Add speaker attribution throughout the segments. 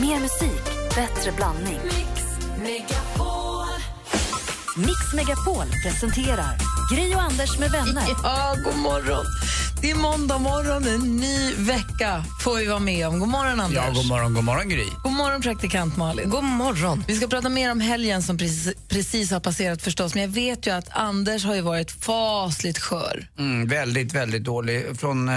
Speaker 1: Mer musik, bättre blandning.
Speaker 2: Mix Megapol.
Speaker 1: Mix Megapol presenterar Gry och Anders med vänner.
Speaker 2: Ja, god morgon. Det är måndag morgon, en ny vecka får vi vara med om. God morgon, Anders.
Speaker 3: Ja, god morgon, god morgon Gry.
Speaker 2: God morgon, praktikant Malin.
Speaker 4: God morgon.
Speaker 2: Vi ska prata mer om helgen som precis, precis har passerat förstås, men jag vet ju att Anders har ju varit fasligt skör.
Speaker 3: Mm, väldigt, väldigt dålig. Från eh,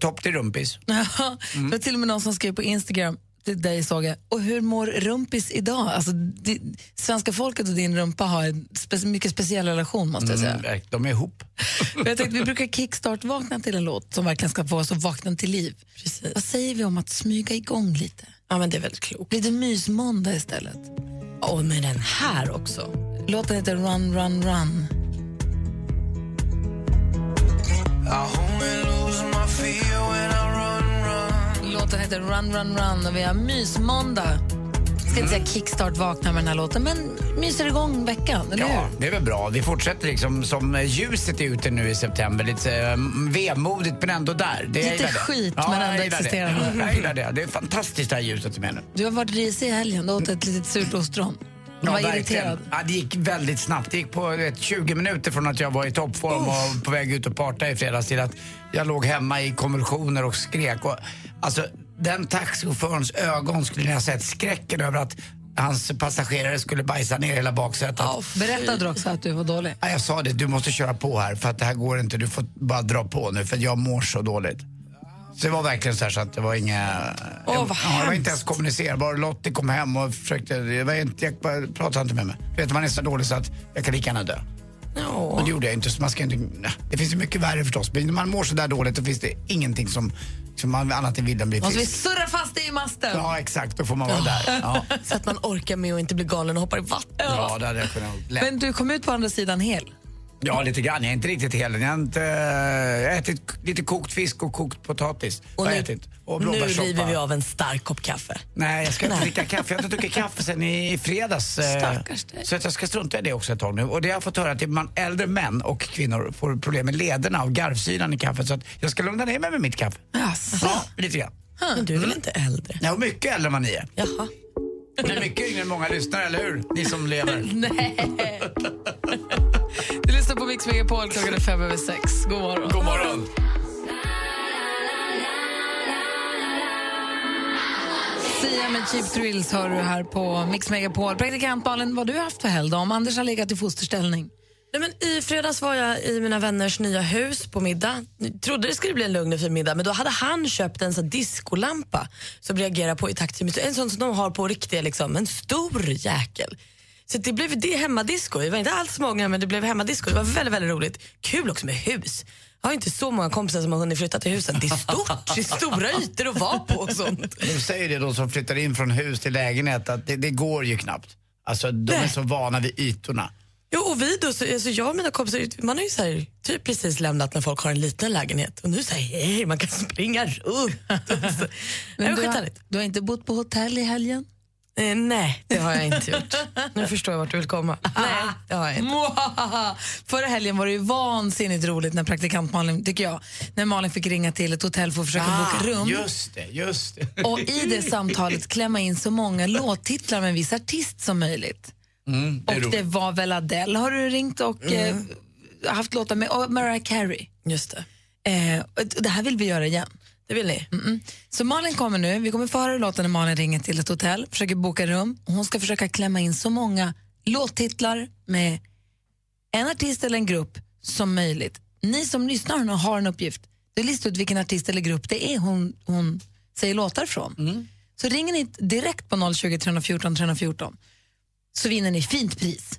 Speaker 3: topp till rumpis. Mm.
Speaker 2: Det var till och med någon som skrev på Instagram till dig såg jag. Och hur mår rumpis idag? Alltså, det, svenska folket och din rumpa har en spe, mycket speciell relation måste jag säga.
Speaker 3: Mm, de är ihop.
Speaker 2: Men Jag tänkte, vi brukar kickstart-vakna till en låt som verkligen ska få oss att vakna till liv. Vad säger vi om att smyga igång lite?
Speaker 4: Ja, men det är väldigt klokt.
Speaker 2: Blir det mysmåndag istället?
Speaker 4: Och med den här också.
Speaker 2: Låten heter Run, run, run. Låten heter Run, run, run och vi har mysmåndag. Jag ska inte säga kickstart-vakna med den här låten, men myser igång veckan, eller
Speaker 3: Ja,
Speaker 2: hur?
Speaker 3: det är väl bra. Vi fortsätter liksom som eh, ljuset är ute nu i september. Lite eh, vemodigt men ändå där. Det, jag
Speaker 2: Lite
Speaker 3: gillar det.
Speaker 2: skit,
Speaker 3: ja,
Speaker 2: men ändå
Speaker 3: jag gillar det.
Speaker 2: existerande.
Speaker 3: Ja, Jag gillar det. Det är fantastiskt det här ljuset som är nu.
Speaker 2: Du har varit risig i helgen, du åt ett litet surt ostron. Du var
Speaker 3: Ja, verkligen.
Speaker 2: irriterad.
Speaker 3: Ja, det gick väldigt snabbt. Det gick på du vet, 20 minuter från att jag var i toppform och på väg ut och parta i fredags till att jag låg hemma i konvulsioner och skrek. Och, alltså, den taxichaufförens ögon skulle ni ha sett skräcken över att hans passagerare skulle bajsa ner hela baksätet.
Speaker 2: Berättade du också att du var dålig?
Speaker 3: Ja, jag sa det, du måste köra på här för att det här går inte. Du får bara dra på nu för jag mår så dåligt. Så det var verkligen så, här, så att det var inga...
Speaker 4: Åh, vad
Speaker 3: ja, det var
Speaker 4: hemskt.
Speaker 3: inte ens kommunicerbar. Lottie kom hem och försökte... Jag, var inte, jag bara pratade inte med mig. Du vet, man är så dålig så att jag kan lika gärna dö. Och det gjorde jag inte. Så man ska inte nej. det finns ju mycket värre förstås. Men när man mår så där dåligt då finns det ingenting som, som man annat än vill än bli
Speaker 2: Måste vi
Speaker 3: frisk.
Speaker 2: surra fast dig i masten?
Speaker 3: Ja, exakt. Då får man vara där. Ja,
Speaker 4: Så att man orkar med och inte blir galen och hoppar i vatten.
Speaker 3: ja det hade jag kunnat lätt.
Speaker 2: Men du kom ut på andra sidan hel.
Speaker 3: Ja, lite grann. Jag är inte riktigt hel. Jag har inte, äh, ätit k- lite kokt fisk och kokt potatis.
Speaker 4: Och
Speaker 3: har jag
Speaker 4: nu-
Speaker 3: ätit. Och
Speaker 4: nu
Speaker 3: blåbärssoppa.
Speaker 4: river vi av en stark kopp kaffe.
Speaker 3: Nej, jag ska inte dricka kaffe. Jag har inte druckit kaffe sen i i fredags. eh,
Speaker 4: Stackars dig.
Speaker 3: Så att jag ska strunta i det också ett tag nu. Och det har jag fått höra att det är man, äldre män och kvinnor får problem med lederna och garvsyran i kaffet. Så att jag ska lugna ner mig med mitt kaffe. Ja, lite grann.
Speaker 4: Men du är väl
Speaker 3: Mm.
Speaker 4: inte äldre?
Speaker 3: Ja, och mycket äldre än vad ni är.
Speaker 4: Jaha.
Speaker 3: Ni är mycket yngre än många lyssnare, eller hur? Ni som lever.
Speaker 2: Du lyssnar på Mix Megapol klockan är fem över sex. God morgon.
Speaker 3: God morgon!
Speaker 2: Sia med Cheap Thrills hör du här på Mix Megapol. Praktikant Malin, vad har du haft för helg då? Om Anders har legat i fosterställning.
Speaker 4: Nej, men I fredags var jag i mina vänners nya hus på middag. Jag trodde det skulle bli en lugn och fin middag, men då hade han köpt en sån diskolampa som reagerar på i takt till musik. En sån som de har på riktiga, liksom, en stor jäkel. Så det blev det hemmadisco. Vi var inte alls många, men det blev hemmadisco. Det var väldigt, väldigt roligt. Kul också med hus. Jag har inte så många kompisar som har hunnit flytta till husen. Det är stort, det är stora ytor att vara på och sånt.
Speaker 3: De säger det, de som flyttar in från hus till lägenhet, att det, det går ju knappt. Alltså de är
Speaker 4: Nej.
Speaker 3: så vana vid ytorna.
Speaker 4: Jo, och vi då, så, alltså jag och mina kompisar, man har ju så här, typ precis lämnat när folk har en liten lägenhet och nu säger hej, man kan springa runt. Alltså, Nej, men
Speaker 2: du, har,
Speaker 4: skithärligt.
Speaker 2: du har inte bott på hotell i helgen?
Speaker 4: Eh, Nej, det har jag inte gjort. Nu förstår jag vart du vill komma. Nej, det har jag inte.
Speaker 2: Ah, Mwahaha. Förra helgen var det ju vansinnigt roligt när praktikant Malin, tycker jag, när Malin fick ringa till ett hotell för att försöka
Speaker 4: Ah,
Speaker 2: boka rum.
Speaker 3: Ah, Just det, just det.
Speaker 2: Och i det samtalet klämma in så många låttitlar med en viss artist som möjligt.
Speaker 3: är
Speaker 2: och
Speaker 3: roligt.
Speaker 2: det var väl Adele har du ringt och eh, haft låtar med, och Mariah Carey.
Speaker 4: Mm. Just det.
Speaker 2: Eh, och det här vill vi göra igen.
Speaker 4: Det vill ni?
Speaker 2: Mm. Så Malin kommer nu, vi kommer få höra hur låten när Malin ringer till ett hotell, försöker boka rum och hon ska försöka klämma in så många låttitlar med en artist eller en grupp som möjligt. Ni som lyssnar nu har en uppgift. Du listar ut vilken artist eller grupp det är hon, hon säger låtar från.
Speaker 4: Mm.
Speaker 2: Så ringer ni direkt på 020 314 314 så vinner ni fint pris.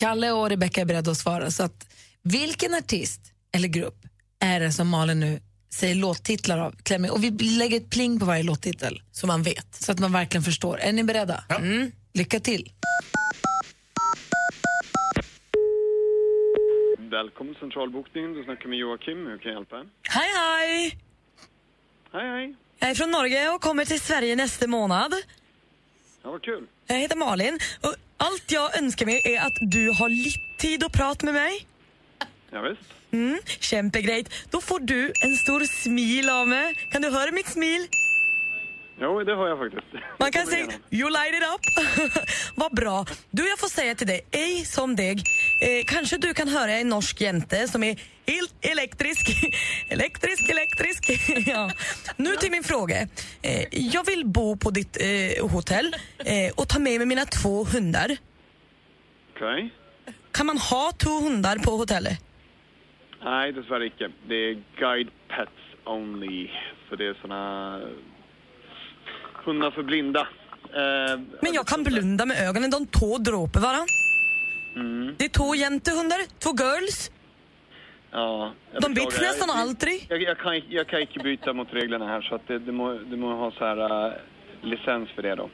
Speaker 2: Kalle och Rebecca är beredda att svara. Så att vilken artist eller grupp är det som Malin nu säger låttitlar av? Klämmer. Och vi lägger ett pling på varje låttitel
Speaker 4: Så man vet.
Speaker 2: så att man verkligen förstår. Är ni beredda? Mm. Lycka till.
Speaker 5: Välkommen till centralbokningen. Du snackar med Joakim. Hur kan jag hjälpa?
Speaker 4: Hej, hej!
Speaker 5: Hej, hej.
Speaker 4: Jag är från Norge och kommer till Sverige nästa månad.
Speaker 5: Ja, vad kul.
Speaker 4: Jag heter Malin och allt jag önskar mig är att du har lite tid att prata med mig.
Speaker 5: Ja, visst.
Speaker 4: Mm, kämpegrejt. Då får du en stor smil av mig. Kan du höra mitt smil?
Speaker 5: Jo, det har jag faktiskt.
Speaker 4: Man kan
Speaker 5: Kommer
Speaker 4: säga
Speaker 5: igenom.
Speaker 4: you light it up. Vad bra. Du, jag får säga till dig, ej som deg. Eh, kanske du kan höra en norsk jente som är helt elektrisk. elektrisk, elektrisk. ja. Nu till min fråga. Eh, jag vill bo på ditt eh, hotell eh, och ta med mig mina två hundar.
Speaker 5: Okej.
Speaker 4: Kan man ha två hundar på hotellet?
Speaker 5: Nej, dessvärre icke. Det är guide pets only. Så det är såna hundar för blinda. Eh,
Speaker 4: Men jag kan blunda med ögonen, de två dråper varann. Det är två jäntehundar, två girls.
Speaker 5: Ja, jag
Speaker 4: De
Speaker 5: beklagar.
Speaker 4: byts nästan
Speaker 5: Jag-
Speaker 4: aldrig.
Speaker 5: Jag, jag, kan, jag kan inte byta mot reglerna här så att det, du, må, du må ha så här eh, licens för det då.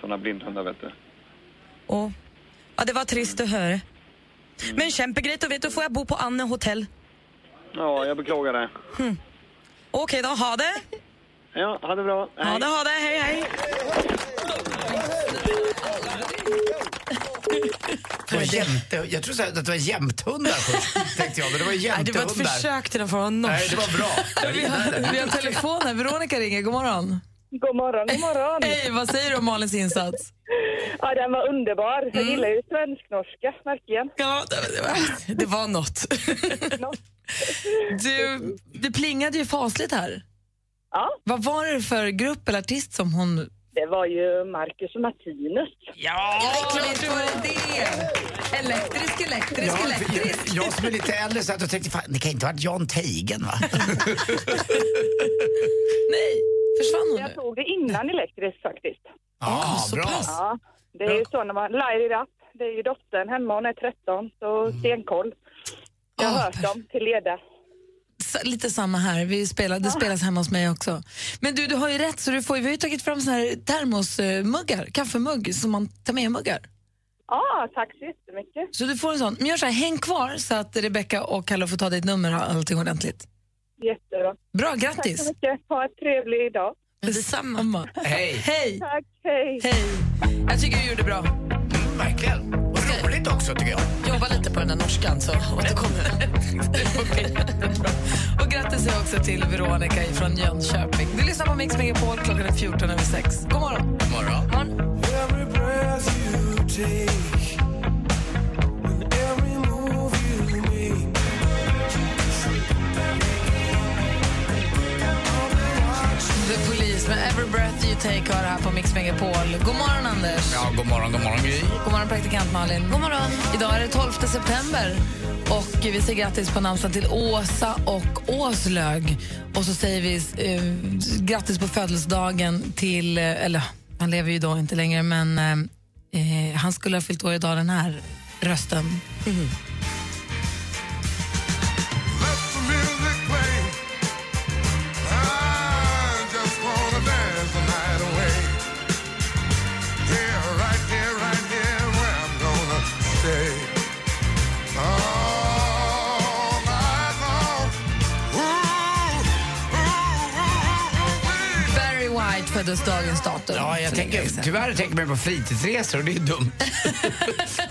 Speaker 5: Såna blindhundar vet du.
Speaker 4: Och, ja, det var trist att höra. Men kämpegrejt, och vet du, får jag bo på Anne hotell. Hm.
Speaker 5: Ja, jag beklagar det.
Speaker 4: Okej då, ha det!
Speaker 5: Ja, ha det bra. Hej.
Speaker 4: Ha det, ha det, hej hej!
Speaker 3: Det var jämte, jag trodde så här att det var jämthundar först, tänkte jag. Men det var jämtehundar.
Speaker 4: till den från
Speaker 3: Nej, det var bra. Jag
Speaker 2: Vi
Speaker 3: gillar
Speaker 2: har, vi
Speaker 3: det.
Speaker 2: har telefon här. Veronica ringer. God morgon.
Speaker 6: God morgon, god morgon.
Speaker 2: Hej, vad säger du om Malins insats? Mm.
Speaker 6: Ja, den var underbar. Jag gillar ju svensk-norska, verkligen.
Speaker 4: Ja, det, det, var, det var något.
Speaker 6: Något.
Speaker 2: Du, det plingade ju fasligt här.
Speaker 6: Ja,
Speaker 2: Vad var det för grupp eller artist som hon...
Speaker 6: det var ju Marcus och Martinus.
Speaker 2: Ja, visst var det det! Elektrisk, elektrisk,
Speaker 3: Ja, jag,
Speaker 2: elektrisk.
Speaker 3: jag som är lite äldre satt och tänkte, fan, det kan inte ha varit Jan Teigen va?
Speaker 2: Nej, försvann hon
Speaker 6: Jag
Speaker 2: nu?
Speaker 6: tog det innan elektriskt faktiskt.
Speaker 3: Ja, Ah, bra.
Speaker 6: Ja, det är ju så när man... Lairi Rapp, det är ju dottern hemma, hon är 13, så
Speaker 3: Mm.
Speaker 6: stenkoll. Jag har
Speaker 2: Ah,
Speaker 6: hört dem till leda.
Speaker 2: S- Lite samma här. Vi spelar, det spelas hemma hos mig också. Men du, du har ju rätt. Så du får, ju- vi har ju tagit fram såna här termosmuggar, kaffemugg, som man tar med-muggar.
Speaker 6: Ja, tack så jättemycket.
Speaker 2: Så du får en sån. Men gör så här, häng kvar så att Rebecca och Kalle får ta ditt nummer och allting ordentligt.
Speaker 6: Jättebra.
Speaker 2: Bra,
Speaker 6: Tack
Speaker 2: grattis!
Speaker 6: så mycket. Ha en trevlig dag.
Speaker 2: Detsamma.
Speaker 3: Hej.
Speaker 2: Hej!
Speaker 6: Tack, hej.
Speaker 2: Hej! Jag tycker du gjorde bra.
Speaker 3: Mm, verkligen. Och roligt också tycker jag.
Speaker 4: Jobba lite på den där norskan så återkommer
Speaker 2: Och grattis säger jag också till Veronica från Jönköping. Du lyssnar på Mix Megapol klockan är 14 över 6. God morgon!
Speaker 3: God morgon.
Speaker 2: The Police med Every Breath You Take har det här på Mix Megapol. God morgon, Anders!
Speaker 3: Ja, god morgon, god morgon Gry.
Speaker 2: God morgon, praktikant Malin. God morgon. Idag är det 12 september och vi säger grattis på namnsdagen till Åsa och Åslög. Och så säger vi eh, grattis på födelsedagen till, eh, eller han lever ju idag inte längre, men eh, eh, han skulle ha fyllt år idag den här rösten. Barry White föddes dagens datum.
Speaker 3: Ja, jag
Speaker 2: för länge
Speaker 3: tänker,
Speaker 2: sedan.
Speaker 3: tyvärr tänker man på fritidsresor och det är dumt.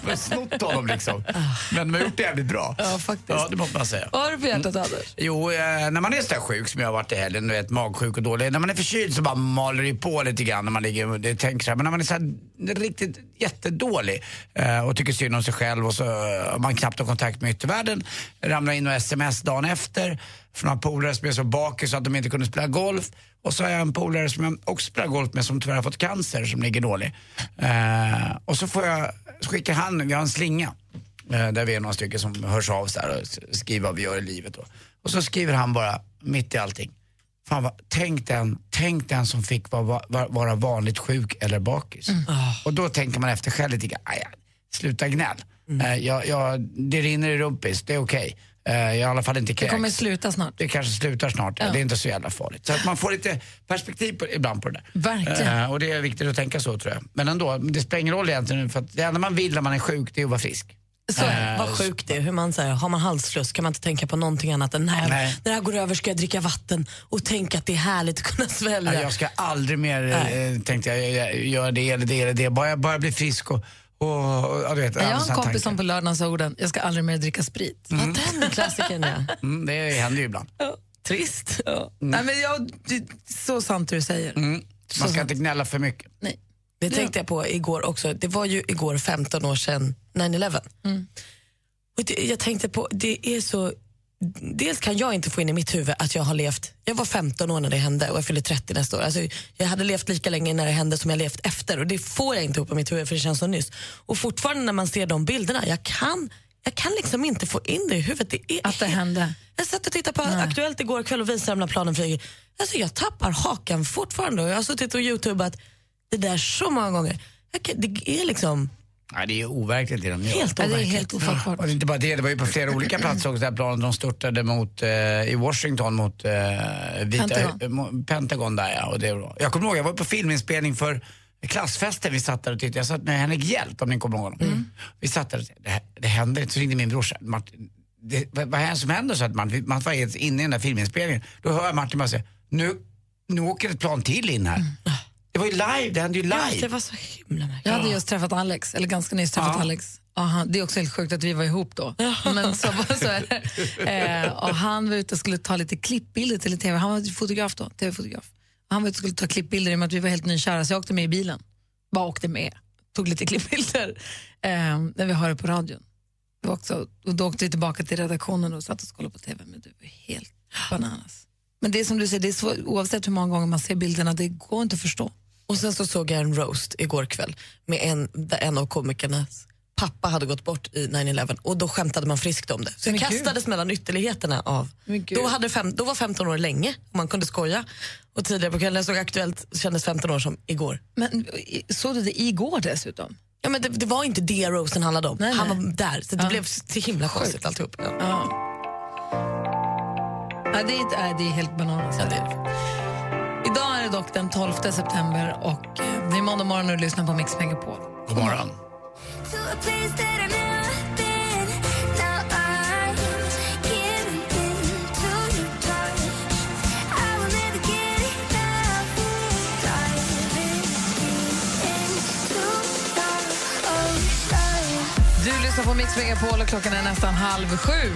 Speaker 3: Man har snott honom liksom. Men de har gjort det jävligt bra.
Speaker 2: Ja, faktiskt.
Speaker 3: Ja, det måste man säga.
Speaker 2: Vad har du på hjärtat, Anders?
Speaker 3: Jo, eh, när man är sådär sjuk som jag har varit i helgen, du vet magsjuk och dålig. När man är förkyld så bara maler det på lite grann när man ligger och det tänker så här. Men när man är så här riktigt jättedålig eh, och tycker synd om sig själv och så eh, man knappt har kontakt med yttervärlden. Ramlar in och sms dagen efter från några polare som är så bakis så att de inte kunde spela golf. Och så har jag en polare som jag också spelar golf med som tyvärr har fått cancer som ligger dålig. Eh, och så får jag, så skickar han, jag har en slinga. Eh, Där vi är några stycken som hörs av så här och s- skriver vad vi gör i livet. Då. Och så skriver han bara, mitt i allting. Fan vad, tänk, den, tänk den som fick vara, va- va- vara vanligt sjuk eller bakis. Och då tänker man efter själv lite grann, "Aj, aj, sluta gnäll.
Speaker 2: Mm.
Speaker 3: Eh, Jag, jag, det rinner i rumpis, det är okej. Eh, Jag är i alla fall inte
Speaker 2: Det
Speaker 3: kräks.
Speaker 2: kommer sluta snart.
Speaker 3: Det kanske slutar snart, det är inte så jävla farligt. Så att man får lite perspektiv på, ibland på det där.
Speaker 2: Verkligen.
Speaker 3: Eh, och det är viktigt att tänka så tror jag. Men ändå, det spelar ingen roll egentligen för att det enda man vill när man är sjuk det är att vara frisk. Eh,
Speaker 4: Så vad sjukt det är. Hur man, så här, har man halsfluss kan man inte tänka på någonting annat än när,
Speaker 3: Nej.
Speaker 4: när det här går över ska jag dricka vatten och tänka att det är härligt att kunna svälja.
Speaker 3: Nej, Jag ska aldrig mer, eh, tänkte jag, jag- jag- göra det eller det eller det. Bara jag bara blir frisk och, och, och ja, du vet.
Speaker 2: Jag
Speaker 3: alla
Speaker 2: har en
Speaker 3: såna
Speaker 2: kompis som
Speaker 3: tankar.
Speaker 2: på lördagen sa orden jag ska aldrig mer dricka sprit.
Speaker 4: Ja, den klassikern ja.
Speaker 3: Mm, det händer ju ibland.
Speaker 4: Trist.
Speaker 2: Nej, men jag, det- så sant det du säger.
Speaker 3: Mm. Man ska inte gnälla för mycket.
Speaker 2: Nej.
Speaker 4: Det tänkte jag på igår också. Det var ju igår 15 år sedan 9-11. Och det, jag tänkte på, det är så... Dels kan jag inte få in i mitt huvud att jag har levt... Jag var 15 år när det hände och jag fyller 30 nästa år. Alltså, jag hade levt lika länge när det hände som jag levt efter och det får jag inte ihop i mitt huvud för det känns så nyss. Och fortfarande när man ser de bilderna, jag kan, jag kan liksom inte få in det i huvudet. Det är
Speaker 2: Att det hände.
Speaker 4: jag satt och tittade på Aktuellt igår kväll och visade dem när planen flyger. Alltså jag tappar hakan fortfarande och jag har suttit och youtubat det där så många gånger. Jag kan, det är liksom
Speaker 3: Nej, det är overkligt det de gör.
Speaker 4: helt
Speaker 2: Ja, det är
Speaker 4: overkligt.
Speaker 2: helt ofattbart. Mm.
Speaker 3: Och det är inte bara det, det var ju på flera olika platser också där planet de störtade mot, eh, i Washington mot eh, vita,
Speaker 2: Pentagon.
Speaker 3: eh, mo- Pentagon där ja. Och det, var- jag kommer ihåg, jag var på filminspelning för klassfesten vi satt där och tittade. Jag satt med Henrik Hjelt om ni kommer ihåg honom.
Speaker 2: Mm.
Speaker 3: Vi satt där och tänkte, det, här- det händer inte. Så ringde min brorsa. Martin, det, vad, vad är det som händer? Så att man, man var helt inne i den där filminspelningen. Då hör jag Martin bara säga, nu, nu åker ett plan till in
Speaker 2: Mm.
Speaker 3: här. Det var ju live, det hände ju
Speaker 4: Ja, alltså,
Speaker 3: live.
Speaker 4: det var så himla märkligt.
Speaker 2: Jag hade just träffat Alex, eller ganska nyss träffat
Speaker 3: Ja.
Speaker 2: Alex. Och han, det är också helt sjukt att vi var ihop då. Men så, så är det. Eh, och han var ute och skulle ta lite klippbilder till en tv. Han var ju fotograf då, tv-fotograf. Och Han var ute och skulle ta klippbilder i och med att vi var helt nykära så jag åkte med i bilen. Bara åkte med, tog lite klippbilder eh, när vi hörde på radion. Det var också, och då åkte vi tillbaka till redaktionen och satt och kollade på tv. Men det var helt bananas. Men det är som du säger, det är svår, oavsett hur många gånger man ser bilderna, det går inte att förstå.
Speaker 4: Och sen så såg jag en roast igår kväll med en, där en av komikernas pappa hade gått bort i 9-11 och då skämtade man friskt om det. Så det
Speaker 2: Men gud.
Speaker 4: kastades mellan ytterligheterna av...
Speaker 2: Men gud.
Speaker 4: Då, hade fem, då var 15 år länge och man kunde skoja. Och tidigare på kvällen jag såg Aktuellt kändes 15 år som igår.
Speaker 2: Men i- såg du det igår dessutom?
Speaker 4: Ja, men det, det var inte det roasten handlade om.
Speaker 2: Nej,
Speaker 4: han
Speaker 2: nej.
Speaker 4: var där, så det
Speaker 2: Ja.
Speaker 4: blev så himla konstigt alltihop. Ja.
Speaker 2: Ja. Ja, det, är, nej, det är helt bananas.
Speaker 4: Ja, det är det.
Speaker 2: Idag är det dock den 12 september och eh, det är måndag morgon och du lyssnar på Mix Megapol.
Speaker 3: God morgon.
Speaker 7: to a place that I've never been. Now I'm giving in to your touch. I will never get enough. Diving into love, oh love.
Speaker 2: Du lyssnar på Mix Megapol och klockan är nästan halv sju.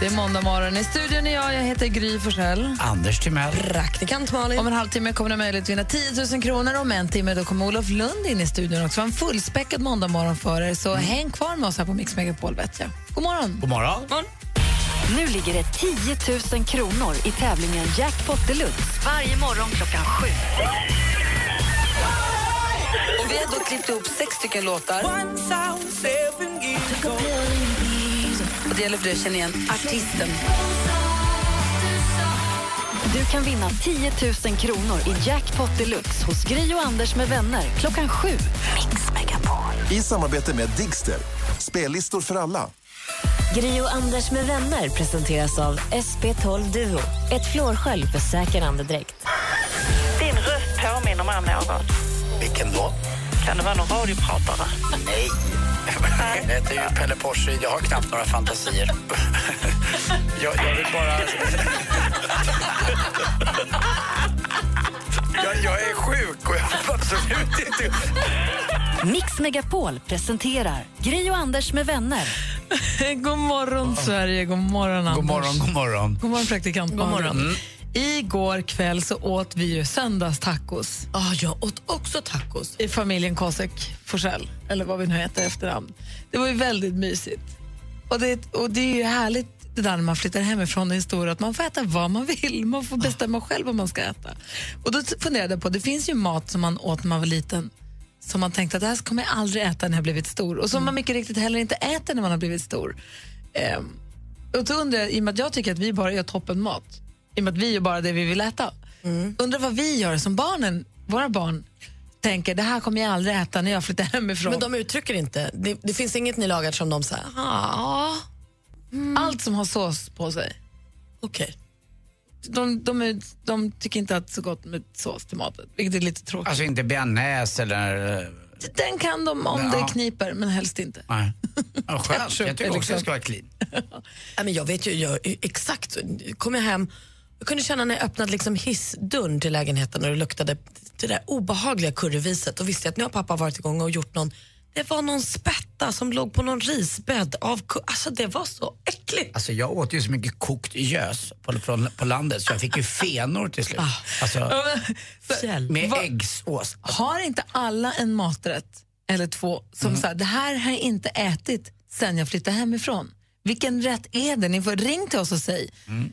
Speaker 2: Det är måndag morgon. I studion är jag, jag heter Gry Forssell.
Speaker 3: Anders Timell.
Speaker 4: Praktikant Malin.
Speaker 2: Om en halvtimme kommer det möjligt att vinna 10 000 kronor. Om en timme då kommer Olof Lund in i studion också. En fullspäckad måndag morgon för er,
Speaker 4: Mm.
Speaker 2: så häng kvar med oss här på Mix Megapol. Vet jag. God morgon!
Speaker 3: God morgon.
Speaker 1: Nu ligger det 10 000 kronor i tävlingen Jackpot Deluxe varje morgon klockan sju.
Speaker 2: Och vi har då klippt ihop sex stycken låtar. Och det gäller för dig att känna igen artisten.
Speaker 1: Du kan vinna 10 000 kronor i Jackpot Deluxe hos Gry och Anders med vänner klockan sju. Mix Megapol.
Speaker 8: I samarbete med Digster. Spellistor för alla.
Speaker 9: Gri och Anders med vänner presenteras av SP12 Duo. Ett flårskölj för säker andedräkt.
Speaker 10: Din röst påminner mig om någon.
Speaker 3: Vilken då?
Speaker 10: Kan det vara någon radiopratare?
Speaker 3: Nej. Jag heter ju Pelle Porsche. Jag har knappt några fantasier. Jag, jag vill bara... Jag, jag är sjuk och jag vill absolut inte...
Speaker 1: Mix Megapol presenterar Gry och Anders med vänner.
Speaker 2: god morgon, Sverige. God morgon, Anders.
Speaker 3: God morgon, god morgon.
Speaker 2: God morgon, praktikant. God morgon.
Speaker 4: Mm.
Speaker 2: Igår kväll så åt vi ju söndagstacos
Speaker 4: Ah, jag åt också tacos.
Speaker 2: i familjen Kosek Forsell, eller vad vi nu heter i efternamn. Det var ju väldigt mysigt. Och det, och det är ju härligt det där när man flyttar hemifrån i historia, att man får äta vad man vill. Man får bestämma själv vad man ska äta. Och då funderade jag på, det finns ju mat som man åt när man var liten som man tänkte att det här kommer jag aldrig äta när jag blivit stor och som man mycket riktigt heller inte äter när man har blivit stor. Ehm, och då undrar jag, i och med att jag tycker att vi bara gör toppenmat, i och med att vi gör bara det vi vill äta, undrar vad vi gör som barnen, våra barn, tänker det här kommer jag aldrig äta när jag flyttar hemifrån.
Speaker 4: Men de uttrycker inte. Det, det finns inget ni lagar som de säger, ah,
Speaker 3: Mm.
Speaker 2: Allt som har sås på sig.
Speaker 4: okej.
Speaker 2: de, de, är, de tycker inte att det är så gott med sås till maten, vilket är lite tråkigt.
Speaker 3: Alltså inte bearnaise eller... eh,
Speaker 2: Den kan de om
Speaker 3: Ja.
Speaker 2: det kniper, men helst inte.
Speaker 3: Nej. Ja, skönt.
Speaker 2: Ketchup
Speaker 3: Jag tycker
Speaker 2: eller
Speaker 3: också jag ska vara clean.
Speaker 4: Ja, men jag vet ju jag, exakt. Kom jag hem, jag kunde känna när jag öppnade liksom hissdörren till lägenheten och det luktade det där obehagliga curryviset. Då visste jag att nu har pappa varit igång och gjort någon Det var någon spätta som låg på någon risbädd av ku- Alltså det var så äckligt.
Speaker 3: Alltså jag åt ju så mycket kokt gös på, från, på landet så jag fick ju fenor till slut. Alltså, med äggsås.
Speaker 2: Har inte alla en maträtt eller två som
Speaker 3: Mm.
Speaker 2: så här, det här har jag inte ätit sen jag flyttade hemifrån? Vilken rätt är det? Ni får ring till oss och säg.
Speaker 11: Mm,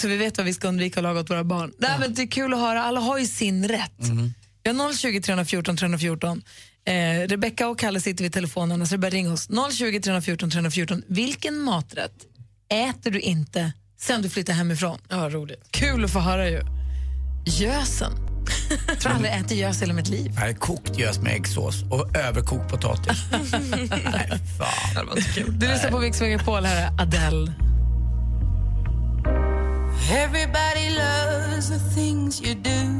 Speaker 2: Så vi vet vad vi ska undvika att laga åt våra barn. Nej, men det är kul att höra, alla har ju sin rätt.
Speaker 11: mm.
Speaker 2: Vi har 020 314 314. Eh, Rebecka och Kalle sitter vid telefonerna så det är bara att ringa oss. 020 314 314. Vilken maträtt äter du inte sen du flyttade hemifrån?
Speaker 4: Ja, roligt.
Speaker 2: Kul att få höra ju. Gösen. Jag tror aldrig jag ätit gös i hela mitt liv.
Speaker 3: Nej, kokt gös med äggsås och överkokt potatis. Nej, fan. Det var inte kul.
Speaker 2: Du lyssnar på Mix Megapol, här är Adele.
Speaker 7: Everybody loves the things you do.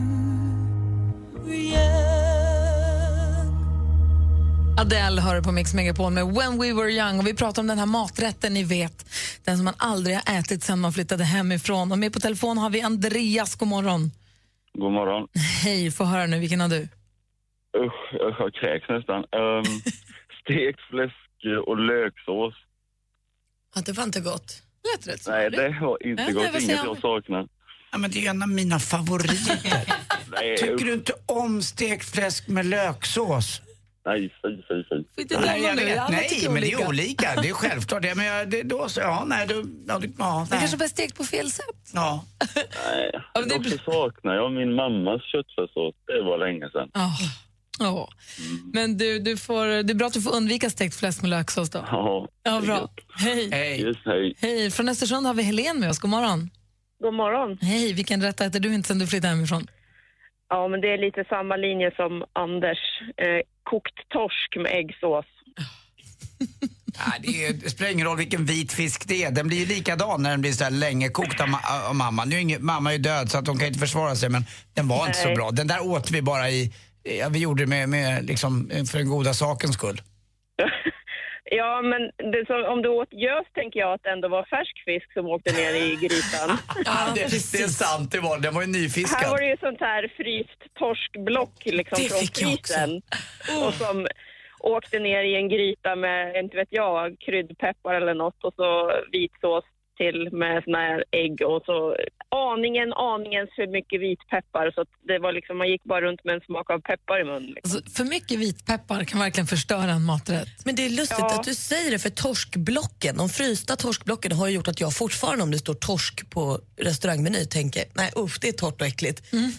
Speaker 2: Adele hör på Mix Megapol med When We Were Young. Och vi pratar om den här maträtten ni vet, den som man aldrig har ätit sen man flyttade hemifrån. Och med på telefon har vi Andreas, god morgon.
Speaker 11: God morgon.
Speaker 2: Hej, få höra nu, vilken har du?
Speaker 11: Usch, usch jag kräks nästan. Ehm, stekt fläsk och löksås.
Speaker 4: Ja, det var inte gott.
Speaker 2: Lät rätt så.
Speaker 11: Nej, det var inte
Speaker 2: Nej,
Speaker 11: gott.
Speaker 2: vad
Speaker 11: Inget
Speaker 2: säger
Speaker 11: jag
Speaker 2: han?
Speaker 11: saknar.
Speaker 3: Ja, men det är en av mina favoriter.
Speaker 11: Nej,
Speaker 3: Tycker
Speaker 11: usch.
Speaker 3: du inte om stekt fläsk med löksås?
Speaker 11: Nej, fy, fy, fy.
Speaker 3: Nej, jag vet.
Speaker 2: alla
Speaker 3: nej
Speaker 2: tycker
Speaker 3: men det
Speaker 2: olika.
Speaker 3: är olika. Det är självklart. Ja, men jag, det, då så, ja, nej, då, ja, det, ja,
Speaker 2: Det
Speaker 3: nej.
Speaker 2: kanske bara stekt på fel sätt.
Speaker 3: ja.
Speaker 11: Nej.
Speaker 2: Ja, men det
Speaker 11: Och så saknar jag min mammas köttfärssås. Det var länge sedan.
Speaker 2: Ja. Ja. Men du, du får, det är bra att du får undvika stekt fläsk med löksås då.
Speaker 11: Ja,
Speaker 2: Ja, bra. Hej.
Speaker 3: Hej.
Speaker 11: just hej.
Speaker 2: Hej, från Östersund har vi Helen med oss, god morgon.
Speaker 12: God morgon.
Speaker 2: Hej, vilken rätt äter du inte sen du flyttade hemifrån?
Speaker 12: Ja, men det är lite samma linje som Anders. Eh, kokt torsk med äggsås.
Speaker 3: Nej, det, är, det spelar ingen roll vilken vit fisk det är. Den blir ju likadan när den blir så här länge kokt av, ma- äh, av mamma. Nu är ingen, mamma är ju död så att hon kan inte försvara sig men den var inte så
Speaker 12: Nej.
Speaker 3: bra. Den där åt vi bara i, ja, vi gjorde det med, med liksom, för den goda sakens skull.
Speaker 12: Ja, men det som, om du åt gös tänker jag att det ändå var färsk fisk som åkte ner i grytan.
Speaker 3: Ja, det, det är sant, det var den var ju
Speaker 12: Här var
Speaker 3: nyfiskad.
Speaker 12: det ju sånt här fryst torskblock liksom
Speaker 4: Det
Speaker 12: från
Speaker 4: fick jag
Speaker 12: frysen. Och som åkte ner i en gryta med, inte vet jag, kryddpeppar eller något och så vitsås till med såna här ägg och så aningen, aningens för mycket vitpeppar så att det var liksom, man gick bara runt med en smak av peppar i munnen. Liksom.
Speaker 2: Alltså, för mycket vitpeppar kan verkligen förstöra en maträtt.
Speaker 4: Men det är lustigt
Speaker 12: Ja.
Speaker 4: att du säger det för torskblocken, de frysta torskblocken har ju gjort att jag fortfarande om det står torsk på restaurangmeny tänker nej usch det är torrt och äckligt. Jag har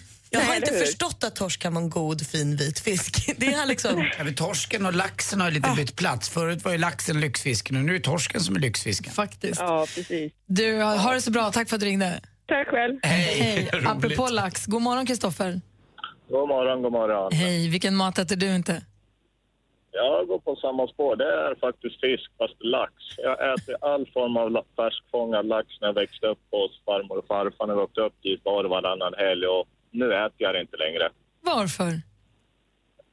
Speaker 12: Mm. Nej,
Speaker 4: inte
Speaker 12: eller hur?
Speaker 4: förstått att torsk kan vara en god fin vit fisk. Det är liksom,
Speaker 3: Ja, men torsken och laxen har ju
Speaker 2: Ah.
Speaker 3: lite bytt plats. Förut var ju laxen lyxfisken och nu är det torsken som är lyxfisken.
Speaker 2: Faktiskt.
Speaker 12: Ja, precis.
Speaker 2: Du, ha ha det så bra. Tack för att du ringde.
Speaker 12: Tack själv.
Speaker 2: Hej. Apropå lax, god morgon Kristoffer.
Speaker 11: God morgon, god morgon.
Speaker 2: Hej, vilken mat äter du inte?
Speaker 11: Jag går på samma spår. Det är faktiskt fisk, fast lax. Jag äter all form av la- färskfångad lax när jag växte upp hos farmor och farfar. När vi åkte upp dit var det varannan helg och nu äter jag det inte längre.
Speaker 2: Varför?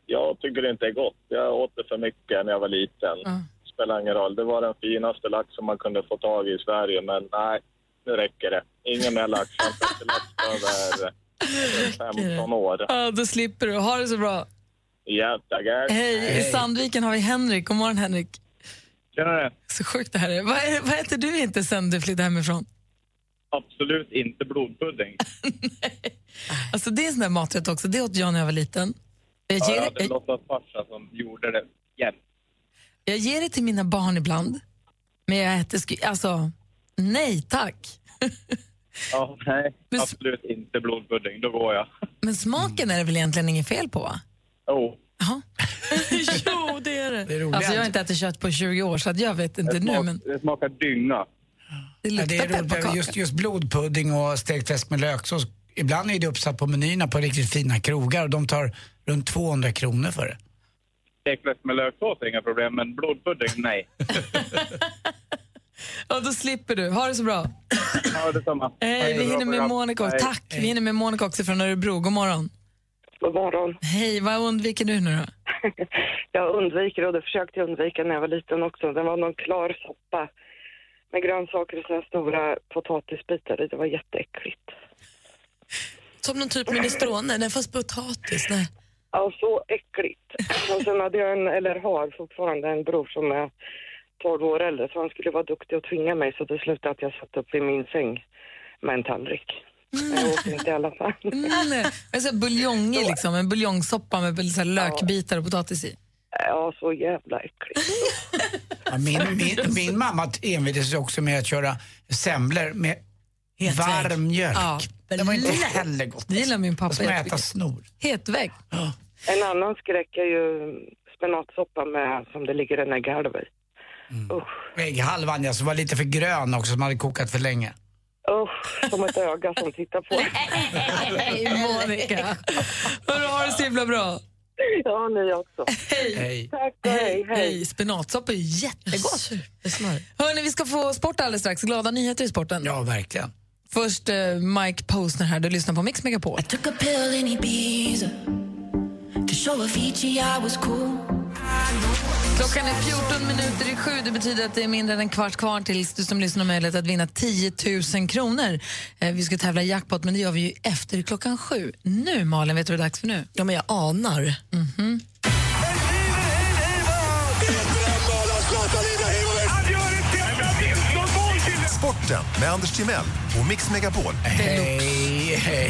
Speaker 11: Jag tycker det inte är gott. Jag åt det för mycket när jag var liten.
Speaker 2: Ja.
Speaker 11: Spelar ingen roll. Det var den finaste lax som man kunde få tag i i Sverige, men nej, nu räcker det. Ingen mer lax. Jag har inte ätit lax på över över 15 år.
Speaker 2: Ja, då slipper du. Ha det så bra.
Speaker 11: Ja, tackar.
Speaker 2: Hej. I Sandviken har vi Henrik. God morgon Henrik.
Speaker 11: Tjenare.
Speaker 2: Så sjukt det här är. Vad, är, vad äter du inte sen du flyttade hemifrån?
Speaker 11: Absolut inte blodpudding.
Speaker 2: Alltså det är en sån där maträtt också. Det åt jag när jag var liten. Jag ger, jag,
Speaker 11: låtsasfarsa som gjorde det jämt.
Speaker 2: jag ger det till mina barn ibland. Men jag äter, sku- alltså, nej tack.
Speaker 11: Ja, nej,
Speaker 2: Men s-
Speaker 11: absolut inte blodpudding. Då går jag.
Speaker 2: Men smaken är det väl egentligen inget fel på va?
Speaker 11: Oh,
Speaker 2: Ja. jo, det är
Speaker 3: Det är roligt.
Speaker 2: Alltså jag har inte ätit kött på 20 år så att jag vet inte nu men
Speaker 11: det smakar dynga.
Speaker 2: det
Speaker 3: Ja,
Speaker 2: luktar
Speaker 3: det är roligt.
Speaker 2: pepparkaka.
Speaker 3: Just, just blodpudding och stekt fläsk med löksås. Ibland är det uppsatt på menyerna på riktigt fina krogar och de tar runt 200 kronor för det.
Speaker 11: Stekfläsk med löksås är inga problem, men blodpudding, nej.
Speaker 2: Ja, då slipper du. Ha det så bra.
Speaker 11: Ja, detsamma.
Speaker 2: Hej, vi hinner med Monica.
Speaker 11: Hej.
Speaker 2: Tack. Vi hinner med Monica också från Örebro. God morgon.
Speaker 13: God morgon.
Speaker 2: Hej, vad undviker du nu då?
Speaker 13: Jag undviker och det försökte jag undvika när jag var liten också. Det var någon klar soppa med grönsaker och såna stora potatisbitar i. Det var jätteäckligt.
Speaker 4: som någon typ minestrone, nej fast potatis, nej.
Speaker 13: Ja, så äckligt. Och sen hade jag en, eller har fortfarande en bror som är 12 år äldre så han skulle vara duktig och tvinga mig så det slutade att jag satt upp i min säng med en tallrik. Men jag åt inte i alla fall.
Speaker 2: Mm, alltså buljong i liksom, en buljongsoppa med så här lökbitar och potatis i.
Speaker 13: Ja, så jävla äckligt.
Speaker 3: Ja, min, min, min mamma envisades också med att köra semlor med varm mjölk.
Speaker 2: Ja,
Speaker 3: det var inte
Speaker 2: lätt.
Speaker 3: heller gott.
Speaker 2: Det gillar min pappa
Speaker 3: Och så får man äta
Speaker 2: jättemycket.
Speaker 3: snor.
Speaker 2: Hetvägg.
Speaker 13: En annan skräck är ju spenatsoppa med, som det ligger en ägghalv i.
Speaker 3: Ägghalvan ja, som var lite för grön också, som hade kokat för länge.
Speaker 13: Usch, som ett öga som tittar på.
Speaker 2: Nej, Monica. Hörru, ha det så himla bra.
Speaker 13: Ja, ni också.
Speaker 3: Hej.
Speaker 13: Tack och hej,
Speaker 2: hej. Spenatsoppa är ju jättegott.
Speaker 4: Supersmart.
Speaker 2: Hörni, vi ska få sport alldeles strax. Glada nyheter i sporten.
Speaker 3: Ja, verkligen.
Speaker 2: Först eh, Mike Posner här. Du lyssnar på Mix Megapol.
Speaker 7: Took a pill in Ibiza to show Avicii I was cool.
Speaker 2: Klockan är 14 minuter i sju. Det betyder att det är mindre än en kvart kvar tills du som lyssnar har möjlighet att vinna 10 000 kronor. Eh, vi ska tävla i jackpot, men det gör vi ju efter klockan sju. Nu, Malin, vet du vad det är dags för nu?
Speaker 4: Ja, men jag anar.
Speaker 2: Mhm.
Speaker 8: Sporten med Anders Timell och Mix Megapol.
Speaker 3: Hej, hej,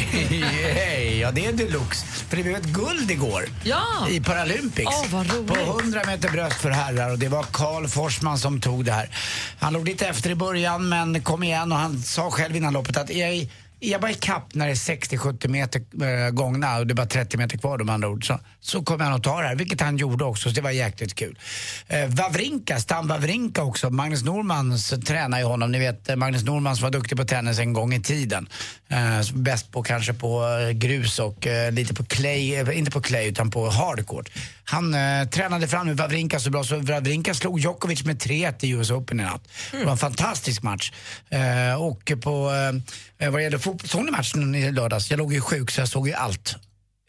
Speaker 3: hej. Ja, det är deluxe. För det blev ett guld igår
Speaker 2: Ja.
Speaker 3: i Paralympics.
Speaker 2: Åh, vad roligt.
Speaker 3: På 100 meter bröst för herrar och det var Karl Forsman som tog det här. Han låg lite efter i början men kom igen och han sa själv innan loppet att jag, jag var ikapp när det är 60-70 meter eh, gångna och det är bara 30 meter kvar då med andra ord. Så, så kommer han att ta det här, vilket han gjorde också så det var jäkligt kul. Eh, Wawrinka, Stan Wawrinka också, Magnus Normans tränar ju honom. Ni vet eh, Magnus Norman som var duktig på tennis en gång i tiden. Eh, som bäst på kanske på eh, grus och eh, lite på clay, eh, inte på clay utan på hardcourt. Han eh, tränade fram med Wawrinka så bra så Wawrinka slog Djokovic med 3-1 i US Open i natt. Det var en fantastisk match. Eh, och på, eh, vad gäller fotboll, såg ni matchen i lördags? Jag låg ju sjuk så jag såg ju allt.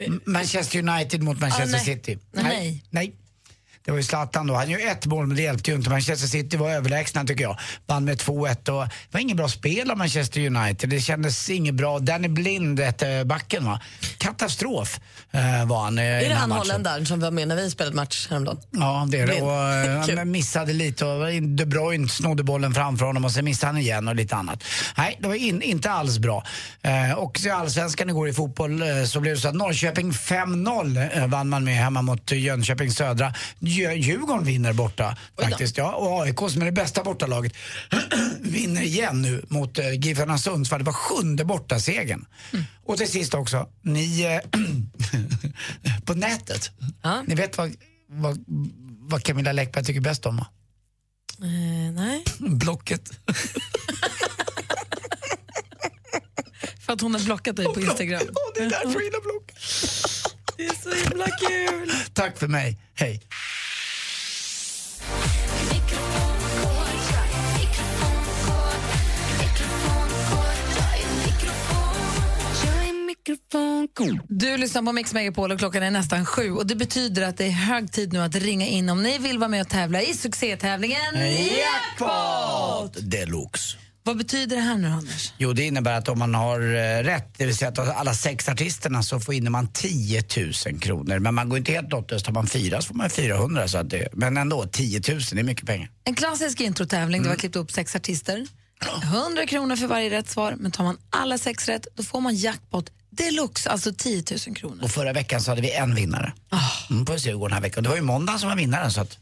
Speaker 2: Mm,
Speaker 3: M- Manchester United mot Manchester
Speaker 4: Ah,
Speaker 2: nej.
Speaker 3: City.
Speaker 2: Nej.
Speaker 3: Nej. Det var ju Zlatan då. Han gjorde ett mål men det hjälpte ju inte. Manchester City var överlägsna tycker jag. Vann med 2-1 och det var inget bra spel av Manchester United. Det kändes inget bra. Danny Blind hette backen va. Katastrof eh, var han eh, i
Speaker 4: Är
Speaker 3: den
Speaker 4: det
Speaker 3: här
Speaker 4: han
Speaker 3: matchen.
Speaker 4: holländaren som var med när vi spelade match häromdagen?
Speaker 3: Ja, det är det.
Speaker 4: Blind.
Speaker 3: Och, eh,
Speaker 4: Kul.
Speaker 3: han missade lite och De Bruyne snodde bollen framför honom och sen missade han igen och lite annat. Nej, det var in, inte alls bra. Eh, och i allsvenskan igår i fotboll eh, så blev det så att Norrköping 5-0 eh, vann man med hemma mot eh, Jönköping Södra. Djö- Djurgården vinner borta faktiskt. Ja, och AIK som är det bästa bortalaget vinner igen nu mot eh, Giffarna Sundsvall. Det var sjunde bortasegern. Och till sist också, ni eh, på nätet, ni vet vad, vad, vad Camilla Läckberg tycker bäst om? va?
Speaker 4: Eh, nej.
Speaker 3: Blocket.
Speaker 2: För att hon har blockat dig på Instagram.
Speaker 3: det är därför jag gillar block.
Speaker 2: Det är så himla kul.
Speaker 3: Tack för mig, hej.
Speaker 2: Du lyssnar på Mix Megapol och klockan är nästan sju och det betyder att det är hög tid nu att ringa in om ni vill vara med och tävla i succétävlingen Jackpot!
Speaker 3: Deluxe.
Speaker 2: Vad betyder det här nu, Anders?
Speaker 3: Jo, det innebär att om man har eh, rätt, det vill säga att av alla sex artisterna så får in man 10 000 kronor. Men man går inte helt lottlös. Tar man fyra så får man 400. Så att det, men ändå, 10 000 det är mycket pengar.
Speaker 2: En klassisk introtävling
Speaker 4: Mm.
Speaker 2: där vi har klippt upp sex artister. 100 kronor för varje rätt svar, men tar man alla sex rätt då får man jackpot deluxe, alltså 10 000 kronor.
Speaker 3: Och förra veckan så hade vi en vinnare.
Speaker 4: Ah.
Speaker 3: Mm, får vi se hur det går den här veckan. Det var ju måndag som var vinnaren. Så att,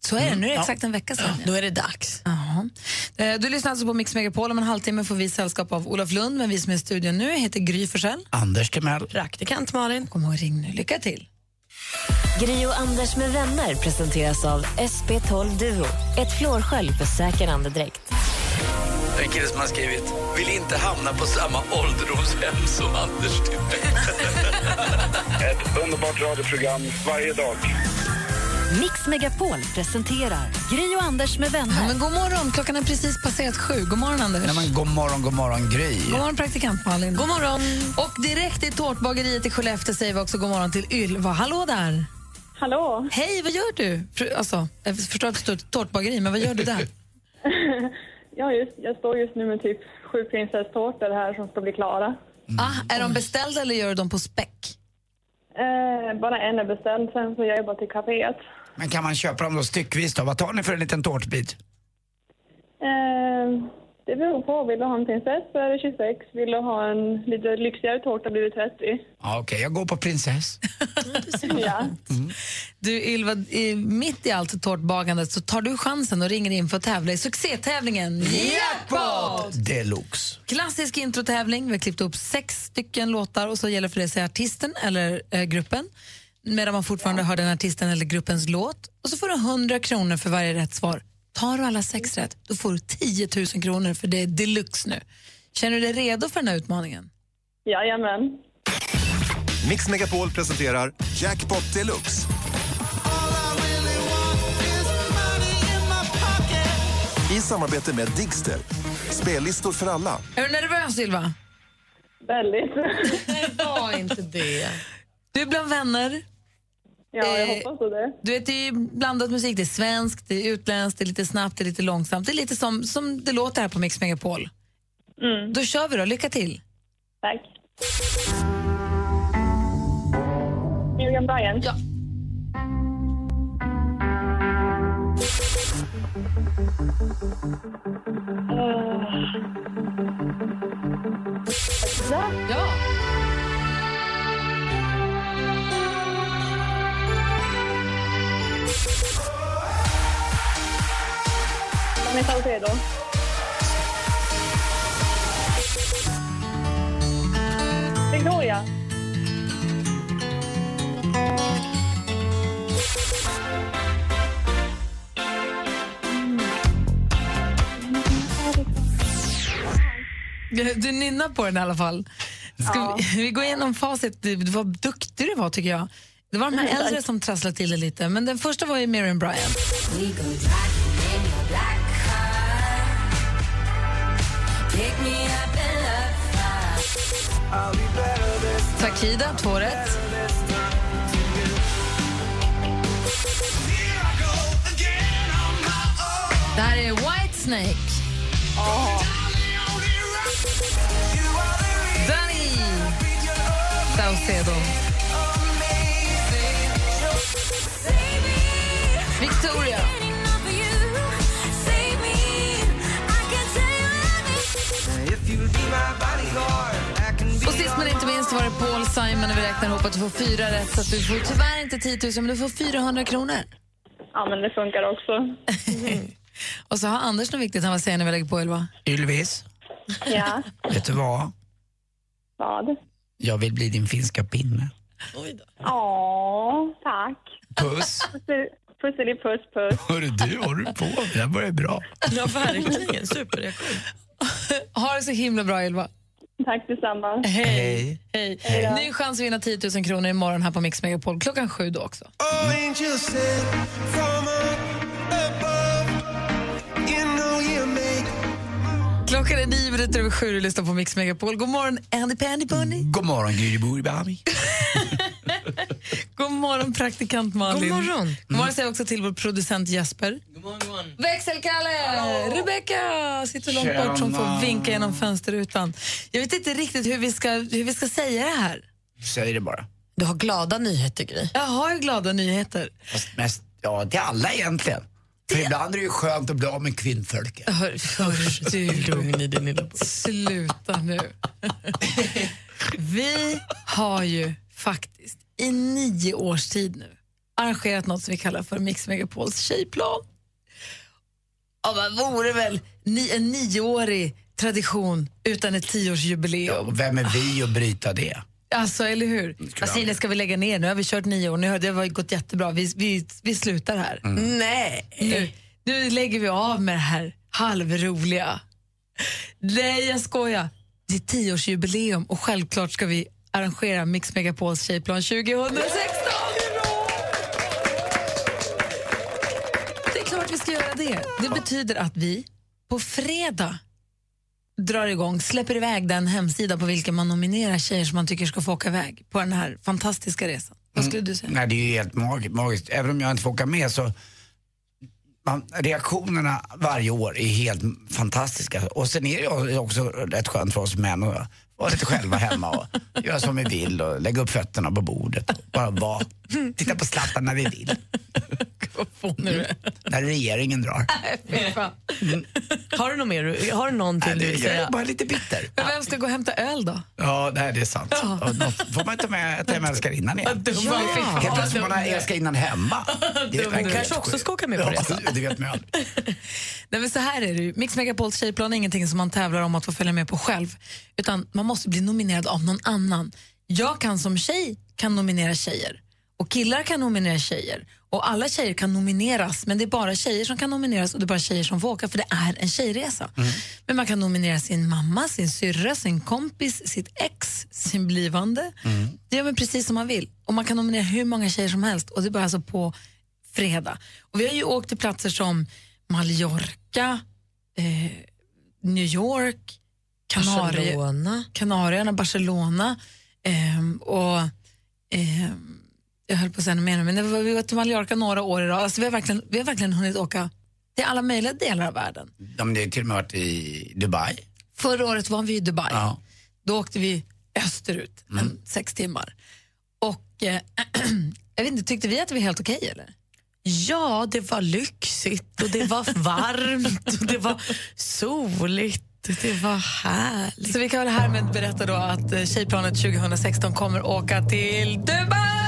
Speaker 2: Så är det, nu är det
Speaker 3: Ja.
Speaker 2: exakt en vecka sedan.
Speaker 4: Mm, Då är det dags.
Speaker 2: Jaha. Eh, Du lyssnar alltså på Mix Megapol. Om en halvtimme får vi sällskap av Olof Lund, men vi som är i studion nu heter Gry Forssell.
Speaker 3: Anders Timell.
Speaker 4: Praktikant Malin.
Speaker 2: Kom ihåg ring nu. Lycka till.
Speaker 9: Gri och Anders med vänner presenteras av SP12 Duo. Ett flårskölj för säker andedräkt.
Speaker 14: Det är en kille som har skrivit Vill inte hamna på samma ålderdomshem som Anders
Speaker 11: Ett underbart radioprogram varje dag.
Speaker 1: Mix Megapol presenterar Gri och Anders med vänner.
Speaker 2: Ja, men god morgon, klockan är precis passerat sju. God morgon, Anders.
Speaker 3: Nej, men, god morgon, god morgon Gry.
Speaker 2: God morgon, praktikant Malin. God morgon. Och direkt i tårtbageriet i Skellefteå säger vi också god morgon till Ylva. Hallå där!
Speaker 15: Hallå!
Speaker 2: Hej, vad gör du? För- Alltså, jag förstår att det står ett tårtbageri, men vad gör du där?
Speaker 15: Ja, just, jag står just nu med typ sju prinsesstårtor här som ska bli klara.
Speaker 2: Ah, är de beställda eller gör du dem på späck?
Speaker 15: Eh, bara en är beställd, sen får jag jobba till kaféet.
Speaker 3: Men kan man köpa dem då styckvis då? Vad tar ni för en liten tårtbit?
Speaker 15: Eh, det beror på. Vill du ha en prinsess så är det 26. Vill du ha en lite lyxigare tårta blir det 30.
Speaker 3: Ja, Okej, jag går på prinsess.
Speaker 15: ja.
Speaker 2: Mm. Du Ylva, i, mitt i allt tårtbagandet så tar du chansen och ringer in för att tävla i succétävlingen Jackpot!
Speaker 3: Deluxe.
Speaker 2: Klassisk introtävling. Vi har klippt upp sex stycken låtar och så gäller för det att säga artisten eller eh, gruppen medan man fortfarande hör den artisten eller gruppens låt. Och så får du 100 kronor för varje rätt svar. Tar du alla sex rätt, då får du 10 000 kronor för det är deluxe nu. Känner du dig redo för den här utmaningen?
Speaker 15: Jajamän.
Speaker 8: Mix Megapol presenterar Jackpot Deluxe. I samarbete med Digster. Spellistor för alla.
Speaker 2: Är du nervös, Ylva?
Speaker 15: Väldigt.
Speaker 2: Nej, var inte det. Du är bland vänner.
Speaker 15: Ja, jag
Speaker 2: Eh,
Speaker 15: hoppas på det.
Speaker 2: Du vet, det är ju blandat musik. Det är svenskt, det är utländskt, det är lite snabbt, det är lite långsamt. Det är lite som, som det låter här på Mix Megapol.
Speaker 15: Mm.
Speaker 2: Då kör vi då. Lycka till.
Speaker 15: Tack. Miriam Bryant.
Speaker 2: Ja. Ja.
Speaker 15: Danny Saucedo. Victoria.
Speaker 2: Mm. Du nynnar på den i alla fall. Ska vi, vi går igenom facit. Du, du var duktig du var, tycker jag. Det var de här
Speaker 7: Mm,
Speaker 2: äldre
Speaker 7: tack.
Speaker 2: som trasslade till det lite, men den första var ju Miriam Bryant. Takida, två rätt. Det här är Whitesnake. Danny Saucedo. Victoria. Och sist men inte minst var det Paul Simon och vi räknar ihop att du får fyra rätt så att du får tyvärr inte 10 000 men du får 400 kronor.
Speaker 15: Ja, men det funkar också.
Speaker 2: Och så har Anders något viktigt han vill säga när vi lägger på Ylva.
Speaker 3: Ylvis,
Speaker 15: Ja.
Speaker 3: vet du vad?
Speaker 15: Vad?
Speaker 3: Jag vill bli din finska pinne.
Speaker 15: Åh, tack.
Speaker 3: Puss.
Speaker 15: Puss- Pusselipuss, puss.
Speaker 3: Hörru du, vad håller du på med? Det här börjar bra.
Speaker 4: Ja, verkligen. Superreaktion.
Speaker 2: Ha det så himla bra Ylva.
Speaker 15: Tack detsamma.
Speaker 2: Hej. Hej.
Speaker 15: Hej då.
Speaker 2: Ny chans att vinna 10 000 kronor imorgon här på Mix Megapol klockan sju då också. Klockan är nio minuter över sju och lyssnar på Mix Megapol. God morgon Andy Pandy Bunny.
Speaker 3: God morgon, Gry Burbami.
Speaker 2: God morgon praktikant Malin.
Speaker 3: God morgon.
Speaker 2: God morgon säger jag också till vår producent Jesper. Mm. Växelkalle! Rebecca sitter långt
Speaker 7: Tjena.
Speaker 2: bort som får vinka genom fönsterrutan. Jag vet inte riktigt hur vi ska, hur vi ska säga det här.
Speaker 3: Säg det bara.
Speaker 2: Du har glada nyheter, Gry. Jag har ju glada nyheter.
Speaker 3: Fast mest, ja, till alla egentligen. För ibland är det ju skönt att bli av med kvinnfolket.
Speaker 2: Hör, hör, du. Lugn i din lilla Sluta nu. vi har ju faktiskt i nio års tid nu arrangerat något som vi kallar för Mix Megapols tjejplan. Ja, vad vore väl ni, en nioårig tradition utan ett tioårsjubileum?
Speaker 3: Och vem är vi att bryta det?
Speaker 2: Alltså, eller hur? Vad säger ni, ska vi lägga ner? Nu har vi kört nio år, nu har det har gått jättebra. Vi, vi, vi slutar här.
Speaker 4: Mm.
Speaker 2: Nej! Nu, nu lägger vi av med det här halvroliga. Nej, jag skojar. Det är tioårsjubileum och självklart ska vi arrangera Mix Megapols tjejplan 2016. Det är klart vi ska göra det. Det betyder att vi på fredag drar igång, släpper iväg den hemsida på vilken man nominerar tjejer som man tycker ska få åka iväg på den här fantastiska resan. Vad skulle du säga?
Speaker 3: Nej, det är ju helt mag- magiskt. Även om jag inte får åka med så man, reaktionerna varje år är helt fantastiska. Och sen är det ju också rätt skönt för oss män att vara lite själva hemma och göra som vi vill och lägga upp fötterna på bordet. och Bara vara. Titta på Zlatan när vi vill. När regeringen drar.
Speaker 2: Mm.
Speaker 4: Har du något mer? Har du någonting
Speaker 3: Nej,
Speaker 4: du
Speaker 3: det-
Speaker 4: vill
Speaker 3: jag är
Speaker 4: säga?
Speaker 3: bara lite bitter.
Speaker 2: Men vem ska gå och hämta öl då?
Speaker 3: Ja, nej, det är sant.
Speaker 2: Ja.
Speaker 3: Och något- får man inte med att jag älskar innan igen?
Speaker 2: Vad dum man fick vara.
Speaker 3: Helt plötsligt får man
Speaker 2: Dum.
Speaker 3: älskar innan hemma. Det
Speaker 2: Dum.
Speaker 3: verkar
Speaker 2: Kanske
Speaker 3: helt
Speaker 2: också
Speaker 3: sjukt.
Speaker 2: ska åka med på
Speaker 3: Ja,
Speaker 2: resa.
Speaker 3: Det vet man ju aldrig.
Speaker 2: Nej, men så här är det ju. Mix Megapols tjejplan är ingenting som man tävlar om att få följa med på själv. Utan man måste bli nominerad av någon annan. Jag kan som tjej kan nominera tjejer. Och killar kan nominera tjejer. Och alla tjejer kan nomineras. Men det är bara tjejer som kan nomineras och det är bara tjejer som får åka. För det är en tjejresa. Men man kan nominera sin mamma, sin syrra, sin kompis, sitt ex, sin blivande. Det gör man precis som man vill. Och man kan nominera hur många tjejer som helst. Och det börjar alltså på fredag. Och vi har ju åkt till platser som Mallorca, eh, New York, Kanari-
Speaker 4: Barcelona.
Speaker 2: Kanarierna, Barcelona ehm, och ehm, jag höll på att säga något mer nu, men det var- vi var till Mallorca några år i rad. Alltså, vi, har verkligen, vi har verkligen hunnit åka till alla möjliga delar av världen.
Speaker 3: Ja, men det har till och med varit i Dubai.
Speaker 2: Förra året var vi i Dubai.
Speaker 3: Ja.
Speaker 2: Då åkte vi österut
Speaker 3: Mm.
Speaker 2: en sex timmar. Och eh, jag vet inte, tyckte vi att det var helt okej eller?
Speaker 4: Ja, det var lyxigt och det var varmt och det var soligt. Det var härligt.
Speaker 2: Så vi kan väl härmed berätta då att eh, Tjejplanet 2016 kommer åka till Dubai!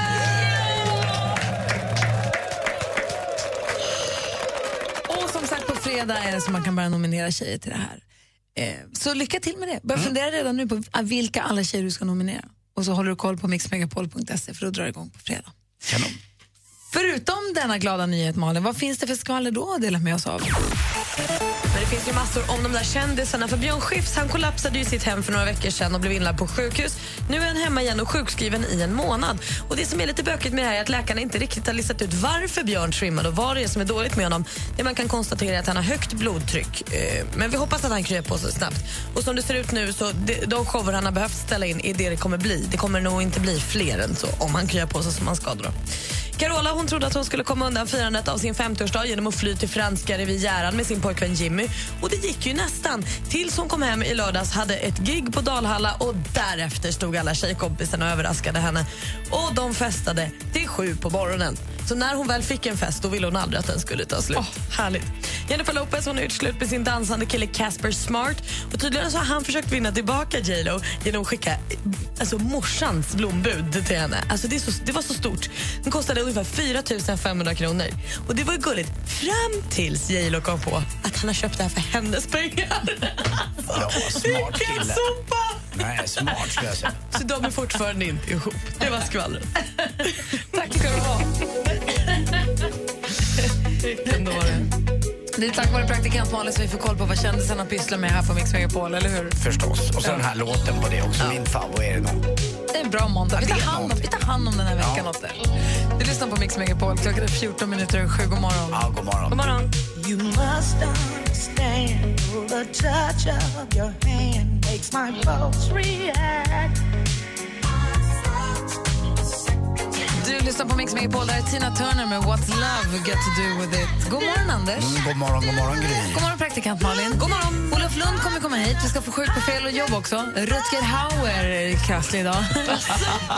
Speaker 2: Och som sagt, på fredag är det som man kan börja nominera tjejer till det här. Eh, Så lycka till med det. Börja fundera redan nu på ah, vilka alla tjejer du ska nominera. Och så håller du koll på mixmegapol.se för att dra igång på fredag. Förutom denna glada nyhet, Malin, vad finns det för skvaller då att dela med oss av?
Speaker 4: Men det finns ju massor om de där kändisarna. För Björn Skifs han kollapsade ju i sitt hem för några veckor sedan och blev inlagd på sjukhus. Nu är han hemma igen och sjukskriven i en månad. Och Det som är lite bökigt med det här är att läkarna inte riktigt har listat ut varför Björn trimmade och vad det är som är dåligt med honom. Det man kan konstatera är att han har högt blodtryck. Eh, Men vi hoppas att han kryar på sig snabbt. Och som det ser ut nu så de- de shower han har behövt ställa in är det det kommer bli. Det kommer nog inte bli fler än så om han kryar på sig som han ska då. Carola hon trodde att hon skulle komma undan firandet av sin 50-årsdag genom att fly till franska rivieran med sin pojkvän Jimmy. Och det gick ju nästan. Tills hon kom hem i lördags, hade ett gig på Dalhalla och därefter stod alla tjejkompisarna och överraskade henne. Och de festade till sju på morgonen. Så när hon väl fick en fest då ville hon aldrig att den skulle ta slut. härligt. Jennifer Lopez hon har gjort slut med sin dansande kille Casper Smart. Och Tydligen så har han försökt vinna tillbaka J Lo genom att skicka eh, alltså, morsans blombud till henne. Alltså, det, är så, det var så stort. Den kostade ungefär 4 500 kronor. Och Det var ju gulligt fram tills J Lo kom på att han har köpt det här för hennes pengar.
Speaker 3: Ja, smart kille. Nej, smart skulle jag säga.
Speaker 4: Så de är fortfarande inte ihop. Det var skvallret.
Speaker 2: Tack ska du ha. Det är tack vare praktikant Malin som vi får koll på vad kändisarna pysslar med här på Mix Megapol, eller hur?
Speaker 3: Förstås. Och så den här låten på det också. Min favorit är det nog. Mm,
Speaker 2: Det är en bra måndag. Vi tar hand om, vi tar hand om den här veckan åt dig. Du lyssnar på Mix Megapol. Klockan är 14 minuter över sju. God morgon.
Speaker 3: Ja, god morgon.
Speaker 2: God morgon.
Speaker 7: You must understand the touch of your hand makes my pulse react.
Speaker 2: Du lyssnar på Mix Megapol. Det här är Tina Turner med What's Love Got To Do With It. God morgon, Anders.
Speaker 3: Mm, god morgon, god morgon Gry.
Speaker 2: God morgon, praktikant Malin. God morgon. Olof Lund kommer komma hit. Vi ska få sjukt befäl och jobb också. Rutger Hauer är krasslig idag.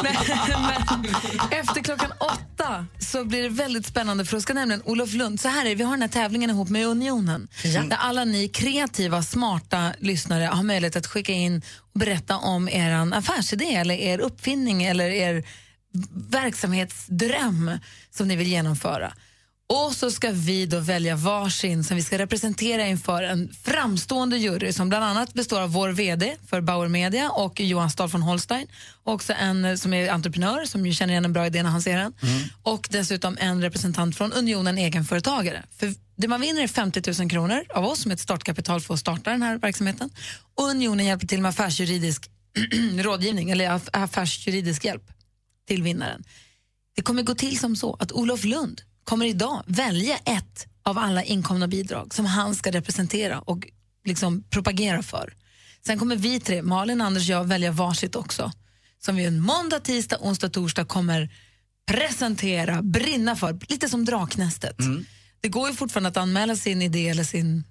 Speaker 2: men, men, efter klockan åtta så blir det väldigt spännande för då ska nämligen Olof Lund, så här är det, vi har den här tävlingen ihop med Unionen där alla ni kreativa, smarta lyssnare har möjlighet att skicka in och berätta om er affärsidé eller er uppfinning eller er verksamhetsdröm som ni vill genomföra. Och så ska vi då välja varsin som vi ska representera inför en framstående jury som bland annat består av vår vd för Bauer Media och Johan Stahl von Holstein. Också en eh, som är entreprenör som ju känner igen en bra idé när han ser den. Och dessutom en representant från Unionen Egenföretagare. För det man vinner är 50 000 kronor av oss som ett startkapital för att starta den här verksamheten. Och Unionen hjälper till med affärsjuridisk rådgivning eller aff- affärsjuridisk hjälp till vinnaren. Det kommer gå till som så att Olof Lund kommer idag välja ett av alla inkomna bidrag som han ska representera och liksom propagera för. Sen kommer vi tre, Malin, Anders och jag, välja varsitt också. Som vi en måndag, tisdag, onsdag, torsdag kommer presentera, brinna för. Lite som Draknästet.
Speaker 3: Mm.
Speaker 2: Det går ju fortfarande att anmäla sin idé eller sin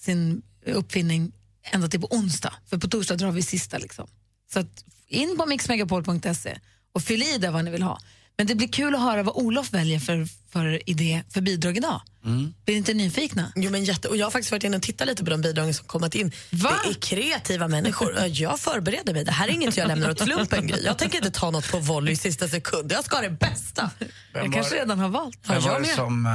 Speaker 2: sin uppfinning ända till på onsdag, för på torsdag drar vi sista. Liksom. Så att, in på mixmegapol.se och fyll i där vad ni vill ha. Men det blir kul att höra vad Olof väljer för, för idé för bidrag idag.
Speaker 3: Mm.
Speaker 2: Blir ni inte nyfikna?
Speaker 4: Jo, men jätte, och jag har faktiskt varit inne och tittat lite på de bidragen som kommit in. Det är kreativa människor. Ö, Jag förbereder mig. Det här är inget jag lämnar åt slumpen. Gry. Jag tänker inte ta något på volley i sista sekund. Jag ska ha det bästa.
Speaker 3: Vem var det?
Speaker 2: redan har valt.
Speaker 3: Vem
Speaker 4: jag
Speaker 3: var det
Speaker 4: med.
Speaker 3: som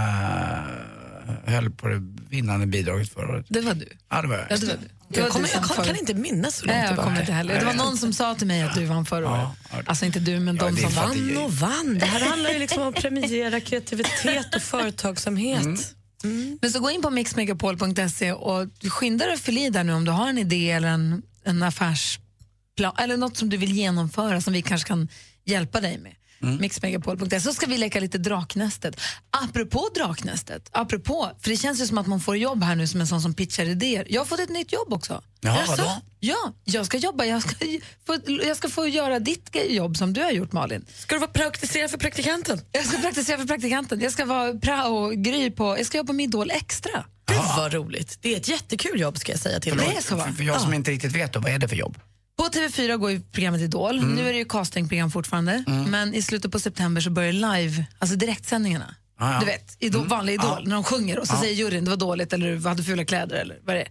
Speaker 3: eh, höll på det vinnande bidraget förra året?
Speaker 2: Det var du.
Speaker 3: Ja, det var jag.
Speaker 2: Ja, det var du. Det var
Speaker 4: Jag, kommer,
Speaker 2: du som
Speaker 4: jag kan,
Speaker 2: för-
Speaker 4: kan inte minnas så långt
Speaker 2: Nej, jag
Speaker 4: tillbaka.
Speaker 2: kommer inte heller. Det var någon som sa till mig att du vann förra året. Alltså inte du, men de
Speaker 4: det är
Speaker 2: som
Speaker 4: för att
Speaker 2: vann.
Speaker 4: det är- Och vann. Det här handlar ju liksom om att premiera kreativitet och företagsamhet.
Speaker 2: Men så gå in på mixmegapol.se och skynda dig att fylla i där nu om du har en idé eller en, en affärsplan eller något som du vill genomföra som vi kanske kan hjälpa dig med.
Speaker 7: Mm.
Speaker 2: Mixmegapol.se. Så ska vi leka lite Draknästet. Apropå Draknästet, apropå, för det känns ju som att man får jobb här nu som en sån som pitchar idéer. Jag har fått ett nytt jobb också.
Speaker 7: Jaha, vadå?
Speaker 2: Ja, jag ska jobba. Jag ska, få, jag ska få göra ditt jobb som du har gjort, Malin.
Speaker 4: Ska du vara praktisera för praktikanten?
Speaker 2: Jag ska praktisera för praktikanten. Jag ska vara prao-gry på... Jag ska jobba med Idol Extra.
Speaker 4: Det var roligt. Det är ett jättekul jobb ska jag säga till
Speaker 2: Mm. Det
Speaker 4: dig.
Speaker 2: är så, va?
Speaker 3: För jag som inte riktigt vet då, vad är det för jobb?
Speaker 2: På TV4 går ju programmet Idol.
Speaker 7: Mm.
Speaker 2: Nu är det ju castingprogram fortfarande. Men i slutet på september så börjar live, alltså direktsändningarna.
Speaker 7: Ah, ja.
Speaker 2: Du vet, idol,
Speaker 7: Mm. Ah.
Speaker 2: vanlig Idol,
Speaker 7: Ja.
Speaker 2: när de sjunger och så
Speaker 7: Ja.
Speaker 2: säger juryn det var dåligt eller du hade fula kläder eller vad det är.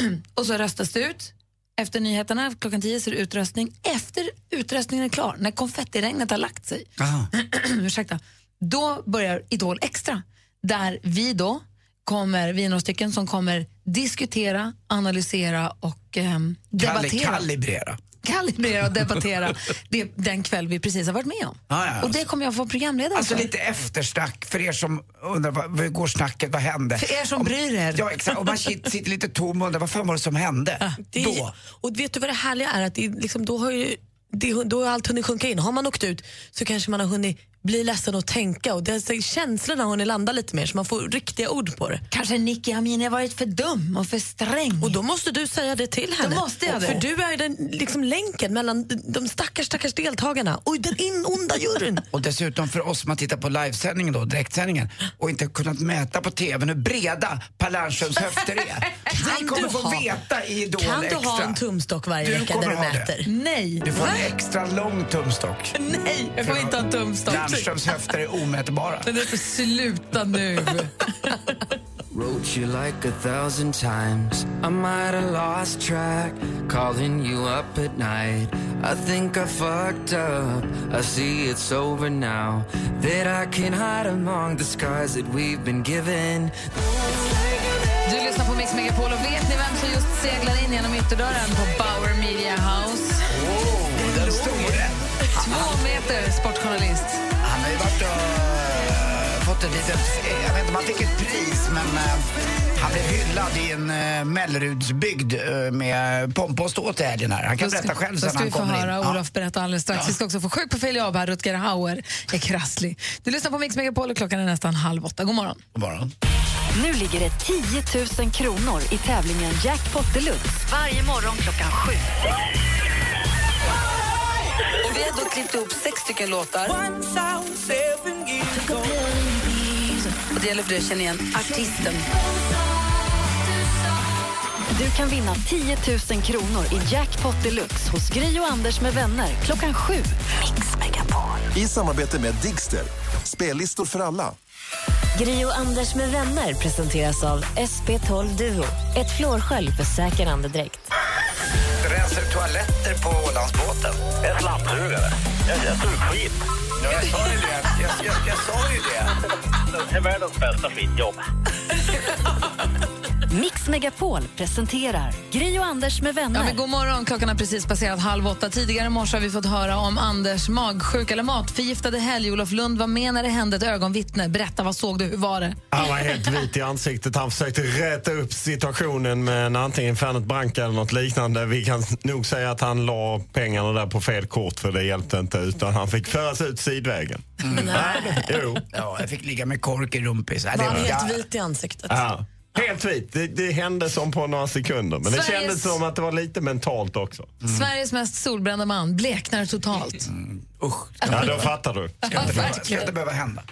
Speaker 2: och så röstas det ut. Efter nyheterna klockan 10 så är det utröstning. Efter utröstningen är klar, när konfettiregnet har lagt sig, ursäkta, då börjar Idol Extra. Där vi då kommer, vi är några stycken som kommer diskutera, analysera och ehm,
Speaker 3: Kalli-
Speaker 2: debattera.
Speaker 3: Kalibrera.
Speaker 2: Kalibrera och debattera det, den kväll vi precis har varit med om.
Speaker 3: Ja, ja, ja.
Speaker 2: Och det kommer jag få vara programledare
Speaker 3: Alltså
Speaker 2: för.
Speaker 3: lite eftersnack för er som undrar vad, vad går snacket, vad hände?
Speaker 2: För er som
Speaker 3: Om-
Speaker 2: bryr er.
Speaker 3: Ja exakt, och man sit- sitter lite tom och undrar vad fan var det som hände?
Speaker 4: Det är,
Speaker 3: Då.
Speaker 4: Och vet du vad det härliga är? Att det, är liksom, då, har ju, det, då har allt hunnit sjunka in. Har man åkt ut så kanske man har hunnit bli ledsen och tänka och det, så känslorna har hunnit landa lite mer så man får riktiga ord på det.
Speaker 2: Kanske Nicky Amini har varit för dum och för sträng.
Speaker 4: Och då måste du säga det till henne.
Speaker 2: måste jag det.
Speaker 4: För du är den liksom, länken mellan de stackars, stackars deltagarna och den in onda juryn.
Speaker 3: Och dessutom för oss som har tittat på livesändningen då, direktsändningen, och inte kunnat mäta på TVn hur breda Per Lernströms höfter är. Ni kommer få veta i Idol
Speaker 4: Kan du
Speaker 3: extra.
Speaker 4: ha en tumstock varje
Speaker 3: Du
Speaker 4: vecka
Speaker 3: kommer
Speaker 4: där du
Speaker 3: ha det.
Speaker 4: mäter?
Speaker 2: Nej.
Speaker 3: Du får en extra lång tumstock.
Speaker 2: Nej, jag
Speaker 3: får
Speaker 2: inte ha en tumstock.
Speaker 3: Lernströms höfter är omätbara.
Speaker 2: Men det- Sluta nu!
Speaker 16: Wrote you like a thousand times. I might have lost track. Calling you up at night. I think I fucked up. I see it's over now. That I can hide among the scars that we've been given.
Speaker 2: Du lyssnar på Mix Megapol och vet ni vem som just seglar in genom ytterdörren på Bauer Media House?
Speaker 3: Den store.
Speaker 2: Två meter sportjournalist.
Speaker 3: Han har ju varit och eh, fått ett litet, eh, jag vet inte om han fick ett pris, men eh, han blev hyllad i en eh, Mellerudsbygd eh, med pompa och ståt i helgen här. Han kan
Speaker 2: Då ska-
Speaker 3: berätta själv
Speaker 2: då
Speaker 3: sen
Speaker 2: ska
Speaker 3: han
Speaker 2: vi få
Speaker 3: kommer
Speaker 2: höra
Speaker 3: in. Ja.
Speaker 2: Olof berätta alldeles strax. Vi ska också få sjuk på fel jobb här. Rutger Hauer är krasslig. Du lyssnar på Mix Megapol och klockan är nästan halv åtta. God morgon.
Speaker 3: God morgon.
Speaker 1: Nu ligger det 10 000 kronor i tävlingen Jackpot Deluxe varje morgon klockan sju.
Speaker 17: Och vi har då klippt ihop sex stycken låtar. Och det gäller för dig att känna igen artisten.
Speaker 1: Du kan vinna 10 000 kronor i Jackpot Deluxe hos Gry och Anders med vänner klockan sju.
Speaker 8: I samarbete med Digster. Spellistor för alla.
Speaker 9: Gri och Anders med vänner presenteras av SP12 Duo. Ett flårskölj för säker andedräkt.
Speaker 14: Rensar du toaletter på Ålandsbåten? En slamsugare. Jag är surskit. Ja, jag sa ju det. Jag, jag, jag sa ju det. Det är världens bästa skitjobb.
Speaker 1: Mix Megapol presenterar Gry och Anders med vänner.
Speaker 2: Ja, men god morgon. Klockan har precis passerat halv åtta. Tidigare i morse har vi fått höra om Anders magsjuka eller matförgiftade helg. Olof Lund var med när det hände. Ett ögonvittne. Berätta, vad såg du? Hur var det?
Speaker 18: Han var helt vit i ansiktet. Han försökte räta upp situationen med antingen Fernet Branca eller något liknande. Vi kan nog säga att han la pengarna där på fel kort för det hjälpte inte utan han fick föras ut sidvägen. Nej. Jo.
Speaker 3: Mm. Ja, jag fick ligga med kork i rumpis. Nej,
Speaker 4: Var han
Speaker 3: ja.
Speaker 4: helt vit i ansiktet?
Speaker 18: Ja. Helt vit. Det, det hände som på några sekunder. Men det
Speaker 2: Sveriges- Mm.
Speaker 18: kändes som att det var lite mentalt också.
Speaker 2: Sveriges mest solbrända man bleknar totalt.
Speaker 18: Mm. Ja, då fattar du.
Speaker 3: Ska inte behöva, ska inte behöva hända.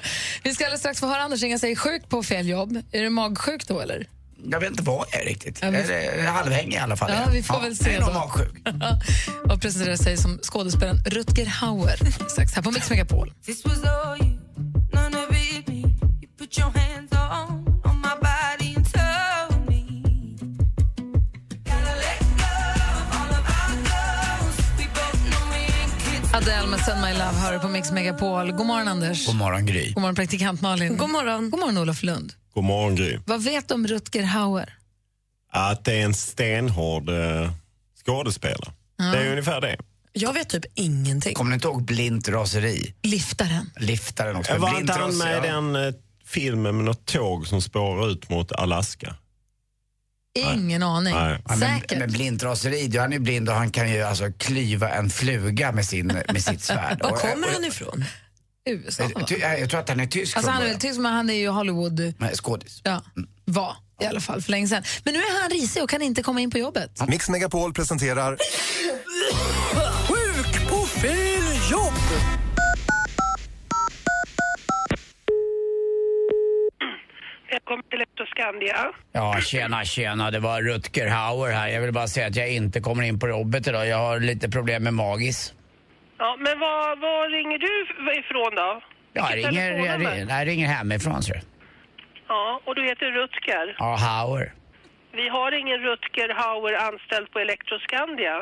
Speaker 2: Vi ska alldeles strax få höra Anders Inga säger sjuk på fel jobb. Är du magsjuk då, eller?
Speaker 3: Jag vet inte vad jag är riktigt.
Speaker 2: Ja, vi-
Speaker 3: Jag är eh, halvhängig i alla fall.
Speaker 2: Ja, vi får väl se
Speaker 3: Jag är nog
Speaker 2: då.
Speaker 3: magsjuk.
Speaker 2: och presenterar sig som skådespelaren Rutger Hauer. Strax här på Mix Megapol.
Speaker 7: This was all you, none of it me. You put your hands on, on my body and told me. Gotta let go of all of our goals. We both know we ain't kids.
Speaker 2: Adele med Send My Love hör du på Mix Megapol. God morgon, Anders.
Speaker 3: God morgon, Gry.
Speaker 2: God morgon, praktikant Malin. God morgon. God morgon, Olof Lund.
Speaker 18: God morgon, Gry.
Speaker 2: Vad vet du om Rutger Hauer?
Speaker 18: Att det är en stenhård eh, skådespelare.
Speaker 2: Ja.
Speaker 18: Det är ungefär det.
Speaker 4: Jag vet typ ingenting.
Speaker 3: Kommer ni inte ihåg Blint raseri?
Speaker 2: Liftaren.
Speaker 3: Liftaren också.
Speaker 18: Jag var
Speaker 3: Blint
Speaker 18: inte han
Speaker 3: ras-
Speaker 18: med i
Speaker 3: ja.
Speaker 18: den eh, filmen med något tåg som spårar ut mot Alaska?
Speaker 2: Ingen aning.
Speaker 3: Ja, men,
Speaker 2: Säkert.
Speaker 3: men blindraseri, då är han är ju blind och han kan ju alltså klyva en fluga med, sin, med sitt svärd.
Speaker 2: Var
Speaker 3: Och-
Speaker 2: kommer
Speaker 3: och-
Speaker 2: han ifrån? USA.
Speaker 3: Jag, ty- jag tror att han är tysk
Speaker 2: Alltså
Speaker 3: från
Speaker 2: han är
Speaker 3: början.
Speaker 2: väl tysk, men han är ju Hollywood...
Speaker 3: Nej, skådis.
Speaker 2: Ja, var i alla fall för länge sedan. Men nu är han risig och kan inte komma in på jobbet.
Speaker 8: Mix Megapol presenterar
Speaker 7: Sjuk på fel jobb!
Speaker 10: Välkommen till Electroscandia.
Speaker 3: Ja, tjena, tjena. Det var Rutger Hauer här. Jag vill bara säga att jag inte kommer in på jobbet idag. Jag har lite problem med magis.
Speaker 10: Ja, men var, var ringer du ifrån då?
Speaker 3: Ja,
Speaker 10: Vilket
Speaker 3: jag ringer, jag,
Speaker 10: telefonnummer?
Speaker 3: ringer, jag ringer hemifrån, ser du.
Speaker 10: Ja, och du heter Rutger.
Speaker 3: Ja, Hauer.
Speaker 10: Vi har ingen Rutger Hauer anställd på Electroscandia.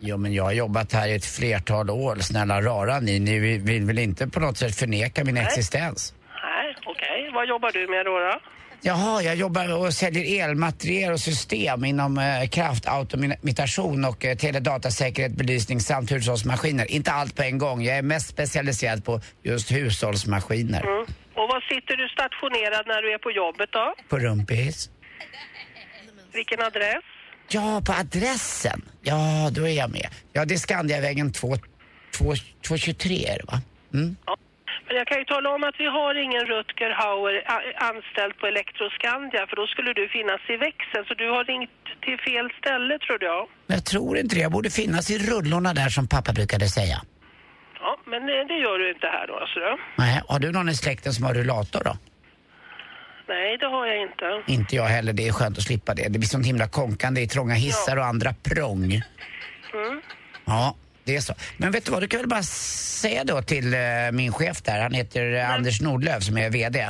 Speaker 3: Jo, men jag har jobbat här i ett flertal år. Snälla rara ni, ni vill, vill väl inte på något sätt förneka min
Speaker 10: Nej.
Speaker 3: existens?
Speaker 10: Nej, okej. Vad jobbar du med då? då?
Speaker 3: Jaha, jag jobbar och säljer elmateriel och system inom eh, kraftautomatation och eh, teledatasäkerhet, belysning samt hushållsmaskiner. Inte allt på en gång. Jag är mest specialiserad på just hushållsmaskiner.
Speaker 10: Mm. Och var sitter du stationerad när du är på jobbet då?
Speaker 3: På rumpis.
Speaker 10: Vilken adress?
Speaker 3: Ja, på adressen. Ja, då är jag med. Ja, det är Skandiavägen 2- 2 223 är det va? Mm.
Speaker 10: Men jag kan ju tala om att vi har ingen Rutger Hauer a- anställd på Electroscandia för då skulle du finnas i växeln. Så du har ringt till fel ställe tror jag.
Speaker 3: Men jag tror inte det. Jag borde finnas i rullorna där som pappa brukade säga.
Speaker 10: Ja, men eh, det, det gör du inte här då alltså. då.
Speaker 3: Nej, har du någon i släkten som har rullator då?
Speaker 10: Nej, det har jag inte.
Speaker 3: Inte jag heller. Det är skönt att slippa det. Det blir sånt himla konkande i trånga hissar och andra prång.
Speaker 10: Mm.
Speaker 3: Ja, det är så. Men vet du vad, du kan väl bara säga då till eh, min chef där. Han heter eh, Anders Nordlöf som är VD.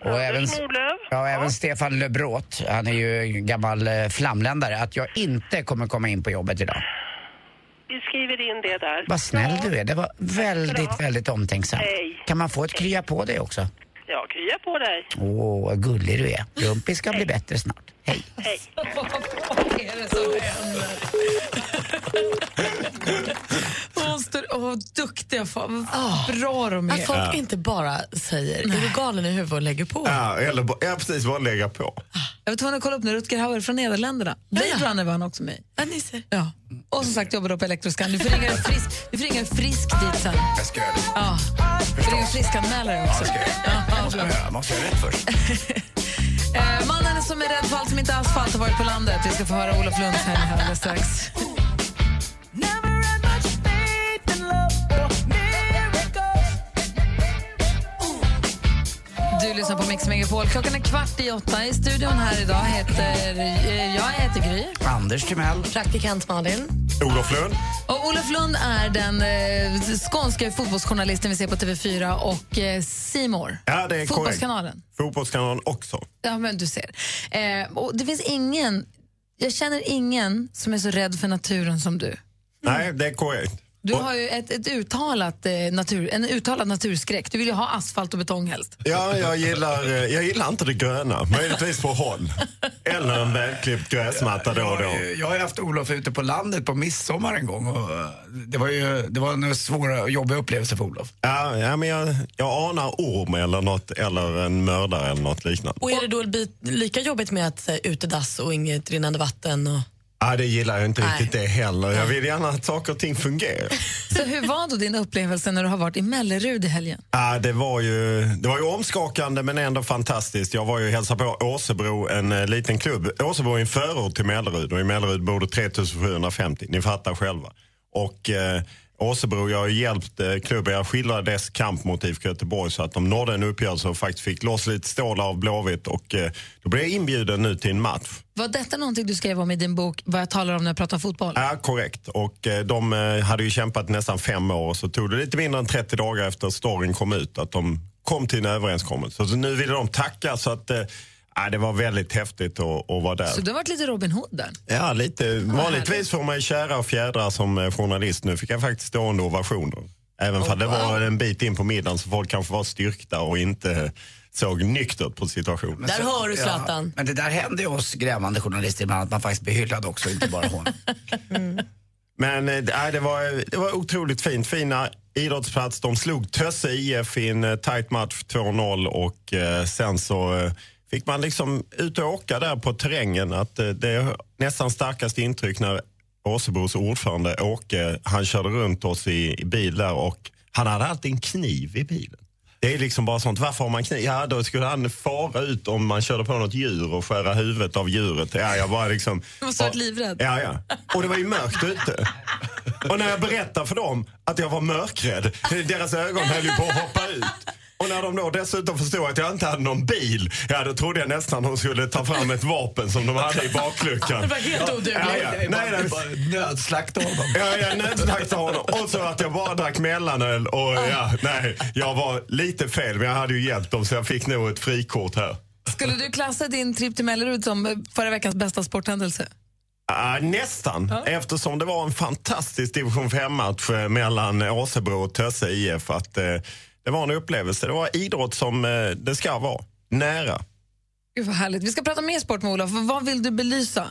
Speaker 3: Och
Speaker 10: Mm. Anders Nordlöf?
Speaker 3: Ja, och även Stefan Löbrot, han är ju gammal eh, flamländare, att jag inte kommer komma in på jobbet idag.
Speaker 10: Vi skriver in det där.
Speaker 3: Vad snäll du är, det var väldigt,
Speaker 10: Bra.
Speaker 3: väldigt omtänksamt.
Speaker 10: Hej.
Speaker 3: Kan man få ett krya på dig också?
Speaker 10: Ja, krya på dig.
Speaker 3: Åh, vad gullig du är. Rumpis ska bli bättre snart. Hej.
Speaker 10: Hej.
Speaker 2: Vad är det som händer? Hon står... Åh, vad duktiga fan. Vad bra de är.
Speaker 4: Att folk
Speaker 18: Ja.
Speaker 4: inte bara säger är du galen i huvudet och lägger på.
Speaker 18: Ja, eller, ba- ja, precis. Bara lägga på.
Speaker 2: Jag var tvungen att kolla upp nu, Rutger Hauer från Nederländerna. Blade Runner var han också med i.
Speaker 4: Ja, ni ser.
Speaker 2: Ja. Och som sagt jobbar då på Electroscan. Du får ringa en frisk, du får ringa en frisk
Speaker 7: Ah.
Speaker 2: dit sen.
Speaker 3: Jag ska göra det.
Speaker 2: Ja. Du får ringa en friskanmälare också.
Speaker 3: Jag måste göra rätt först.
Speaker 2: Eh, mannen som är rädd för allt som inte är asfalt har varit på landet. Vi ska få höra Olof Lunds här här alldeles strax. Du lyssnar på Mix Megapol. Klockan är kvart i åtta. I studion här idag heter... eh, Jag heter Gry.
Speaker 3: Anders Timell.
Speaker 4: Praktikant Malin.
Speaker 18: Olof Lund.
Speaker 2: Och Olof Lund är den eh, skånska fotbollsjournalisten vi ser på TV4 och eh, C More.
Speaker 18: Ja, det är
Speaker 2: Fotbollskanalen.
Speaker 18: korrekt. Fotbollskanalen också.
Speaker 2: Ja, men du ser. Eh, och det finns ingen, jag känner ingen som är så rädd för naturen som du.
Speaker 4: Mm.
Speaker 18: Nej, det är korrekt.
Speaker 2: Du har ju ett, ett uttalat, eh, natur, en uttalad naturskräck. Du vill ju ha asfalt och betong helst.
Speaker 18: Ja, jag gillar, eh, jag gillar inte det gröna. Möjligtvis på håll. Eller en välklippt gräsmatta då och då.
Speaker 3: Jag har ju haft Olof ute på landet på midsommar en gång och eh, det var ju det var en svår och jobbig upplevelse för Olof.
Speaker 18: Ja, ja, men jag, jag anar orm eller något, eller en mördare eller något liknande.
Speaker 4: Och är det då bi- lika jobbigt med att säga utedass och inget rinnande vatten? Och...
Speaker 18: Ja, det gillar jag inte
Speaker 4: Nej.
Speaker 18: riktigt det heller. Jag vill gärna att saker och ting fungerar.
Speaker 2: Så hur var då din upplevelse när du har varit i Mellerud i helgen?
Speaker 18: Ja, det, var ju, det var ju omskakande men ändå fantastiskt. Jag var ju och hälsade på Åsebro, en eh, liten klubb. Åsebro är en förort till Mellerud och i Mellerud bor det 3750. Ni fattar själva. Och eh, Åsebro, jag har hjälpt eh, klubben, jag skildrar dess kamp mot IFK Göteborg så att de nådde en uppgörelse och faktiskt fick loss lite stålar av Blåvitt och eh, då blev jag inbjuden nu till en match.
Speaker 2: Var detta någonting du skrev om i din bok Vad jag talar om när jag pratar fotboll?
Speaker 18: Ja, korrekt. Och eh, de eh, hade ju kämpat nästan fem år och så tog det lite mindre än 30 dagar efter att storyn kom ut att de kom till en överenskommelse. Så nu ville de tacka så att eh, ja, det var väldigt häftigt att, att vara där.
Speaker 2: Så du har varit lite Robin Hood där.
Speaker 18: Ja, lite. Vanligtvis får man ju kära och fjädrar som eh, journalist. Nu fick jag faktiskt stående ovationer. Även om det var en bit in på middagen så folk kanske var styrkta och inte eh, såg nyktert på situationen.
Speaker 3: Men så- ja, men det där händer ju oss grävande journalister ibland, att man faktiskt blir hyllad också, inte bara hon.
Speaker 18: Men eh, nej, det, var, det var otroligt fint. Fina idrottsplats. De slog Tösse IF i en eh, tight match, 2-0. Och eh, sen så eh, fick man liksom ut och åka där på terrängen. Att, eh, det är nästan starkaste intryck när Åsebros ordförande Åke, han körde runt oss i, i bil där och han hade alltid en kniv i bilen. Det är liksom bara sånt. Varför har man kniv? Ja, då skulle han fara ut om man körde på något djur och skära huvudet av djuret. Ja, jag bara liksom...
Speaker 2: Du måste ha varit livrädd.
Speaker 18: Ja, ja. Och det var ju mörkt ute. Och när jag berättade för dem att jag var mörkrädd, deras ögon höll ju på att hoppa ut. Och när de då dessutom förstod att jag inte hade någon bil, ja då trodde jag nästan de skulle ta fram ett vapen som de hade i bakluckan.
Speaker 14: Det var helt odugligt.
Speaker 18: Ja, ja. Nej, nej.
Speaker 3: Nödslakta honom.
Speaker 18: Ja, jag nödslaktade honom. Och så att jag bara drack mellanöl och ja, nej, jag var lite fel men jag hade ju hjälpt dem så jag fick nog ett frikort här.
Speaker 2: Skulle du klassa din trip till Mellerud som eh, förra veckans bästa sporthändelse?
Speaker 18: Ja, Ah, nästan, eftersom det var en fantastisk division 5-match eh, mellan Åsebro och Tösse IF. Att, eh, det var en upplevelse. Det var idrott som eh, det ska vara. Nära.
Speaker 2: Gud vad härligt. Vi ska prata mer sport med Olof. Vad vill du belysa?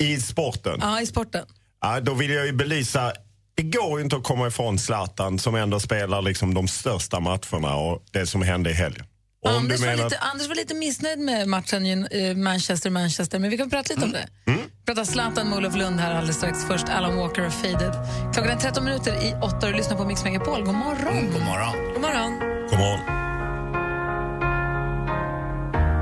Speaker 18: I sporten.
Speaker 2: Ja, i sporten.
Speaker 18: Ja, då vill jag ju belysa det går ju inte att komma ifrån Zlatan som ändå spelar liksom de största matcherna och det som hände i helgen. Om du
Speaker 2: Anders,
Speaker 18: menar-
Speaker 2: var lite, Anders var lite missnöjd med matchen Manchester-Manchester, men vi kan prata lite om
Speaker 18: Mm.
Speaker 2: det. Vi pratar Zlatan med Olof Lund här alldeles strax. Först Alan Walker och Faded. Klockan är 13 minuter i 8 och du lyssnar på Mix Megapol. God morgon!
Speaker 18: Mm,
Speaker 3: God morgon!
Speaker 2: God morgon!
Speaker 18: Come on.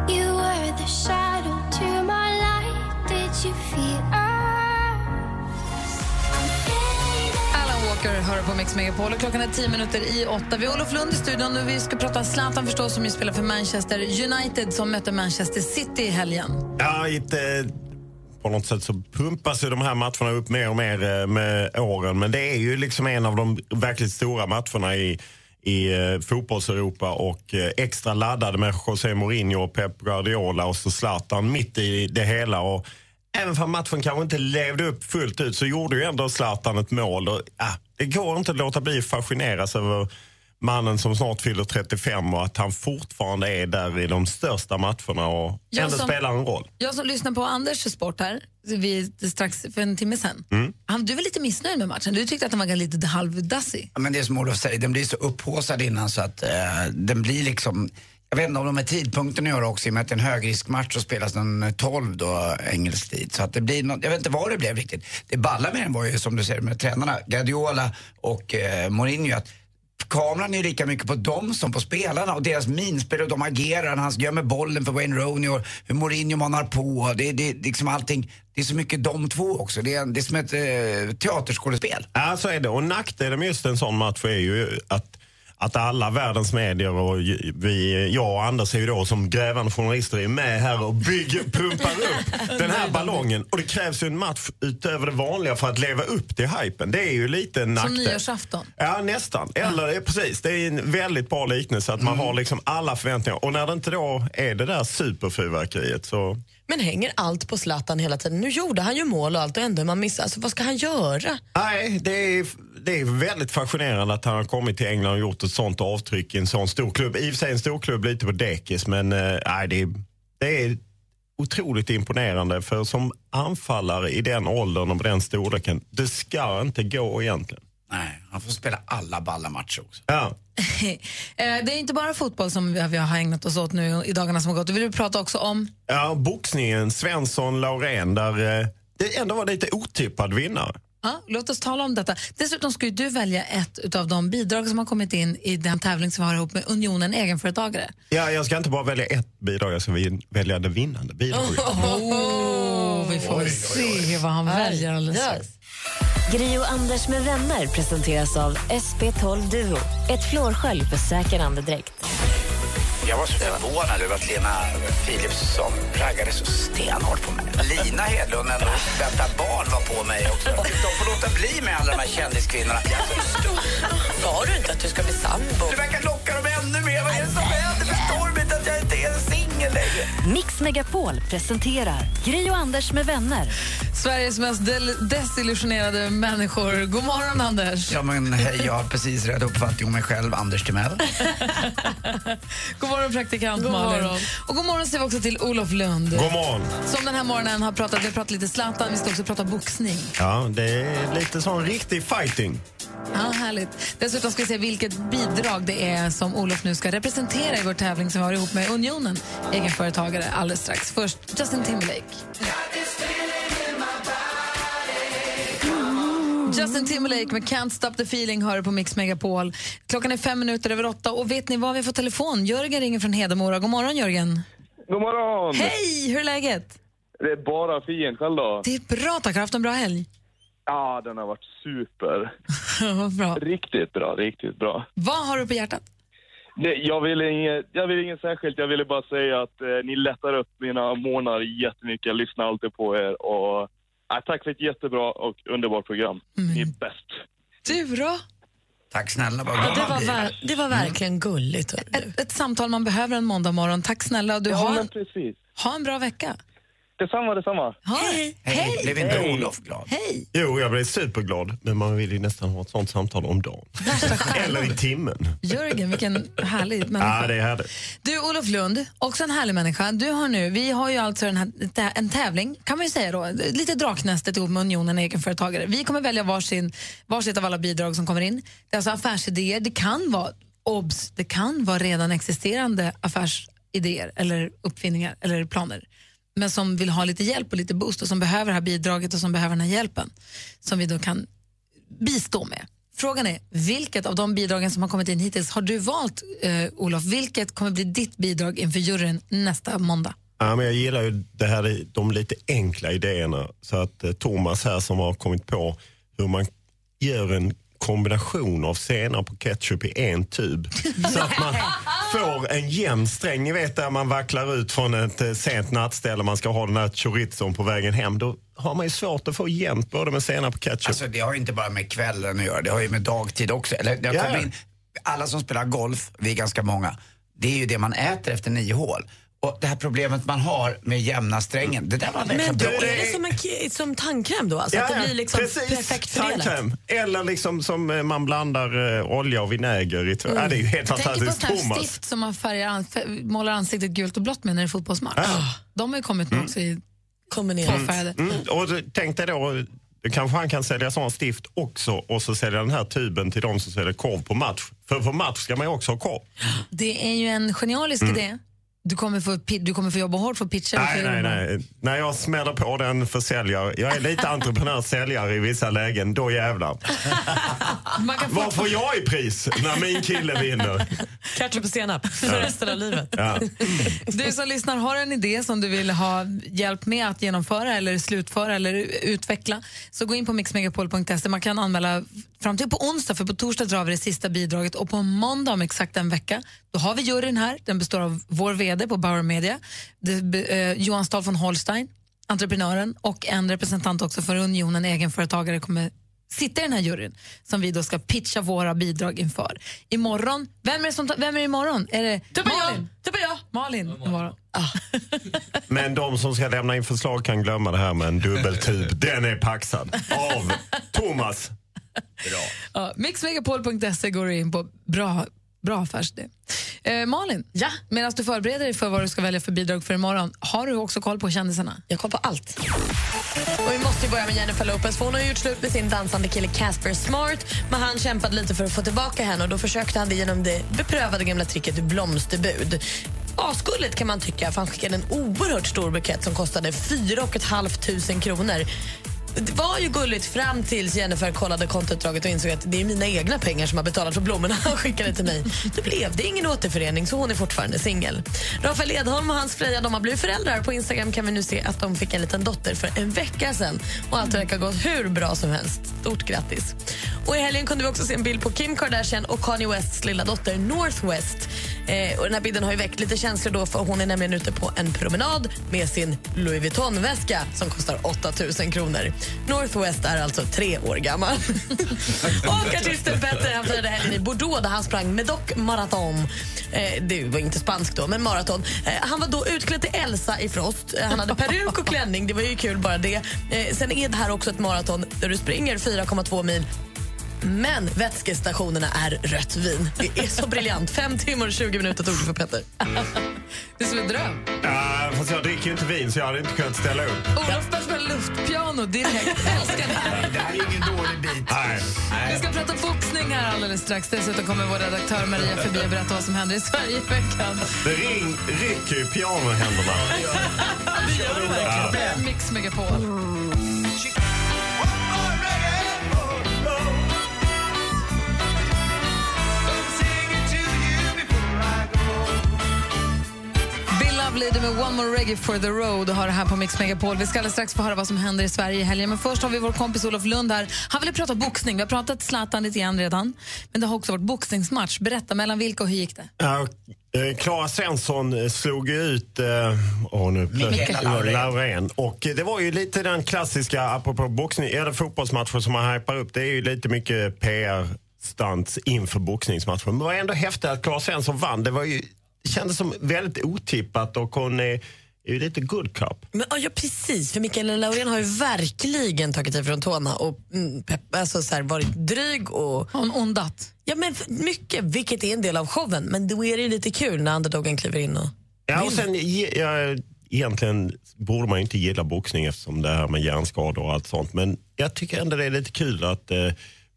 Speaker 7: You were the shadow to my light. Did you feel us?
Speaker 2: Alan Walker hör på Mix Megapol och klockan är 10 minuter i 8. Vi har Olof Lund i studion och vi ska prata Zlatan förstås som ju spelar för Manchester United som mötte Manchester City i helgen.
Speaker 18: Ja, inte, på något sätt så pumpas ju de här matcherna upp mer och mer eh, med åren. Men det är ju liksom en av de verkligt stora matcherna i, i eh, fotbolls-Europa och eh, extra laddade med José Mourinho och Pep Guardiola och så Zlatan mitt i det hela. Och även om matchen kanske inte levde upp fullt ut så gjorde ju ändå Zlatan ett mål. Och, ah, det går inte att låta bli att fascineras över mannen som snart fyller 35 och att han fortfarande är där i de största matcherna och
Speaker 2: Jag
Speaker 18: ändå
Speaker 2: som-
Speaker 18: spelar en roll.
Speaker 2: Jag som lyssnar på Anders sport här, vi, strax för en timme sen. Mm. Han, du var lite missnöjd med matchen. Du tyckte att den var lite halvdassig.
Speaker 3: Ja, Men det är som Olof säger, den blir så upphaussad innan så att eh, den blir liksom jag vet inte om de med tidpunkten att göra också, i och med att det är en högriskmatch och spelas den 12 då, engelsk tid. Så att det blir något, jag vet inte vad det blev riktigt. Det balla med den var ju som du säger med tränarna, Guardiola och eh, Mourinho, att kameran är lika mycket på dem som på spelarna och deras minspel och de agerar, han gömmer bollen för Wayne Rooney och hur Mourinho manar på. Det, det, det, är liksom allting, det är så mycket de två också. Det är, en- det är som ett eh, teaterskådespel.
Speaker 18: Ja, så är det. Och nackdelen med just en sån match är ju att, att alla världens medier och ju- vi, jag och Anders är ju då som grävande journalister är med här och bygger, pumpar upp den här ballongen. Och det krävs ju en match utöver det vanliga för att leva upp till hypen. Det är ju lite en
Speaker 2: Som
Speaker 18: nackdel.
Speaker 2: nyårsafton.
Speaker 18: Ja, nästan. Eller ja. precis, det är en väldigt bra liknelse att man har liksom alla förväntningar. Och när det inte då är det där superfyrverkeriet så...
Speaker 4: Men hänger allt på Zlatan hela tiden? Nu gjorde han ju mål och allt och ändå är man missar. Alltså, vad ska han göra?
Speaker 18: Nej, det är, det är väldigt fascinerande att han har kommit till England och gjort ett sånt avtryck i en sån stor klubb. I och för sig en stor klubb lite på dekis, men eh, nej, det, är, det är otroligt imponerande. För som anfallare i den åldern och på den storleken, det ska inte gå egentligen.
Speaker 3: Nej, han får spela alla balla matcher också.
Speaker 18: Ja.
Speaker 2: Eh, det är inte bara fotboll som vi vi har ägnat oss åt nu i dagarna som har gått. Vi vill prata också om
Speaker 18: Ja, boxningen, Svensson, Laurén, där eh, det ändå var lite otippad vinnare.
Speaker 2: Ja, låt oss tala om detta. Dessutom ska ju du välja ett av de bidrag som har kommit in i den tävling som vi har ihop med Unionen egenföretagare.
Speaker 18: Ja, jag ska inte bara välja ett bidrag, jag ska vin- välja det vinnande bidraget.
Speaker 2: Oh, vi får väl se vad han väljer alldeles strax.
Speaker 9: Gri och Anders med vänner presenteras av SP12 Duo. Ett flårskölj för säker andedräkt.
Speaker 14: Jag var så förvånad över att Lena Philipsson raggade så stenhårt på mig. Lina Hedlund, ändå, detta barn var på mig också. De får låta bli med alla de här kändiskvinnorna.
Speaker 7: Sa du inte att du ska bli sambo?
Speaker 14: Du verkar locka dem ännu mer. Vad är det som händer? Förstår de inte att jag inte är en singel längre?
Speaker 1: Mix Megapol presenterar Gri och Anders med vänner.
Speaker 2: Sveriges mest del- desillusionerade människor. God morgon, Anders.
Speaker 3: Ja, men hej, jag har precis rätt uppfattning om mig själv, Anders Timell.
Speaker 2: God morgon, praktikant
Speaker 3: God
Speaker 2: Malin.
Speaker 3: morgon.
Speaker 2: Och god morgon säger vi också till Olof Lund.
Speaker 18: God morgon.
Speaker 2: Som den här morgonen har pratat, vi har pratat lite Zlatan, vi ska också prata boxning.
Speaker 18: Ja, det är lite sån riktig fighting.
Speaker 2: Ja, härligt. Dessutom ska vi se vilket bidrag det är som Olof nu ska representera i vår tävling som vi har ihop med Unionen, egenföretagare, alldeles strax. Först Justin Timberlake. Justin Timberlake med Can't Stop The Feeling hör du på Mix Megapol. Klockan är fem minuter över åtta och vet ni vad vi får telefon? Jörgen ringer från Hedemora. God morgon Jörgen.
Speaker 19: God morgon!
Speaker 2: Hej, hur är läget?
Speaker 19: Det är bara fint. Själv då?
Speaker 2: Det är bra tack, har du haft en bra helg?
Speaker 19: Ja, den har varit super.
Speaker 2: Vad bra.
Speaker 19: Riktigt bra, riktigt bra.
Speaker 2: Vad har du på hjärtat?
Speaker 19: Nej, jag ville inget, jag ville inget särskilt. Jag ville bara säga att eh, ni lättar upp mina månader jättemycket. Jag lyssnar alltid på er och eh, tack för ett jättebra och underbart program. Ni är bäst.
Speaker 2: Du då?
Speaker 3: Tack snälla, vad
Speaker 4: Ja,
Speaker 3: glad
Speaker 4: det,
Speaker 3: man
Speaker 4: var
Speaker 3: blir.
Speaker 4: ver- det var verkligen gulligt.
Speaker 2: Ett, ett samtal man behöver en måndag morgon. Tack snälla. Och Du
Speaker 4: Ja,
Speaker 2: har,
Speaker 4: men
Speaker 19: precis.
Speaker 2: ha en bra vecka.
Speaker 19: Detsamma, detsamma.
Speaker 2: Hej! Hej!
Speaker 3: Blev inte Olof glad?
Speaker 2: Hej!
Speaker 18: Jo, jag blev superglad. Men man vill ju nästan ha ett sånt samtal om dagen. Eller i timmen.
Speaker 2: Jörgen, vilken härlig
Speaker 18: Ja,
Speaker 2: människa.
Speaker 18: det är härligt.
Speaker 2: Du, Olof Lund, också en härlig människa. Du har nu, vi har ju alltså den här, tä- en tävling, kan man ju säga då, lite draknästet ihop med Unionen egenföretagare. Vi kommer välja varsin, varsitt av alla bidrag som kommer in. Det är alltså affärsidéer. Det kan vara, obs, det kan vara redan existerande affärsidéer eller uppfinningar eller planer. Men som vill ha lite hjälp och lite boost och som behöver det här bidraget och som behöver den här hjälpen. Som vi då kan bistå med. Frågan är, vilket av de bidragen som har kommit in hittills har du valt, eh, Olof? Vilket kommer bli ditt bidrag inför juryn nästa måndag?
Speaker 18: Ja, men jag gillar ju det här, de lite enkla idéerna. Så att eh, Thomas här som har kommit på hur man gör en kombination av senap och ketchup i en tub. Så att man får en jämn sträng. Ni vet där man vacklar ut från ett eh, sent nattställe man ska ha den här chorizon på vägen hem. Då har man ju svårt att få jämnt både med senap och ketchup.
Speaker 3: Alltså det har ju inte bara med kvällen att göra, det har ju med dagtid också. Eller, jag
Speaker 18: Ja,
Speaker 3: kommer
Speaker 18: ja.
Speaker 3: in, alla som spelar golf, vi är ganska många, det är ju det man äter efter nio hål. Och det här problemet man har med jämna strängen, det där var
Speaker 4: Men
Speaker 3: verkligen
Speaker 4: då
Speaker 3: bra.
Speaker 4: är det som, en, ki- som tandkräm då? Alltså, att det blir liksom perfekt förenat.
Speaker 18: Tandkräm. Eller liksom som eh, man blandar eh, olja och vinäger i. Mm. Ja, det är ju helt
Speaker 2: Jag tänker på
Speaker 18: fantastiskt.
Speaker 2: sådana här
Speaker 18: Thomas.
Speaker 2: stift som man färgar, an- fär- målar ansiktet gult och blått med när det är fotbollsmatch. De har ju kommit med också i påfärgade.
Speaker 18: Mm. Mm. Och då- tänk dig då, eh, kanske han kan sälja sån stift också och så sälja den här tuben till de som säljer korv på match. För på match ska man ju också ha korv.
Speaker 2: Det är ju en genialisk
Speaker 18: Mm.
Speaker 2: idé. Du kommer, få, pi- du kommer få jobba hårt för att pitcha. det
Speaker 18: Nej,
Speaker 2: till
Speaker 18: nej,
Speaker 2: dem.
Speaker 18: nej. När jag smäller på den för säljare, jag är lite entreprenör-säljare i vissa lägen, då jävlar.
Speaker 2: Man kan
Speaker 18: Vad får jag i pris när min kille vinner?
Speaker 4: Ketchup och senap
Speaker 18: Ja.
Speaker 4: för resten av livet.
Speaker 18: Ja.
Speaker 2: Du som lyssnar, har en idé som du vill ha hjälp med att genomföra eller slutföra eller utveckla så gå in på mixmegapol.se. Man kan anmäla fram till på onsdag för på torsdag drar vi det sista bidraget och på måndag om exakt en vecka då har vi juryn här. Den består av vår VD på Bauer Media, det, be- eh, Johan Stahl von Holstein, entreprenören och en representant också för Unionen egenföretagare kommer sitta i den här juryn som vi då ska pitcha våra bidrag inför. Imorgon, vem är det som ta- vem är det imorgon? Är det Malin? Typ jag! Malin imorgon.
Speaker 18: Men de som ska lämna in förslag kan glömma det här med en dubbeltub. Den är paxad av Thomas.
Speaker 2: Ja, Mixmegapol.se går du in på. Bra, bra affärsidé. Eh, Malin, ja? medan du förbereder dig för vad du ska välja för bidrag för imorgon, har du också koll på kändisarna?
Speaker 4: Jag kollar på allt. Och vi måste ju börja med Jennifer Lopez för hon har ju gjort slut med sin dansande kille Casper Smart men han kämpade lite för att få tillbaka henne och då försökte han det genom det beprövade gamla tricket blomsterbud. Asgulligt kan man tycka för han skickade en oerhört stor bukett som kostade 4 500 kronor. Det var ju gulligt fram tills Jennifer kollade kontoutdraget och insåg att det är mina egna pengar som har betalat för blommorna han skickade till mig. Då blev det ingen återförening så hon är fortfarande singel. Rafael Edholm och hans Freja de har blivit föräldrar. På Instagram kan vi nu se att de fick en liten dotter för en vecka sedan och allt verkar gått hur bra som helst. Stort grattis! Och I helgen kunde vi också se en bild på Kim Kardashian och Kanye Wests lilla dotter Northwest. Eh, och den här bilden har ju väckt lite känslor då för hon är nämligen ute på en promenad med sin Louis Vuitton-väska som kostar 8 000 kronor. Northwest är alltså tre år gammal. och artisten Petter han firade helgen i Bordeaux där han sprang med dock maraton. Eh, det var inte spanskt då, men maraton. Eh, han var då utklädd till Elsa i Frost. Eh, han hade peruk och klänning, det var ju kul bara det. Eh, sen är det här också ett maraton där du springer 4,2 mil men vätskestationerna är rött vin. Det är så briljant. Fem timmar och 20 minuter tog det för Petter.
Speaker 2: Det är som en dröm.
Speaker 18: Ja, fast jag dricker ju inte vin så jag hade inte kunnat ställa upp.
Speaker 2: Olof börjar spela luftpiano direkt. Älskar det här.
Speaker 3: Det här är ingen dålig bit.
Speaker 18: Nej.
Speaker 2: Vi ska prata boxning här alldeles strax. Dessutom kommer vår redaktör Maria förbi och berätta vad som händer i Sverige i veckan.
Speaker 18: Det ring, rycker ju pianohänderna.
Speaker 2: Det gör det verkligen. Mix Megapol. Bill Lovely det med One More Reggae for the Road och har det här på Mix Megapol. Vi ska alldeles strax få höra vad som händer i Sverige i helgen. Men först har vi vår kompis Olof Lund här. Han ville prata boxning. Vi har pratat Zlatan lite grann redan. Men det har också varit boxningsmatch. Berätta, mellan vilka och hur gick det?
Speaker 18: Ja, och, eh, Klara Svensson eh, slog ju ut eh, åh, nu, plötsligt-
Speaker 2: Lauren.
Speaker 18: Lauren. Och eh, det var ju lite den klassiska, apropå boxning, eller fotbollsmatcher som man hypar upp, det är ju lite mycket PR stunts inför boxningsmatchen. Men det var ändå häftigt att Klara Svensson vann. Det var ju, det kändes som väldigt otippat och hon är, är ju lite good cup.
Speaker 4: Men, ja, ja, precis. För Mikaela Laurén har ju verkligen tagit ifrån tårna och mm, pepp, alltså, så här, varit dryg. Och...
Speaker 2: Hon ondat.
Speaker 4: Ja, men f- mycket, vilket är en del av showen. Men då är det ju lite kul när underdogen kliver in och...
Speaker 18: Ja, och sen, ge- ja, egentligen borde man ju inte gilla boxning eftersom det här med hjärnskador och allt sånt. Men jag tycker ändå det är lite kul att eh,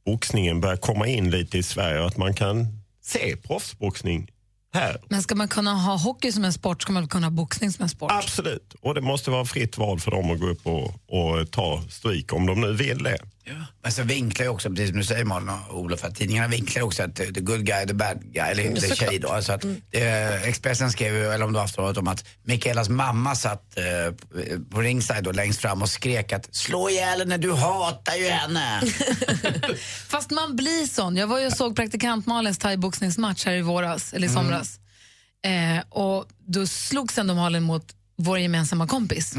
Speaker 18: boxningen börjar komma in lite i Sverige och att man kan se proffsboxning här.
Speaker 2: Men ska man kunna ha hockey som en sport ska man väl kunna ha boxning som en sport?
Speaker 18: Absolut. Och det måste vara fritt val för dem att gå upp och, och ta stryk om de nu vill det.
Speaker 3: Men så Alltså, vinklar ju också, precis som du säger Malin och Olof, att tidningarna vinklar också att eh, the good guy, the bad guy, eller
Speaker 18: Mm,
Speaker 3: the
Speaker 18: såklart.
Speaker 3: tjej då. Alltså att, eh, Expressen skrev ju, eller om det var Aftonbladet, om att Mikaelas mamma satt eh, på ringside då, längst fram och skrek att slå ihjäl henne, du hatar ju henne.
Speaker 2: Fast man blir sån. Jag var ju och såg praktikant Malins thaiboxningsmatch här i våras, eller i
Speaker 7: Mm.
Speaker 2: somras. Eh, och då slogs ändå Malin mot vår gemensamma kompis.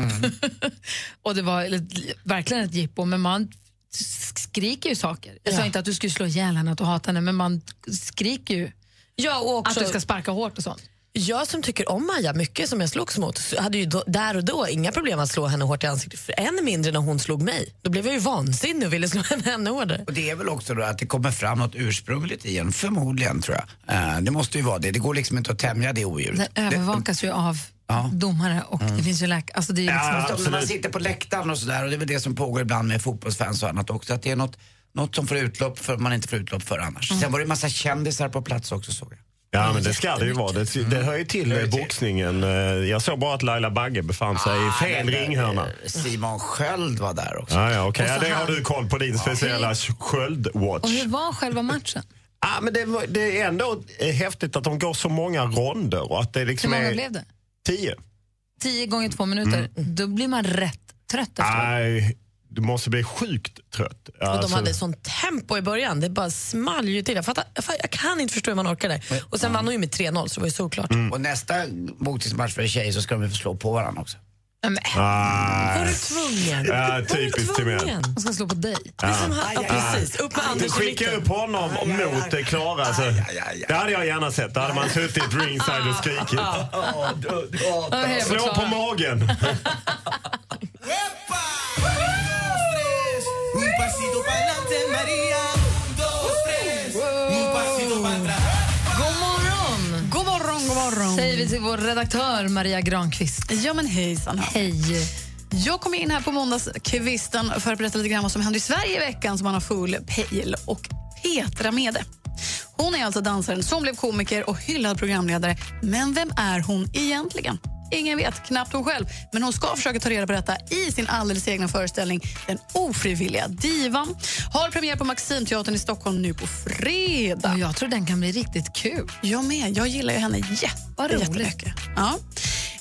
Speaker 2: och det var ett- verkligen ett jippo, men man sk- skriker ju saker. Jag sa inte att du skulle slå ihjäl henne, att du hatar henne, men man skriker ju
Speaker 4: Ja, och också-
Speaker 2: att du ska sparka hårt och sånt.
Speaker 4: Jag som tycker om Maja mycket, som jag slogs mot, så hade ju då, där och då inga problem att slå henne hårt i ansiktet. För än mindre när hon slog mig. Då blev jag ju vansinnig och ville slå henne ännu hårdare.
Speaker 3: Och det är väl också då att det kommer fram något ursprungligt igen, förmodligen tror jag. Eh, det måste ju vara det, det går liksom inte att tämja det odjuret.
Speaker 2: Den övervakas ju av
Speaker 3: Ja.
Speaker 2: domare och det finns ju läkare. Alltså det är ju liksom-
Speaker 3: Ja, när man sitter på läktaren och sådär och det är väl det som pågår ibland med fotbollsfans och annat också. Att det är något, något som får utlopp för man inte får utlopp för annars.
Speaker 18: Mm.
Speaker 3: Sen var det en massa kändisar på plats också såg jag.
Speaker 18: Ja, men det ska det ju vara. Det, det hör ju till
Speaker 3: Mm.
Speaker 18: eh, boxningen. Eh, Jag såg bara att Laila Bagge befann sig
Speaker 3: Ah,
Speaker 18: i fel ringhörna.
Speaker 3: Simon Sköld var där också.
Speaker 18: Ah, Ja, ja, okej.
Speaker 3: Och så
Speaker 18: ja, det har
Speaker 3: han-
Speaker 18: du koll på, din speciella
Speaker 2: Och
Speaker 18: sköldwatch.
Speaker 2: hur var själva matchen?
Speaker 18: Ja, Ah, men det, var- det är ändå eh, häftigt att de går så många ronder. Och att det
Speaker 2: Hur
Speaker 18: liksom
Speaker 2: många
Speaker 18: är
Speaker 2: blev det?
Speaker 18: Tio.
Speaker 2: Tio gånger två
Speaker 18: Mm.
Speaker 2: minuter, då blir man rätt trött efteråt.
Speaker 18: Nej, du måste bli sjukt trött.
Speaker 4: Och de
Speaker 18: Alltså-
Speaker 4: hade sånt tempo i början. Det bara small ju till. Jag, fattar, jag, fattar, jag kan inte förstå hur man orkar det. Och sen vann hon ju med 3-0, så det var ju såklart.
Speaker 18: Mm.
Speaker 3: Och nästa boxningsmatch för en tjej så ska de ju få slå på varandra också.
Speaker 18: Ah.
Speaker 4: Var du tvungen?
Speaker 18: Ja, typiskt till mig.
Speaker 2: Jag ska slå på dig.
Speaker 18: Ja.
Speaker 4: ja, precis. Upp med Anders i
Speaker 18: Skicka upp honom mot eh, Klara. Alltså. Det hade jag gärna sett. Då hade man suttit ringside och skrikit. Slå på magen!
Speaker 7: Un pasito pa'lante, Maria. Un, dos, tres. Un pasito pa'lante.
Speaker 2: God morgon!
Speaker 17: God morgon, god morgon.
Speaker 2: Säger vi till vår redaktör Maria Granqvist.
Speaker 17: Ja, men hejsan.
Speaker 2: Hej.
Speaker 17: Jag kom in här på måndagskvisten för att berätta lite grann vad som hände i Sverige i veckan som man har full pejl och Petra med det. Hon är alltså dansaren som blev komiker och hyllad programledare. Men vem är hon egentligen? Ingen vet, knappt hon själv. Men hon ska försöka ta reda på detta i sin alldeles egna föreställning Den ofrivilliga divan. Har premiär på Maximteatern i Stockholm nu på fredag.
Speaker 2: jag tror den kan bli riktigt kul.
Speaker 17: Jag med. Jag gillar ju henne jätte, jättemycket. Ja.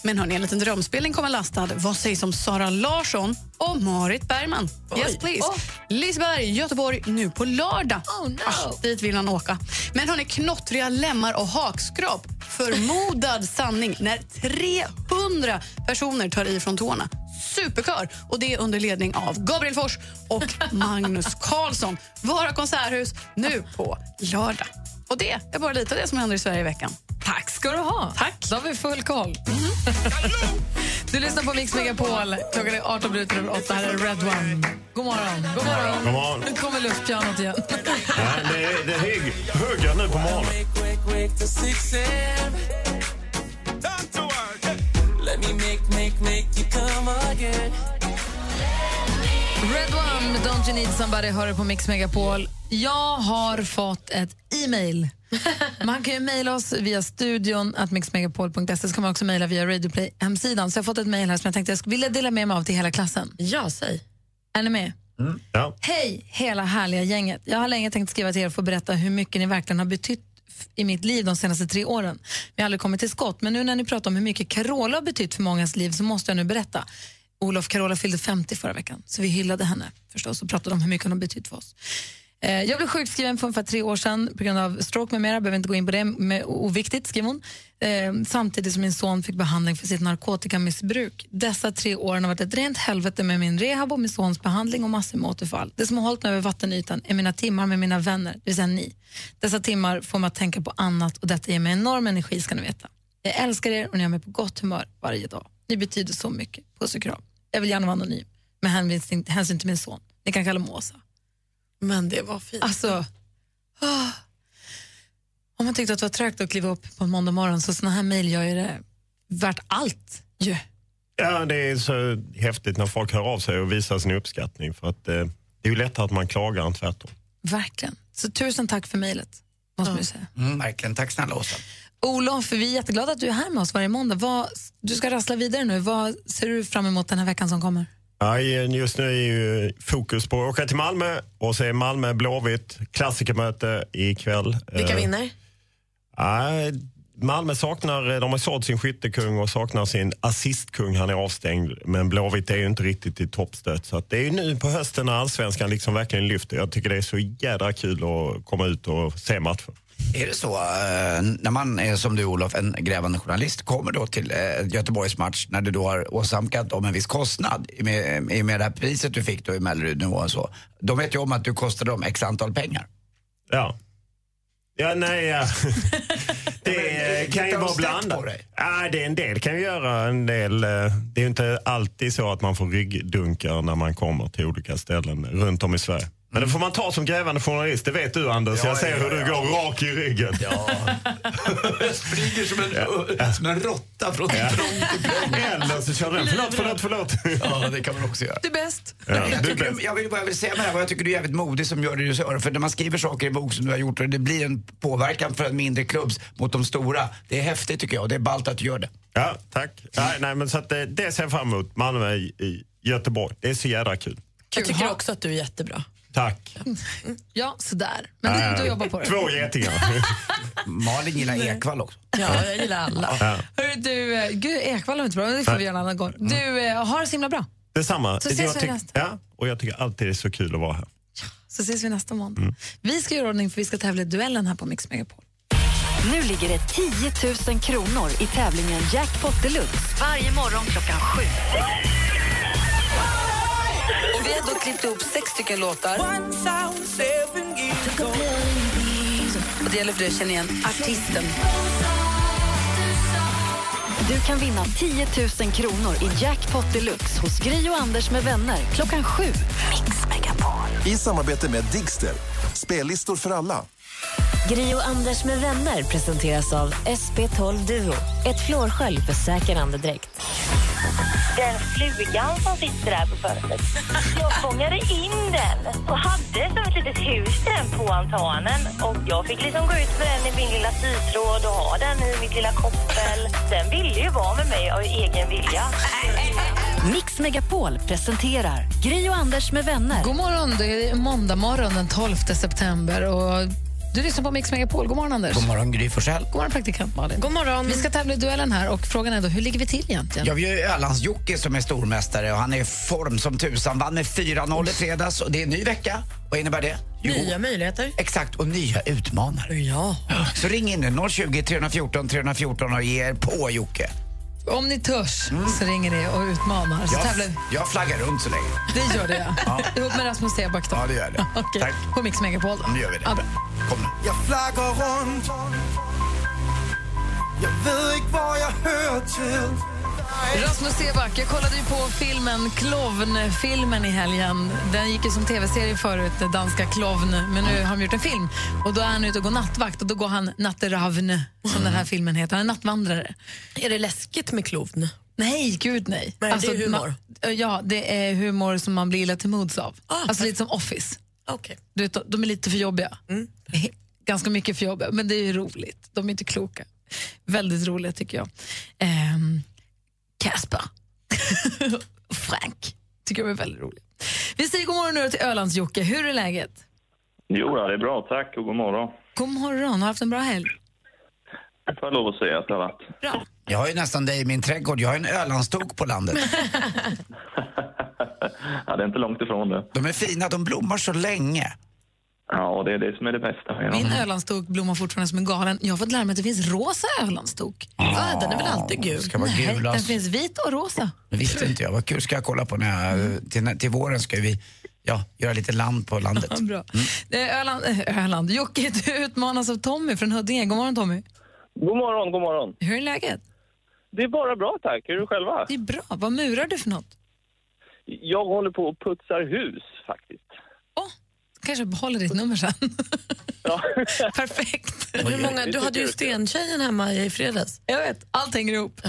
Speaker 17: Men hörni, en liten drömspelning kommer lastad. Vad sägs om Sara Larsson och Marit Bergman? Yes, please. Liseberg, Göteborg, nu på lördag. Ah,
Speaker 2: Oh, no.
Speaker 17: dit vill han åka. Men hörni, knottriga lemmar och hakskrap. Förmodad sanning när 300 personer tar i från tårna. Superkör! Och det är under ledning av Gabriel Fors och Magnus Karlsson. Vara konserthus nu på lördag. Och det är bara lite av det som händer i Sverige i veckan.
Speaker 2: Tack ska du ha. Tack. Då har vi full koll. du lyssnar på Mix Megapol. Klockan är 18 minuter över 8. Här är Red One. God morgon. God morgon.
Speaker 18: God morgon.
Speaker 2: Nu kommer luftpianot igen.
Speaker 18: Ja, det är, det är hög, höga nu på morgonen.
Speaker 2: Red One med Don't You Need Somebody hör du på Mix Megapol. Jag har fått ett e-mail. Man kan ju mejla oss via studion att mixmegapol.se så kan man också mejla via Radioplay hemsidan. Så jag har fått ett mejl här som jag tänkte jag skulle vilja dela med mig av till hela klassen.
Speaker 4: Ja, säg.
Speaker 2: Är ni med?
Speaker 18: Mm. Ja.
Speaker 2: Hej hela härliga gänget. Jag har länge tänkt skriva till er för att berätta hur mycket ni verkligen har betytt f- i mitt liv de senaste tre åren. Vi har aldrig kommit till skott, men nu när ni pratar om hur mycket Carola har betytt för mångas liv så måste jag nu berätta. Olof Carola fyllde 50 förra veckan, så vi hyllade henne förstås och pratade om hur mycket hon har betytt för oss. Eh, Jag blev sjukskriven för ungefär tre år sedan på grund av stroke med mera, behöver inte gå in på det, med, oviktigt skriver hon. Eh, samtidigt som min son fick behandling för sitt narkotikamissbruk. Dessa tre år har varit ett rent helvete med min rehab och min sons behandling och massor med återfall. Det som har hållit mig över vattenytan är mina timmar med mina vänner, det vill säga ni. Dessa timmar får mig att tänka på annat och detta ger mig enorm energi ska ni veta. Jag älskar er och ni har mig på gott humör varje dag. Ni betyder så mycket. Puss och kram. Jag vill gärna vara anonym med hänvisning- hänsyn till min son. Ni kan kalla mig Åsa.
Speaker 4: Men det var fint.
Speaker 2: Alltså, ah. om man tyckte att det var trögt att kliva upp på en måndag morgon så såna här mejl gör ju det värt allt. ju.
Speaker 18: Ja, det är så häftigt när folk hör av sig och visar sin uppskattning. För att, eh, det är ju lättare att man klagar än tvärtom.
Speaker 2: Verkligen. Så tusen tack för mejlet. Måste man ju säga.
Speaker 3: Mm, verkligen. Tack snälla Åsa.
Speaker 2: Olof, vi är jätteglada att du är här med oss varje måndag. Vad, du ska rassla vidare nu. Vad ser du fram emot den här veckan som kommer?
Speaker 18: Ja, just nu är ju fokus på att åka till Malmö och se Malmö Blåvitt klassikermöte ikväll.
Speaker 4: Vilka
Speaker 18: Eh,
Speaker 4: vinner?
Speaker 18: Nej, Malmö saknar, de har sålt sin skyttekung och saknar sin assistkung. Han är avstängd. Men Blåvitt är ju inte riktigt i toppstöt. Så att det är ju nu på hösten när allsvenskan liksom verkligen lyfter. Jag tycker det är så jädra kul att komma ut och se matchen.
Speaker 3: Är det så, eh, när man är som du Olof, en grävande journalist, kommer då till eh, Göteborgs match när du då har åsamkat dem en viss kostnad i och med, i och med det här priset du fick då i Mellerud nu och så. De vet ju om att du kostade dem x antal pengar.
Speaker 18: Ja. Ja, nej, ja. Det eh, kan
Speaker 14: Hittar
Speaker 18: ju
Speaker 14: de
Speaker 18: vara
Speaker 14: snett
Speaker 18: blandat.
Speaker 14: på dig?
Speaker 18: Ja, det är en del kan ju göra en del. eh, Det är ju inte alltid så att man får ryggdunkar när man kommer till olika ställen runt om i Sverige. Men det får man ta som grävande journalist, det vet du Anders.
Speaker 14: Mm. Ja,
Speaker 18: jag ser
Speaker 14: ja,
Speaker 18: hur du
Speaker 14: ja.
Speaker 18: går rak i ryggen.
Speaker 14: Flyger som en, som en råtta från
Speaker 18: Ja.
Speaker 14: prång till prång.
Speaker 18: Eller så kör den, förlåt, förlåt, förlåt.
Speaker 3: Ja, det kan man också göra.
Speaker 2: Du är bäst.
Speaker 18: Ja,
Speaker 3: jag,
Speaker 18: du är
Speaker 3: tycker,
Speaker 18: bäst.
Speaker 3: jag vill bara vill säga med det här, vad jag tycker du är jävligt modig som gör det du gör. För när man skriver saker i en bok som du har gjort och det blir en påverkan för en mindre klubbs mot de stora. Det är häftigt tycker jag och det är ballt att du gör det.
Speaker 18: Ja, tack. Nej, nej, men så att eh, det, det ser jag fram emot. Malmö i, i Göteborg. Det är så jädra kul.
Speaker 4: Jag tycker också att du är jättebra.
Speaker 18: Tack.
Speaker 4: Mm.
Speaker 2: Ja, sådär. Men det är inte att jobba på det.
Speaker 18: Två getingar.
Speaker 3: Malin gillar Ekvall också.
Speaker 4: Ja, jag gillar alla.
Speaker 18: Ja.
Speaker 2: Hörru, du, eh, gud, Ekwall var inte bra, men det får vi göra en annan gång. Du, eh, har det så himla bra.
Speaker 18: Detsamma.
Speaker 2: Så ses vi
Speaker 18: jag tyck-
Speaker 2: nästa.
Speaker 18: ja, och jag tycker alltid det är så kul att vara här.
Speaker 2: Så ses vi nästa måndag. Vi ska göra ordning för vi ska tävla i duellen här på Mix Megapol.
Speaker 1: Nu ligger det 10 000 kronor i tävlingen Jackpot Deluxe varje morgon klockan sju.
Speaker 2: Och vi har då klippt ihop sex stycken låtar. Och det gäller för dig att känna igen artisten.
Speaker 1: Du kan vinna 10 000 kronor i Jackpot Deluxe hos Gri och Anders med vänner klockan sju.
Speaker 8: I samarbete med Digster. Spellistor för alla.
Speaker 9: Gri och Anders med vänner presenteras av SP12 Duo. Ett flårskölj för säker andedräkt.
Speaker 20: Den flugan som sitter där på fönstret. Jag fångade in den och hade som ett litet hus till den på altanen. Och jag fick liksom gå ut med den i min lilla sytråd och ha den i mitt lilla koppel. Den ville ju vara med mig av egen vilja.
Speaker 1: Mix Megapol presenterar Gri och Anders med vänner.
Speaker 2: God morgon, det är måndag morgon den 12 september. Och du lyssnar på Mix Megapol. God morgon, Anders.
Speaker 3: God morgon Gry Forssell.
Speaker 2: God morgon, praktikant Malin. God morgon. Vi ska tävla i duellen här och frågan är då, hur ligger vi till egentligen?
Speaker 3: Ja, vi har ju Ölands-Jocke som är stormästare och han är i form som tusan. Vann med 4-0 i fredags och det är en ny vecka. Vad innebär det?
Speaker 4: Nya möjligheter.
Speaker 3: Exakt, och nya utmanare.
Speaker 4: Ja.
Speaker 3: Så ring in nu, 020 314 314 och ge er på Jocke.
Speaker 2: Om ni törs så ringer ni och utmanar. Så
Speaker 3: Jag,
Speaker 2: tävlar
Speaker 3: jag flaggar runt så länge.
Speaker 2: Det gör det, ja. Ihop med Rasmus Stenback då.
Speaker 3: Ja, det gör det.
Speaker 2: Okej.
Speaker 3: Tack.
Speaker 2: På Mix Megapol då.
Speaker 3: Nu gör vi det.
Speaker 2: Ja, bra.
Speaker 3: Kom nu.
Speaker 7: Jag flaggar runt Jag vet inte vad jag hör till
Speaker 2: Rasmus Seback, jag kollade ju på filmen Klovn-filmen i helgen. Den gick ju som tv-serie förut, den danska Klovn, men nu har de gjort en film. Och Då är han ute och går nattvakt och då går han Natteravn, som den här filmen heter. Han är nattvandrare.
Speaker 4: Är det läskigt med klovn?
Speaker 2: Nej, gud nej. Alltså,
Speaker 4: Nej, det är humor. Ah,
Speaker 2: ma- ja, det är humor som man blir illa till mods av. alltså lite som Office.
Speaker 4: Okej. Mm.
Speaker 2: Du vet, de är lite för jobbiga. Ganska mycket för jobbiga, men det är ju roligt. De är inte kloka. Väldigt roliga tycker jag. Ehm, Casper. Frank. Tycker de är väldigt roliga. Vi säger god morgon nu till Ölands-Jocke. Hur är läget?
Speaker 11: Jo, ja, det är bra. Tack och god morgon.
Speaker 2: God morgon, har du haft en bra helg?
Speaker 11: Det får jag lov att säga att det har varit.
Speaker 3: Jag har ju nästan dig i min trädgård. Jag har en Ölandstok på landet.
Speaker 11: Ja, det är inte långt ifrån det.
Speaker 3: De är fina, de blommar så länge.
Speaker 11: Ja, och det är det som är det bästa. med dem.
Speaker 2: Min ölandstok blommar fortfarande som en galen. Jag har fått lära mig att det finns rosa ölandstok.
Speaker 3: Ja,
Speaker 2: den är väl alltid gul?
Speaker 3: ska vara
Speaker 2: Nej,
Speaker 3: gul,
Speaker 2: den
Speaker 3: alltså.
Speaker 2: finns vit och rosa.
Speaker 3: Det visste inte jag. Vad kul. Ska jag kolla på när
Speaker 4: Mm.
Speaker 3: jag, till, till våren ska vi ja, göra lite land på landet. Mm.
Speaker 2: Ja, bra. Det är Öland, eh, Öland. Jocke, du utmanas av Tommy från Huddinge. God morgon Tommy.
Speaker 11: God morgon, god morgon.
Speaker 2: Hur är läget?
Speaker 11: Det är bara bra tack. Hur är du själva?
Speaker 2: Det är bra. Vad murar du för något?
Speaker 11: Jag håller på och putsar hus faktiskt.
Speaker 2: Kanske behåller ditt nummer sen.
Speaker 4: Perfekt. Hur många, du hade ju stentjejen hemma i fredags.
Speaker 2: Jag vet, allt hänger ihop.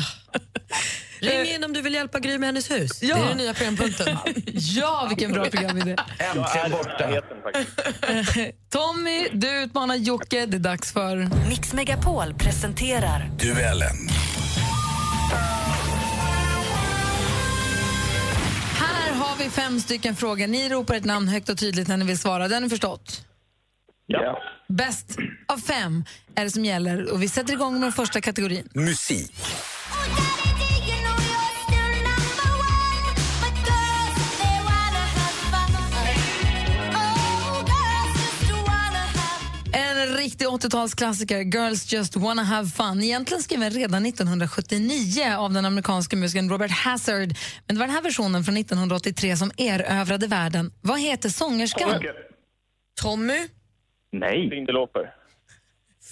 Speaker 4: Ring in om du vill hjälpa Gry med hennes hus.
Speaker 2: Ja.
Speaker 4: Det är den nya programpunkten.
Speaker 2: Ja, vilken bra programidé.
Speaker 3: Äntligen borta.
Speaker 2: Tommy, du utmanar Jocke. Det är dags för...
Speaker 1: Mix Megapol presenterar
Speaker 14: Duellen.
Speaker 2: Här har vi fem stycken frågor. Ni ropar ett namn högt och tydligt när ni vill svara. Det har ni förstått?
Speaker 11: Ja.
Speaker 2: Bäst av fem är det som gäller. Och vi sätter igång med den första kategorin.
Speaker 14: Musik.
Speaker 2: En riktig 80-talsklassiker, Girls Just Wanna Have Fun. Egentligen skriven redan 1979 av den amerikanske musikern Robert Hazard. Men det var den här versionen från 1983 som erövrade världen. Vad heter sångerskan?
Speaker 4: Tommy?
Speaker 11: Nej. Lindelåper.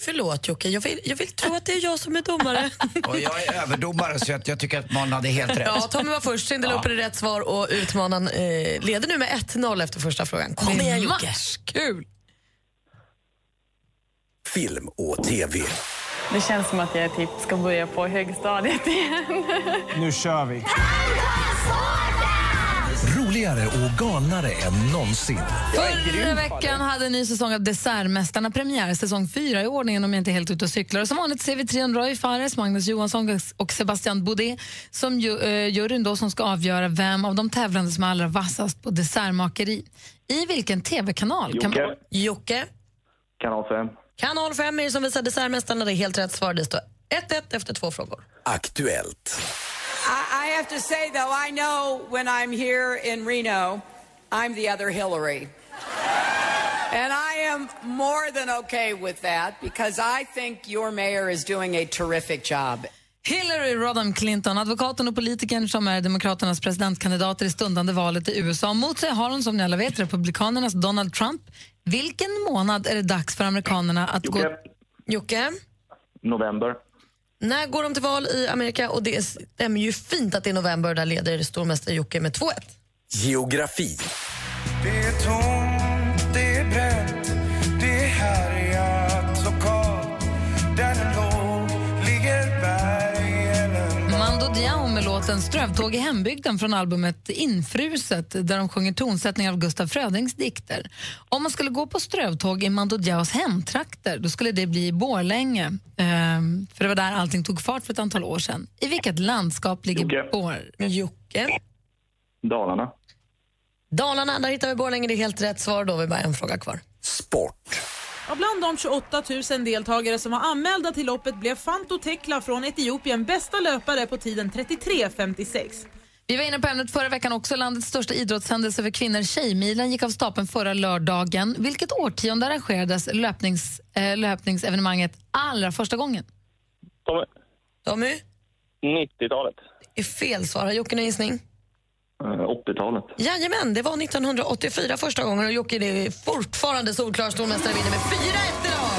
Speaker 4: Förlåt Jocke, jag vill, jag vill tro att det är jag som är domare.
Speaker 3: Och jag är överdomare så jag, jag tycker att man hade helt rätt.
Speaker 4: Ja, Tommy var först, Sindel upp det rätt svar och utmanaren eh, leder nu med 1-0 efter första frågan. Kom igen Jocke!
Speaker 2: Kul!
Speaker 14: Film och TV.
Speaker 21: Det känns som att jag typ ska börja på högstadiet igen.
Speaker 14: Nu kör vi. Roligare och galnare än någonsin.
Speaker 2: Förra veckan hade en ny säsong av Dessertmästarna premiär, säsong fyra i ordningen om jag inte är helt ute och cyklar. Och som vanligt ser vi Trian Roy Fares, Magnus Johansson och Sebastian Boudet som ju, eh, juryn då som ska avgöra vem av de tävlande som är allra vassast på dessertmakeri. I vilken tv-kanal? Kan man...
Speaker 4: Jocke. Jocke.
Speaker 11: Kanal 5.
Speaker 4: Kanal 5 är det som visar Dessertmästarna, det är helt rätt svar. Det står 1-1 efter två frågor.
Speaker 14: Aktuellt.
Speaker 22: I, I have to say, though, I know when I'm here in Reno, I'm the other Hillary. And I am more than okay with that because I think your mayor is doing a terrific job.
Speaker 2: Hillary Rodham Clinton, advokaten och politikern som är Demokraternas presidentkandidater i stundande valet i USA. Mot sig har hon som ni alla vet Republikanernas Donald Trump. Vilken månad är det dags för amerikanerna att gå...
Speaker 4: Jocke,
Speaker 11: November.
Speaker 4: när går de till val i Amerika? Och det stämmer ju fint att det är november, där leder stormästare Jocke med 2-1.
Speaker 14: Geografi.
Speaker 7: Det är tomt, det är bränt Det här är jag
Speaker 2: Dion med låten Strövtåg i hembygden från albumet Infruset där de sjunger tonsättningar av Gustaf Frödings dikter. Om man skulle gå på strövtåg i Mando Diaos hemtrakter då skulle det bli Borlänge. Ehm, för det var där allting tog fart för ett antal år sedan. I vilket landskap ligger
Speaker 11: Jocke.
Speaker 2: Bor... Jocke?
Speaker 11: Dalarna.
Speaker 4: Dalarna, där hittar vi Borlänge. Det är helt rätt svar. Då har vi bara en fråga kvar.
Speaker 11: Sport.
Speaker 5: Ja, bland de 28 000 deltagare som var anmälda till loppet blev Fanto Tekla från Etiopien bästa löpare på tiden 33.56.
Speaker 2: Vi var inne på ämnet förra veckan också. Landets största idrottshändelse för kvinnor, Tjejmilen, gick av stapeln förra lördagen. Vilket årtionde arrangerades löpnings, eh, löpningsevenemanget allra första gången?
Speaker 11: Tommy.
Speaker 4: Tommy?
Speaker 11: 90-talet.
Speaker 4: Det är fel svar. Har Jocke någon gissning?
Speaker 11: Eh, 80-talet.
Speaker 4: Jajamän, det var 1984 första gången och Jocke det är fortfarande solklar stormästare vinner med 4-1 idag.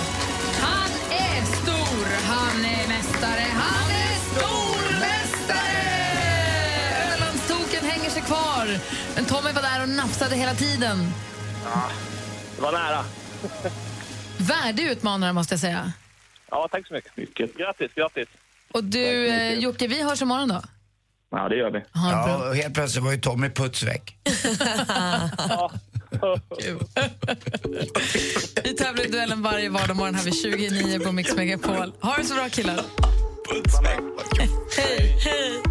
Speaker 2: Han är stor, han är mästare, han är stormästare! Ölandstoken hänger sig kvar. Men Tommy var där och nafsade hela tiden.
Speaker 7: Ah.
Speaker 11: Ja, det var nära.
Speaker 2: Värdig utmanare, måste jag säga.
Speaker 11: Ja, tack så mycket. mycket. Grattis, grattis.
Speaker 2: Och du, eh, Jocke, vi hörs imorgon då.
Speaker 11: Ja, det gör vi.
Speaker 3: Ja, och helt plötsligt var ju Tommy putsväck.
Speaker 2: Vi tävlar i duellen varje vardag morgon här vid 29 på Mix Megapol. Ha det så bra killar.
Speaker 4: Hej, hej.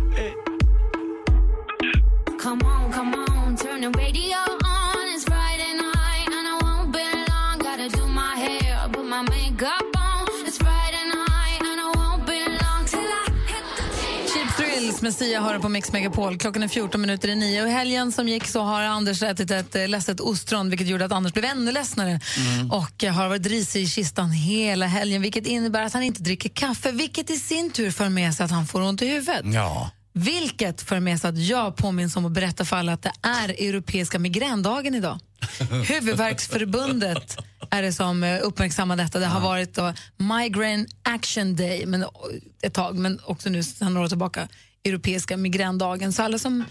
Speaker 6: Come on, come on, turn the radio on. It's Friday night, and I won't be long. Gotta do my hair, put my makeup on. It's Friday night, and I won't be long till I hit the
Speaker 2: Cheap Thrills med Sia har du på Mix Megapol. Klockan är 14 minuter i nio. Och I helgen som gick så har Anders ätit ett eh, lässet ostron vilket gjorde att Anders blev ännu ledsnare och eh, har varit risig i kistan hela helgen vilket innebär att han inte dricker kaffe vilket i sin tur för med sig att han får ont i huvudet.
Speaker 3: Ja.
Speaker 2: Vilket för med sig att jag påminns om att berätta för alla att det är Europeiska migrändagen idag. Huvudvärksförbundet är det som eh, uppmärksammar detta. Det har varit då Migraine Action Day men, eh, ett tag, men också nu sedan några år tillbaka Europeiska migrändagen. Så alla som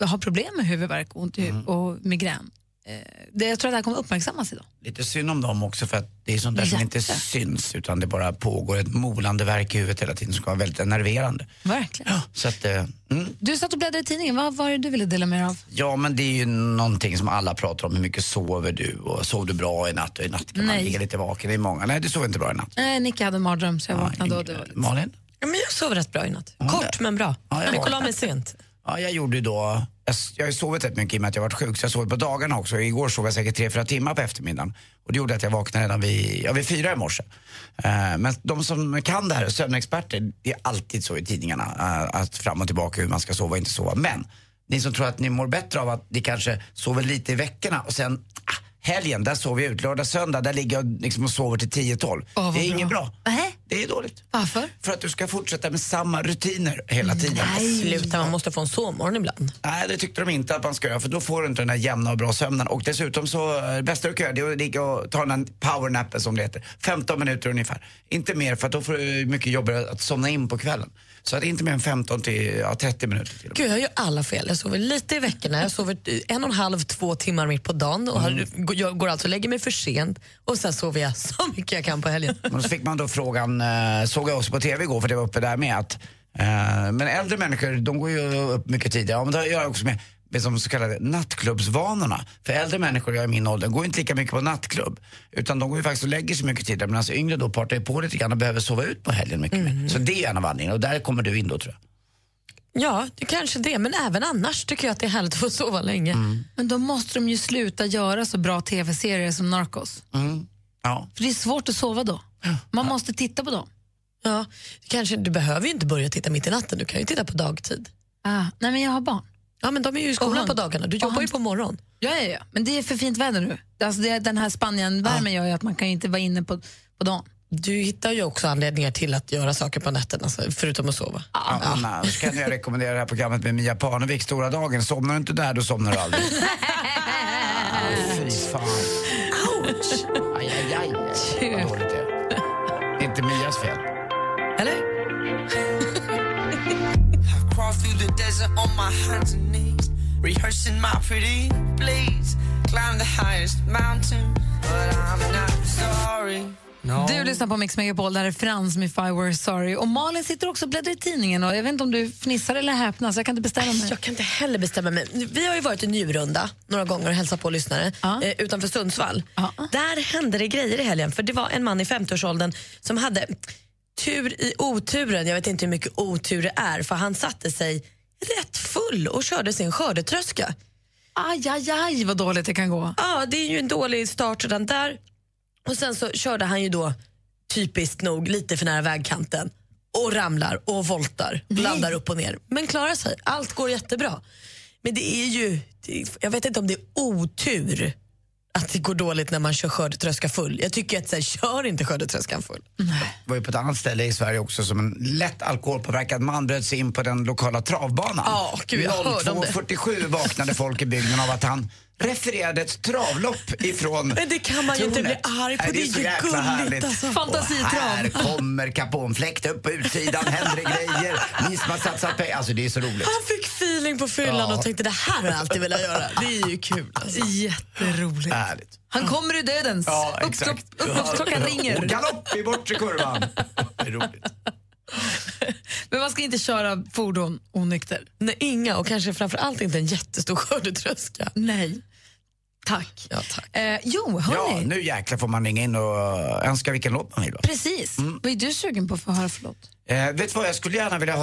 Speaker 2: eh, har problem med huvudvärk och, ont i
Speaker 4: Mm.
Speaker 2: hu- och migrän, eh, det, jag tror att det här kommer uppmärksammas idag.
Speaker 3: Lite synd om dem också för att det är sånt där som inte syns utan det bara pågår ett molande verk i huvudet hela tiden som kan vara väldigt enerverande.
Speaker 2: Verkligen.
Speaker 3: Så att, eh, mm.
Speaker 2: Du satt och bläddrade i tidningen, vad var det du ville dela med dig av?
Speaker 3: Ja men det är ju någonting som alla pratar om, hur mycket sover du och sov du bra i natt och i natt kan
Speaker 2: Nej.
Speaker 3: man ligga lite vaken, det är många. Nej du sov inte bra i natt.
Speaker 2: Eh, Nicky hade en mardröm så jag vaknade och det var lite...
Speaker 3: Malin?
Speaker 4: Ja, men jag sov rätt bra i natt. Kort men bra.
Speaker 3: Ja, jag
Speaker 4: jag gick och la
Speaker 3: var-
Speaker 4: mig sent.
Speaker 3: Ja, jag gjorde ju då... Jag, s- jag har ju sovit rätt mycket i och med att jag varit sjuk, så jag sov på dagarna också. Igår sov jag säkert tre, fyra timmar på eftermiddagen. Och det gjorde att jag vaknade redan vid, ja, vid fyra i morse. Eh, men de som kan det här, sömnexperter, det är alltid så i tidningarna. eh, att fram och tillbaka hur man ska sova och inte sova. Men ni som tror att ni mår bättre av att ni kanske sover lite i veckorna och sen ah, helgen, där sover jag ut. Lördag, söndag, där ligger jag liksom och sover till 10-12.
Speaker 2: vad
Speaker 3: det är
Speaker 2: bra.
Speaker 3: inget bra.
Speaker 2: Nej.
Speaker 3: Det är dåligt.
Speaker 2: Varför?
Speaker 3: För att du ska fortsätta med samma rutiner hela tiden.
Speaker 4: Nej. Sluta, man måste få en sovmorgon ibland.
Speaker 3: Nej, det tyckte de inte att man ska göra för då får du inte den här jämna och bra sömnen. Och dessutom så, eh, det bästa du kan göra det är att ligga och ta den här powernappen som det heter. 15 minuter ungefär. Inte mer för att då får du mycket jobbigare att somna in på kvällen. Så att inte mer än 15 till ja, 30 minuter till.
Speaker 4: Gud, jag gör alla fel. Jag sover lite i veckorna, jag sover en och en halv, två timmar mitt på dagen och har,
Speaker 3: Mm.
Speaker 4: jag går alltså och lägger mig för sent och sen sover jag så mycket jag kan på helgen.
Speaker 3: Men så fick man då frågan, eh, såg jag också på TV igår för det var uppe där med att eh, men äldre människor de går ju upp mycket tidigare. Ja, men det har att göra också med med de så kallade nattklubbsvanorna. För äldre människor jag i min ålder går inte lika mycket på nattklubb. Utan de går ju faktiskt och lägger sig mycket tidigare. Medan yngre då partar ju på lite grann och behöver sova ut på helgen mycket mer. Så det är en av anledningarna. Och där kommer du in då tror jag.
Speaker 4: Ja, det kanske det, men även annars tycker jag att det är härligt att få sova länge.
Speaker 2: Men då måste de ju sluta göra så bra tv-serier som Narcos.
Speaker 3: Mm. Ja.
Speaker 2: För det är svårt att sova då. Man måste titta på dem.
Speaker 4: Ja, kanske, du behöver ju inte börja titta mitt i natten, du kan ju titta på dagtid.
Speaker 2: Ah, nej men jag har barn.
Speaker 4: Ja, men de är ju i
Speaker 2: Och
Speaker 4: skolan
Speaker 2: hund.
Speaker 4: på dagarna, du
Speaker 2: Och
Speaker 4: jobbar ju
Speaker 2: hund.
Speaker 4: på morgonen.
Speaker 2: Ja, ja, ja. Men det är för fint väder nu. Alltså det, den här Spanien-värmen gör ju att man kan ju inte vara inne på, på dagen.
Speaker 4: Du hittar ju också anledningar till att göra saker på nätterna, alltså, förutom att sova.
Speaker 3: Ja, Annars kan jag rekommendera det här programmet med Mia Parnevik, Stora dagen. Somnar du inte där, då somnar du aldrig. Fy fan. Ouch! Aj, aj, aj. Vad dåligt det är. Det är Inte Mias fel.
Speaker 7: I crawl through the desert on my hands and knees, rehearsing my pretty please. Climb the highest mountain, but I'm not sorry.
Speaker 2: Du lyssnar på Mix Megapol, där är Frans med If I Were Sorry. Och Malin sitter också och bläddrar i tidningen. Och jag vet inte om du fnissar eller häpnar, så jag kan inte bestämma mig.
Speaker 4: Jag kan inte heller bestämma mig. Vi har ju varit i Njurunda några gånger och hälsat på lyssnare eh, utanför Sundsvall. Där hände det grejer i helgen för det var en man i 50-årsåldern som hade tur i oturen. Jag vet inte hur mycket otur det är för han satte sig rätt full och körde sin skördetröska.
Speaker 2: Aj, aj, aj vad dåligt det kan gå.
Speaker 4: Ja, det är ju en dålig start redan där. Och sen så körde han ju då typiskt nog lite för nära vägkanten och ramlar och voltar, landar upp och ner. Men klarar sig, allt går jättebra. Men det är ju, det- jag vet inte om det är otur att det går dåligt när man kör skördetröska full. Jag tycker att så här, kör inte skördetröskan full.
Speaker 3: var ju på ett annat ställe i Sverige också som en lätt alkoholpåverkad man bröt sig in på den lokala travbanan.
Speaker 4: Ja, gud, jag hörde om det.
Speaker 3: 02.47 vaknade folk i bygden av att han refererade ett travlopp ifrån
Speaker 4: Men det kan man ju inte
Speaker 3: tornet.
Speaker 4: bli arg på,
Speaker 3: Nej,
Speaker 4: det är
Speaker 3: så
Speaker 4: ju
Speaker 3: jäkla
Speaker 4: gulligt,
Speaker 3: härligt.
Speaker 4: alltså.
Speaker 3: Och
Speaker 4: Fantasitrav.
Speaker 3: Här kommer kaponfläkt upp på utsidan, händer det grejer, ni som har satsat pengar. Alltså det är så roligt.
Speaker 4: Han fick feeling på fyllan
Speaker 3: Ja.
Speaker 4: och tänkte det här har jag alltid velat göra. Det är ju kul. Alltså.
Speaker 2: Jätteroligt.
Speaker 3: Härligt.
Speaker 2: Han kommer ur dödens.
Speaker 3: Ja,
Speaker 2: Upplopp-
Speaker 3: exakt.
Speaker 2: Upploppsklockan
Speaker 3: Och
Speaker 2: ringer.
Speaker 3: galopp i bortre kurvan. Det är roligt.
Speaker 2: Men man ska inte köra fordon onykter.
Speaker 4: Nej, inga och kanske framförallt inte en jättestor skördetröska.
Speaker 2: Nej. Tack.
Speaker 4: Ja, tack.
Speaker 2: Eh, jo,
Speaker 3: Ja,
Speaker 2: hörni.
Speaker 3: nu jäklar får man ringa in och önska vilken låt man vill. Va?
Speaker 2: Precis. Vad är du sugen på att få höra för låt?
Speaker 3: Eh, vet du vad, jag skulle gärna vilja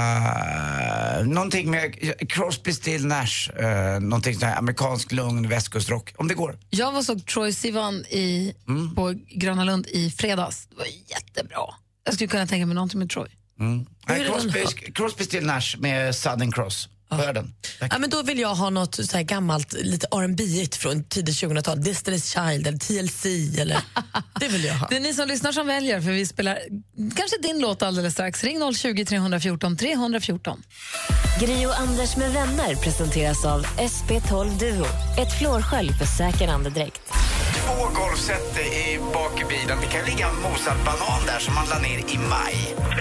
Speaker 3: höra eh, någonting med Crosby, Still, Nash. Eh, någonting sån här amerikansk lugn västkustrock, om det går.
Speaker 2: Jag var såg Troy Sivan i, på Gröna Lund i fredags. Det var jättebra. Jag skulle kunna tänka mig någonting med Troy.
Speaker 3: Mm. Nej,
Speaker 2: Hur är Ah. den
Speaker 3: Crosby, Crosby, Still, Nash med Southern Cross. Hör den.
Speaker 4: Ja, men då vill jag ha något så här gammalt, lite rb igt från tidigt 2000-tal. Destiny's Child eller TLC. Eller, det vill jag ha.
Speaker 2: Det är ni som lyssnar som väljer, för vi spelar kanske din låt alldeles strax. Ring 020 314 314.
Speaker 9: Gri och Anders med vänner presenteras av SP12 Duo. Ett flårskölj för säker andedräkt.
Speaker 3: Två golfset i bak i bilen. Det kan ligga en mosad banan där som man la ner i maj.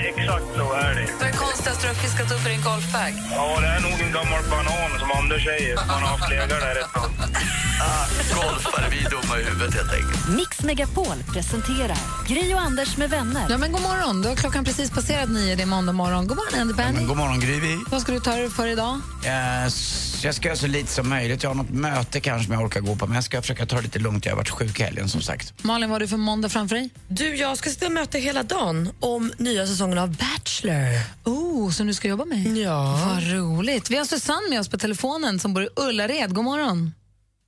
Speaker 11: Exakt så är det.
Speaker 2: Vad är konstigast du har fiskat upp i din golfbag?
Speaker 11: Ja, det är nog en gammal banan som Anders säger. Man har haft legat där ett tag.
Speaker 14: Golfare, Ah, vi är dumma i huvudet helt enkelt.
Speaker 1: Mix Megapol presenterar Gri och Anders med vänner.
Speaker 2: Ja, men god morgon. Då har klockan precis passerat nio. Det är måndag morgon. God morgon, Andy Penny.
Speaker 3: Men god morgon, Gryvi.
Speaker 2: Vad ska du ta dig för idag?
Speaker 3: Eh, s- Jag ska göra så lite som möjligt. Jag har något möte kanske som jag orkar gå på, men jag ska försöka ta det lite lugnt. Jag har varit sjuk i helgen som sagt.
Speaker 2: Malin, vad har du för måndag framför dig?
Speaker 4: Du, jag ska sitta och möta hela dagen om nya säsongen av Bachelor.
Speaker 2: Oh, som du ska jobba med?
Speaker 4: Ja.
Speaker 2: Vad roligt. Vi har Susanne med oss på telefonen som bor i Ullared. God morgon.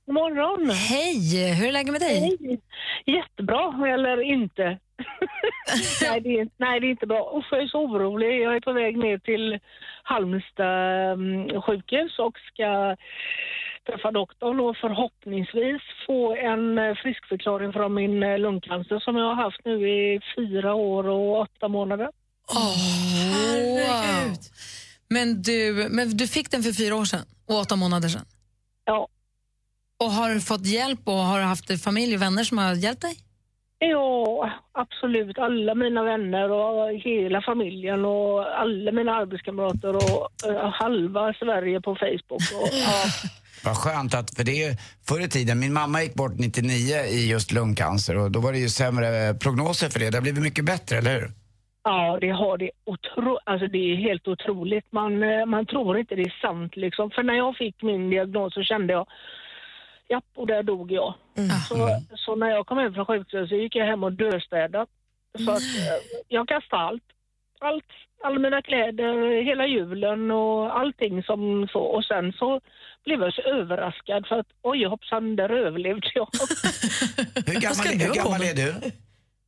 Speaker 12: God morgon.
Speaker 2: Hej, hur är läget med dig?
Speaker 12: Hej. Jättebra, eller inte. nej, det är, nej, det är inte bra. Usch, jag är så orolig. Jag är på väg ner till Halmstad mm, sjukhus och ska träffa doktorn och förhoppningsvis få en eh, friskförklaring från min eh, lungcancer som jag har haft nu i fyra år och åtta månader.
Speaker 2: Herregud. Men du, men du fick den för fyra år sedan och åtta månader sedan?
Speaker 12: Ja.
Speaker 2: Och har du fått hjälp och har du haft familj och vänner som har hjälpt dig?
Speaker 12: Ja, absolut. Alla mina vänner och hela familjen och alla mina arbetskamrater och eh, halva Sverige på Facebook. Och, ja.
Speaker 3: Vad skönt att, för det är ju förr i tiden, min mamma gick bort 99 i just lungcancer och då var det ju sämre eh, prognoser för det. Det har blivit mycket bättre, eller hur?
Speaker 12: Ja, det har det. Otro... Alltså, det är helt otroligt. Man, eh, man tror inte det är sant. Liksom. För när jag fick min diagnos så kände jag Japp, och där dog jag.
Speaker 20: Ah.
Speaker 12: Så, så när jag kom hem från sjukhuset så gick jag hem och döstädade. Så att, eh, jag kastade allt. allt. Alla mina kläder, hela julen och allting som så. Och sen så blev jag så överraskad för att oj hoppsan, där överlevde jag.
Speaker 3: Hur gammal, hur gammal är du?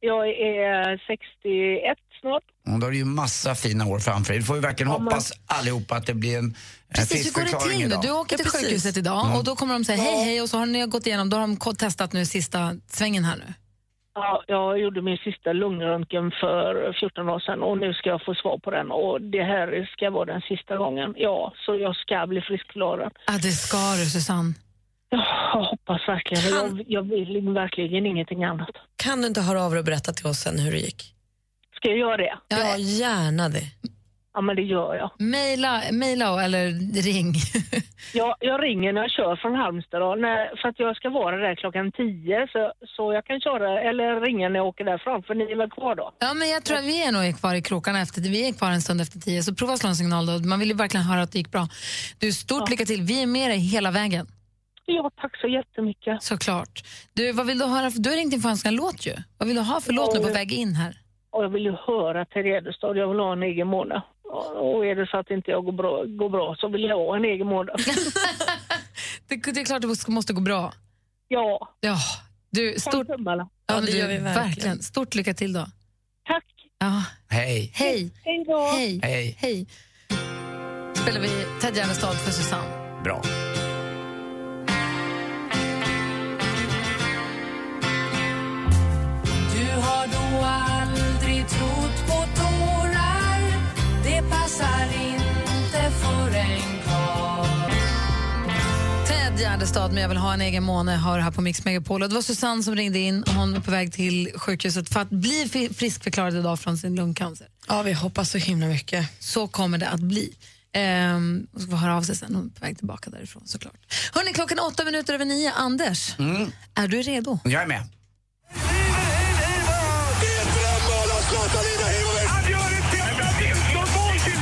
Speaker 12: Jag är 61 snart.
Speaker 3: Mm, då har du ju massa fina år framför dig. Du får ju verkligen hoppas allihopa att det blir en, en
Speaker 2: Precis, hur går det
Speaker 3: friskförklaring
Speaker 2: till nu?
Speaker 3: idag.
Speaker 2: Du åker till sjukhuset idag
Speaker 3: Mm.
Speaker 2: och då kommer de säga hej hej och så har ni gått igenom, då har de ko- testat nu sista svängen här nu.
Speaker 12: Ja, jag gjorde min sista lungröntgen för 14 år sedan och nu ska jag få svar på den. Och det här ska vara den sista gången. Ja, så jag ska bli friskförklarad.
Speaker 2: Ja, det ska du Susanne.
Speaker 12: Jag hoppas verkligen. Jag, jag vill verkligen ingenting annat.
Speaker 4: Kan du inte höra av dig och berätta till oss sen hur det gick?
Speaker 12: Ska jag göra det?
Speaker 4: Ja, gärna det.
Speaker 12: Ja, men det gör jag.
Speaker 2: Maila, maila eller ring.
Speaker 12: jag. Jag ringer när jag kör från Halmstad då, när, för att jag ska vara där klockan 10 så, så jag kan köra, eller ringa när jag åker därifrån för ni är väl kvar då?
Speaker 2: Ja, men jag tror att vi är nog kvar i krokarna efter Vi är kvar en stund efter tio, så prova att slå en signal då. Man vill ju verkligen höra att det gick bra. Du, stort lycka till. Vi är med dig hela vägen.
Speaker 12: Ja, tack så jättemycket.
Speaker 2: Såklart. Du, vad vill du höra? Du har ringt in för att önska en låt ju. Vad vill du ha för låt nu på väg in här?
Speaker 12: Och jag vill ju höra till Redestad, jag vill ha en egen månad. Och och är det så att inte jag går bra, går bra så vill jag ha en egen månad.
Speaker 2: Det, det är klart att det ska- måste gå bra.
Speaker 12: Ja.
Speaker 2: Ja, du, stort...
Speaker 12: Ja,
Speaker 2: Ja,
Speaker 4: det
Speaker 2: du,
Speaker 4: gör vi verkligen.
Speaker 2: Stort lycka till då.
Speaker 12: Tack.
Speaker 2: Ja.
Speaker 3: Mm. Hej.
Speaker 2: Hej.
Speaker 12: Hej då.
Speaker 2: Hej.
Speaker 3: Hej.
Speaker 2: Hej. spelar vi Ted Gärdestad för Susanne.
Speaker 3: Bra.
Speaker 13: Du har då aldrig trott på tårar Det passar inte för en karl
Speaker 2: Ted Gärdestad med Jag vill ha en egen måne hör här på Mix Megapol. Och det var Susanne som ringde in och hon är på väg till sjukhuset för att bli fi- friskförklarad idag från sin lungcancer.
Speaker 4: Ja, vi hoppas så himla mycket.
Speaker 2: Så kommer det att bli. Ehm, och så får vi höra av sig sen, hon är på väg tillbaka därifrån såklart. Hörni, klockan är åtta minuter över nio. Anders,
Speaker 3: Mm.
Speaker 2: är du redo?
Speaker 3: Jag är med.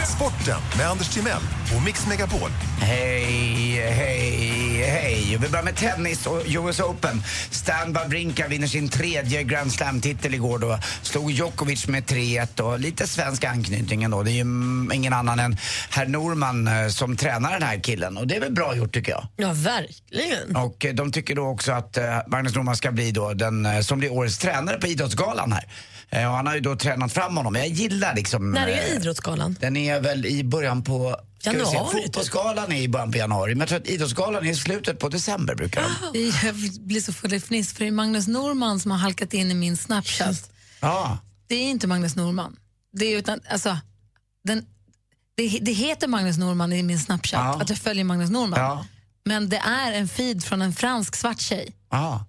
Speaker 8: Sporten med Anders Timell och Mix Megapol.
Speaker 3: Hej, hej, hej. Vi börjar med tennis och US Open. Stan Wawrinka vinner sin tredje Grand Slam-titel igår då. Slog Djokovic med 3-1 och lite svensk anknytning ändå. Det är ju mm, ingen annan än herr Norman eh, som tränar den här killen och det är väl bra gjort tycker jag.
Speaker 4: Ja, verkligen.
Speaker 3: Och eh, de tycker då också att eh, Magnus Norman ska bli då den eh, som blir årets tränare på Idrottsgalan här. Eh, och han har ju då tränat fram honom. Jag gillar liksom...
Speaker 4: När
Speaker 3: eh,
Speaker 4: är Idrottsgalan?
Speaker 3: Den är väl i början på... ska vi se,
Speaker 2: typ.
Speaker 4: Januari,
Speaker 3: Fotbollsgalan är i början på januari, men jag tror att Idrottsgalan är i slutet på december brukar
Speaker 2: Ah.
Speaker 3: de.
Speaker 2: Jag blir så full i fniss för det är Magnus Norman som har halkat in i min Snapchat.
Speaker 3: Ja.
Speaker 2: Det är inte Magnus Norman. Det, är utan, alltså, den, det, det heter Magnus Norman i min Snapchat, att jag följer Magnus Norman.
Speaker 3: Ja.
Speaker 2: Men det är en feed från en fransk svart tjej
Speaker 3: Ja.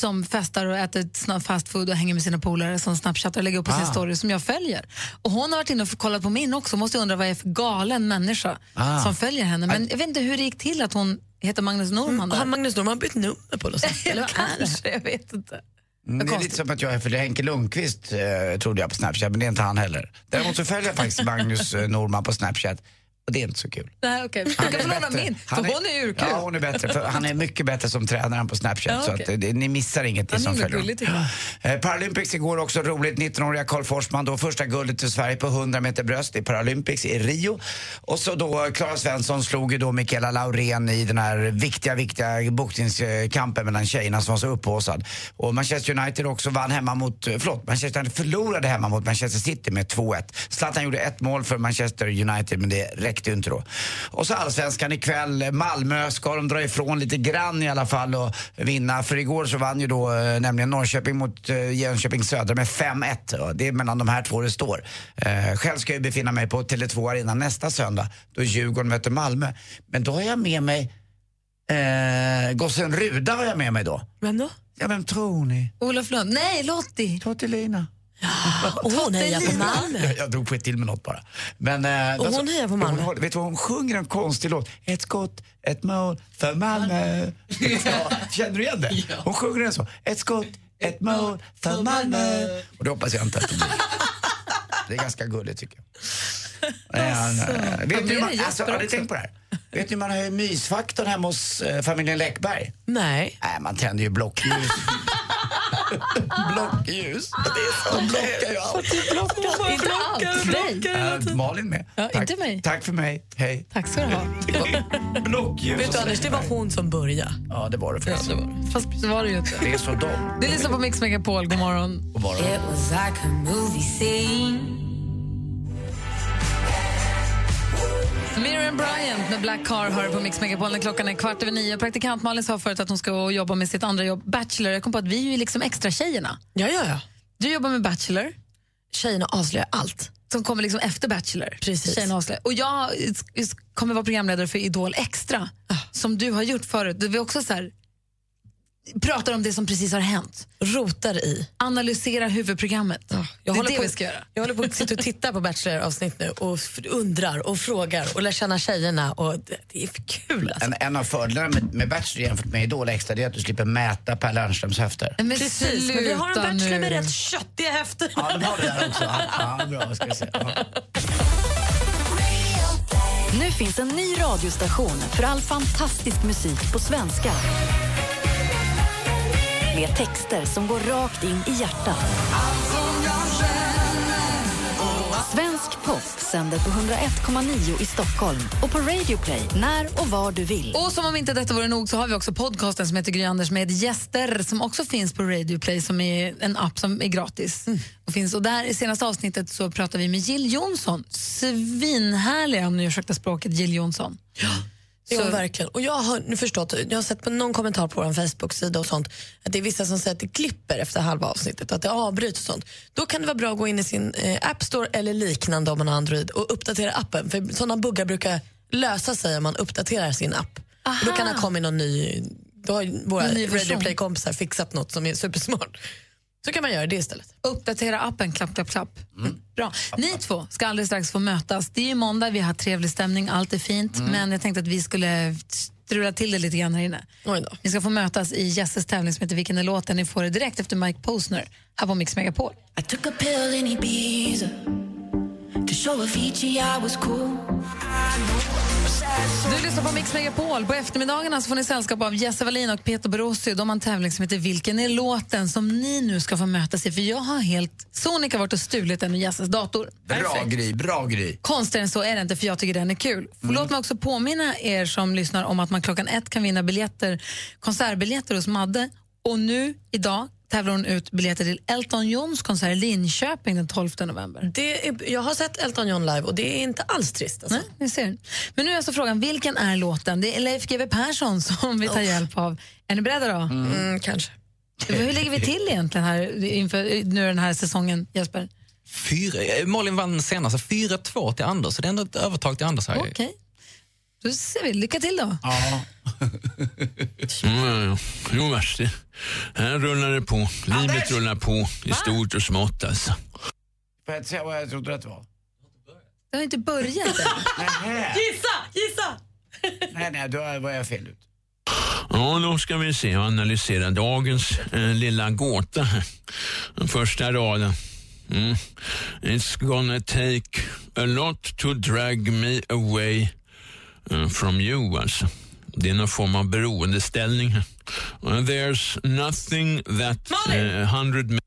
Speaker 2: som festar och äter sna- fast food och hänger med sina polare som snapchattar och lägger upp på
Speaker 3: Ah.
Speaker 2: sin story som jag följer. Och Hon har varit inne och kollat på min också måste jag undra vad jag är för galen människa
Speaker 4: Ah.
Speaker 2: som följer henne. Men jag vet inte hur det gick till att hon heter Magnus Norman.
Speaker 4: Mm. Har
Speaker 2: där.
Speaker 4: Magnus Norman bytt nummer på något sätt? Eller vad är det?
Speaker 2: Kanske, jag vet inte.
Speaker 3: Mm, Det är lite som att jag följer Henke Lundqvist, eh, trodde jag på Snapchat, men det är inte han heller. Däremot så följer jag faktiskt Magnus eh, Norman på Snapchat och det är inte så kul.
Speaker 2: Nej, okej. Du kan få låna min, för
Speaker 3: Han
Speaker 2: hon är urkul.
Speaker 3: Ja, hon är bättre. För han är mycket bättre som tränare än på Snapchat.
Speaker 2: Ja,
Speaker 3: så
Speaker 2: okej.
Speaker 3: att, eh, det- ni missar inget ni
Speaker 2: Han är
Speaker 3: som
Speaker 2: nog
Speaker 3: följer
Speaker 2: gullig, tycker
Speaker 3: honom. Eh, Paralympics igår också roligt. 19-åriga Karl Forsman, då första guldet för Sverige på 100 meter bröst i Paralympics i Rio. Och så då eh, Klara Svensson slog ju då Mikaela Laurén i den här viktiga, viktiga boxningskampen mellan tjejerna som var så upphaussad. Och Manchester United också vann hemma mot, eh, förlåt, Manchester United förlorade hemma mot Manchester City med 2-1. Zlatan gjorde ett mål för Manchester United men det räckte ju inte då. Och så allsvenskan ikväll. Malmö ska de dra ifrån lite grann i alla fall och vinna. För igår så vann ju då eh, nämligen Norrköping mot eh, Jönköping Södra med 5-1. Och Det är mellan de här två det står. Eh, själv ska jag ju befinna mig på Tele2 Arena nästa söndag då Djurgården möter Malmö. Men då har jag med mig eh, gossen Ruda har jag med mig då.
Speaker 4: Vem då?
Speaker 3: Ja, vem tror ni?
Speaker 2: Olof Lund. Nej, Lotti.
Speaker 3: Tottelina.
Speaker 4: Åh, nej, jag är på Malmö.
Speaker 3: Jag, jag drog på ett till med något bara. Men, eh,
Speaker 4: Och hon hejar på Malmö.
Speaker 3: Hon, håller- vet du vad, hon sjunger en konstig låt. Ett skott, ett mål för Malmö. Ja, känner du igen det? Hon sjunger den så. Ett skott, ett mål för Malmö. Och det hoppas jag inte att det blir. Det är ganska gulligt tycker jag. Eh, eh,
Speaker 4: Alltså. Ja,
Speaker 3: vet
Speaker 4: det
Speaker 3: du, hur man,
Speaker 4: är det
Speaker 3: alltså,
Speaker 4: Jesper
Speaker 3: har ni
Speaker 4: också.
Speaker 3: tänkt på det här? Vet ni hur man höjer mysfaktorn hemma hos eh, familjen Läckberg?
Speaker 4: Nej.
Speaker 3: Nej, man tänder ju blockljus. blockljus. Det är så. De blockar ju allt.
Speaker 2: Inte allt. Nej.
Speaker 3: Äh, Malin med.
Speaker 2: Ja, inte mig.
Speaker 3: Tack för mig. Hej.
Speaker 2: Tack ska du ha.
Speaker 3: Blockljus.
Speaker 4: Vet du Anders, det var hon som började.
Speaker 3: Ja, det var det faktiskt. det,
Speaker 2: Fast det var det ju inte.
Speaker 3: är så dumt.
Speaker 2: Du lyssnar på Mix Megapol. God morgon.
Speaker 3: God morgon.
Speaker 13: It was like a movie scene
Speaker 2: Miriam Bryant med Black Car hör på Mix Megapol när klockan är kvart över nio. Praktikant Malin sa förut att hon ska jobba med sitt andra jobb, Bachelor. Jag kom på att vi är ju liksom extra tjejerna.
Speaker 4: Ja, ja, ja.
Speaker 2: Du jobbar med Bachelor.
Speaker 4: Tjejerna avslöjar allt.
Speaker 2: Som kommer liksom efter Bachelor.
Speaker 4: Precis.
Speaker 2: Tjejerna avslöjar. Och jag s- s-
Speaker 4: Ah.
Speaker 2: kommer vara programledare för Idol Extra, som du har gjort förut. Det var också så här, pratar om det som precis har hänt.
Speaker 4: Rotar i.
Speaker 2: Analysera huvudprogrammet.
Speaker 4: Jag
Speaker 2: det är
Speaker 4: håller
Speaker 2: det
Speaker 4: på-
Speaker 2: vi ska göra.
Speaker 4: Jag håller på att sitta och titta på Bachelor-avsnitt nu och f- undrar och frågar och lär känna tjejerna. Och det, det är kul alltså.
Speaker 3: En, en av fördelarna med, med Bachelor jämfört med Idol extra det är att du slipper mäta Per Lernströms höfter.
Speaker 2: Men
Speaker 4: Precis, men vi har en
Speaker 2: sluta
Speaker 4: bachelor med
Speaker 2: nu.
Speaker 4: rätt köttiga höfter.
Speaker 3: Ja, de har det där också. Ja, ja, bra, ska vi se.
Speaker 1: Nu finns en ny radiostation för all fantastisk musik på svenska. Med texter som går rakt in i hjärtat. Svensk pop sänder på 101,9 i Stockholm och på Radio Play när och var du vill.
Speaker 2: Och som om inte detta vore nog så har vi också podcasten som heter Gry Anders med gäster som också finns på Radio Play som är en app som är gratis.
Speaker 4: Mm.
Speaker 2: Och, finns, och där i senaste avsnittet så pratar vi med Jill Johnson. Svinhärliga, om ni ursäktar språket, Jill Johnson.
Speaker 4: Det är hon verkligen. Och jag har nu förstått, jag har sett på någon kommentar på vår Facebook-sida och sånt, att det är vissa som säger att det klipper efter halva avsnittet och att det avbryts och sånt. Då kan det vara bra att gå in i sin eh, App Store eller liknande om man har Android och uppdatera appen. För sådana buggar brukar lösa sig om man uppdaterar sin app. Och då kan det
Speaker 2: Aha.
Speaker 4: komma in någon ny, då har ju våra
Speaker 2: Någon ny version.
Speaker 4: Radio Play-kompisar fixat något som är supersmart. Så kan man göra det istället.
Speaker 2: Uppdatera appen, klapp, klapp, klapp. Bra. Ni två ska alldeles strax få mötas. Det är ju måndag, vi har trevlig stämning, allt är fint. Men jag tänkte att vi skulle strula till det lite grann här inne. Ni ska få mötas i Jesses tävling som heter Vilken är låten? Ni får det direkt efter Mike Posner här på Mix Megapol.
Speaker 13: I took a pill in Ibiza to show Avicii I was cool.
Speaker 2: Du lyssnar på Mix Megapol. På eftermiddagarna så får ni sällskap av Jesse Wallin och Peter Borossi. De har en tävling som heter Vilken är låten? som ni nu ska få mötas i. För jag har helt sonika varit och stulit den ur Jesses dator.
Speaker 3: Bra Gry, bra Gry.
Speaker 2: Konstigare än så är det inte, för jag tycker den är kul. Låt mig också påminna er som lyssnar om att man klockan ett kan vinna biljetter, konsertbiljetter hos Madde. Och nu, idag, tävlar hon ut biljetter till Elton Johns konsert i Linköping den 12 november.
Speaker 4: Det är, jag har sett Elton John live och det är inte alls trist. Alltså.
Speaker 2: Nej, ni ser. Men nu är alltså frågan, vilken är låten? Det är Leif GW Persson som vi tar hjälp av. Är ni beredda då?
Speaker 4: Mm, kanske.
Speaker 2: Hur ligger vi till egentligen här inför nu den här säsongen, Jesper?
Speaker 15: Fyra, eh, Malin vann senast, 4-2 till Anders, så det är ändå ett övertag till Anders här.
Speaker 2: Okej. Då ser vi. Lycka till då.
Speaker 15: Ja.
Speaker 16: Mm, jo, värst det. Här rullar det på. Livet rullar på i stort och smått alltså.
Speaker 3: Får jag säga vad jag trodde att det var?
Speaker 2: Det har inte börjat än.
Speaker 4: Ah, Gissa! Gissa!
Speaker 3: Nej, nej, då var jag fel ut.
Speaker 16: Ja, då ska vi se och analysera dagens eh, lilla gåta. här. Den första raden. Mm. It's gonna take a lot to drag me away eh, from you, alltså. Det är någon form av beroendeställning. här. And there's nothing that eh, hundred men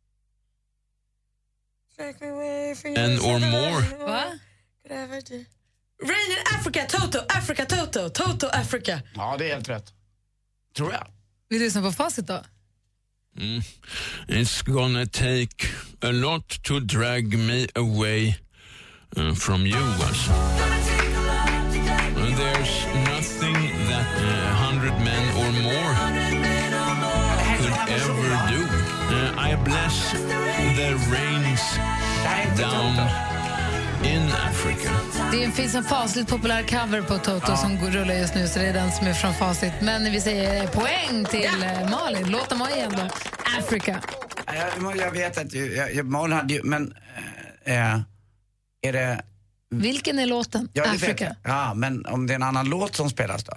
Speaker 16: and or more
Speaker 4: Va? Rain in Africa, Toto, Africa, Toto, Toto, Africa.
Speaker 3: Ja, det är helt rätt. Tror jag.
Speaker 2: Vi lyssnar på facit då.
Speaker 16: Mm. It's gonna take a lot to drag me away uh, from you, alltså. And There's nothing that uh, a hundred men or more could ever do. Uh, I bless the rains down in Africa.
Speaker 2: Det är- finns en fasligt populär cover på Toto som går- rullar just nu, så det är den som är från facit. Men vi säger poäng till eh, Malin. Låt dem ha igen då. Africa.
Speaker 3: Jag, jag vet att jag, jag, Malin hade ju, men... Eh, eh, är det...
Speaker 2: Vilken är låten?
Speaker 3: Ja, det vet
Speaker 2: Africa.
Speaker 3: jag. Ja, men om det är en annan låt som spelas då?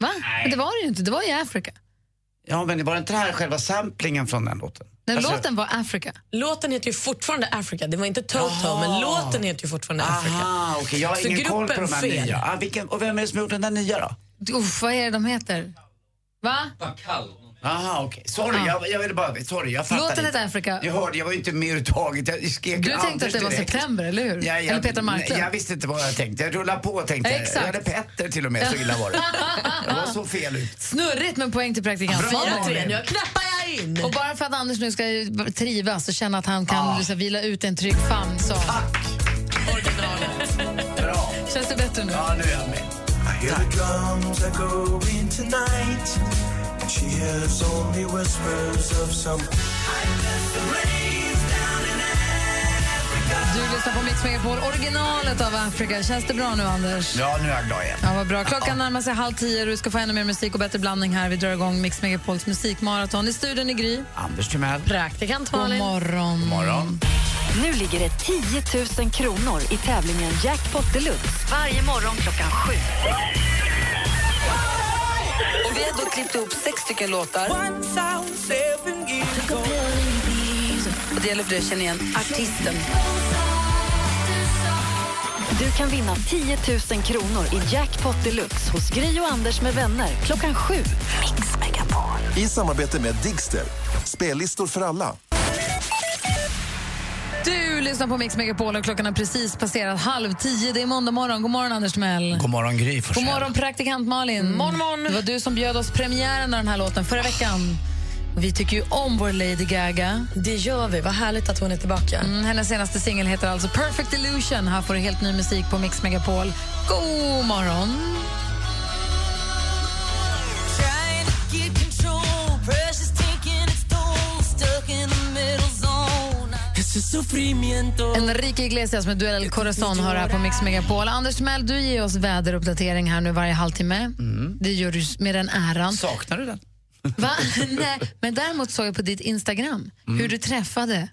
Speaker 2: Va? Men det var det ju inte. Det var ju Africa.
Speaker 3: Ja, men det var inte det här själva samplingen från den låten?
Speaker 2: Den
Speaker 3: Alltså-
Speaker 2: låten var Africa.
Speaker 4: Låten heter ju fortfarande Africa. Det var inte Toto,
Speaker 3: Jaha.
Speaker 4: men låten heter ju fortfarande Africa.
Speaker 3: Aha, okej. Jag har
Speaker 4: Så
Speaker 3: ingen koll på
Speaker 4: gruppen
Speaker 3: de här
Speaker 4: fel.
Speaker 3: nya. Ah, vilken, och vem är det som har gjort den där nya då?
Speaker 2: Uff, vad är det de heter? Va?
Speaker 3: Aha, okej. Sorry,
Speaker 2: Ja.
Speaker 3: jag, jag ville bara... Sorry, jag fattade
Speaker 2: Låten
Speaker 3: inte.
Speaker 2: heter Africa.
Speaker 3: Jag hörde, jag var ju inte med överhuvudtaget. Jag skrek
Speaker 2: Du tänkte
Speaker 3: Anders
Speaker 2: att det var
Speaker 3: direkt.
Speaker 2: september, eller hur?
Speaker 3: Ja, jag,
Speaker 2: Eller Peter Marklund.
Speaker 3: nej, Jag visste inte vad jag tänkte. Jag rullade på och tänkte.
Speaker 2: Exakt.
Speaker 3: Jag hade Petter till och med, så illa var det. Jag var så fel ut.
Speaker 2: Snurrigt med poäng till praktikant.
Speaker 3: Bra,
Speaker 2: Fyra.
Speaker 3: Malin.
Speaker 4: Nu knappar jag in.
Speaker 2: Och bara för att Anders nu ska trivas och känna att han kan liksom vila ut en trygg famn så...
Speaker 3: Ah.
Speaker 2: Tack!
Speaker 3: Bra.
Speaker 2: Känns det bättre nu?
Speaker 3: Ja, nu är jag med.
Speaker 23: I hear the drums echoing tonight, and she hears only whispers of some. I left the rains down in Africa.
Speaker 2: Du lyssnar på Mix Megapol, originalet av Afrika. Känns det bra nu, Anders?
Speaker 3: Ja, nu är jag glad igen.
Speaker 2: Ja, vad bra. Klockan närmar sig halv tio och du ska få ännu mer musik och bättre blandning här. Vi drar igång Mix Megapols musikmaraton. I studion i Gry.
Speaker 3: Anders Timell.
Speaker 2: Praktikant Malin. God morgon. God
Speaker 3: morgon.
Speaker 1: Nu ligger det 10 000 kronor i tävlingen Jackpot Deluxe varje morgon klockan sju.
Speaker 10: Och vi har då klippt ihop sex stycken låtar. Och det gäller för dig att känna igen artisten.
Speaker 1: Du kan vinna 10 000 kronor i Jackpot Deluxe hos Gry och Anders med vänner klockan sju.
Speaker 8: I samarbete med Digster. Spellistor för alla.
Speaker 2: Du lyssnar på Mix Megapol och klockan har precis passerat halv tio. Det är måndag morgon. God morgon, Anders Timell.
Speaker 3: God morgon Gry Forssell.
Speaker 2: God morgon, praktikant
Speaker 4: Mm.
Speaker 2: Malin. Morgon, morgon. Det var du som bjöd oss premiären av den här låten förra veckan. Och Vi tycker ju om vår Lady Gaga.
Speaker 4: Det gör vi. Vad härligt att hon är tillbaka.
Speaker 2: Mm, hennes senaste singel heter alltså Perfect Illusion. Här får du helt ny musik på Mix Megapol. God morgon!
Speaker 13: Trying to get control, pressure's taking its toll, stuck in the middle zone.
Speaker 2: Enrique Iglesias med Duell Corazon har här på Mix Megapol. Anders Timell, du ger oss väderuppdatering här nu varje halvtimme. Det gör du med den äran.
Speaker 3: Saknar Mm. du den?
Speaker 2: Va? Nej, men däremot såg jag på ditt Instagram
Speaker 3: Mm.
Speaker 2: hur du träffade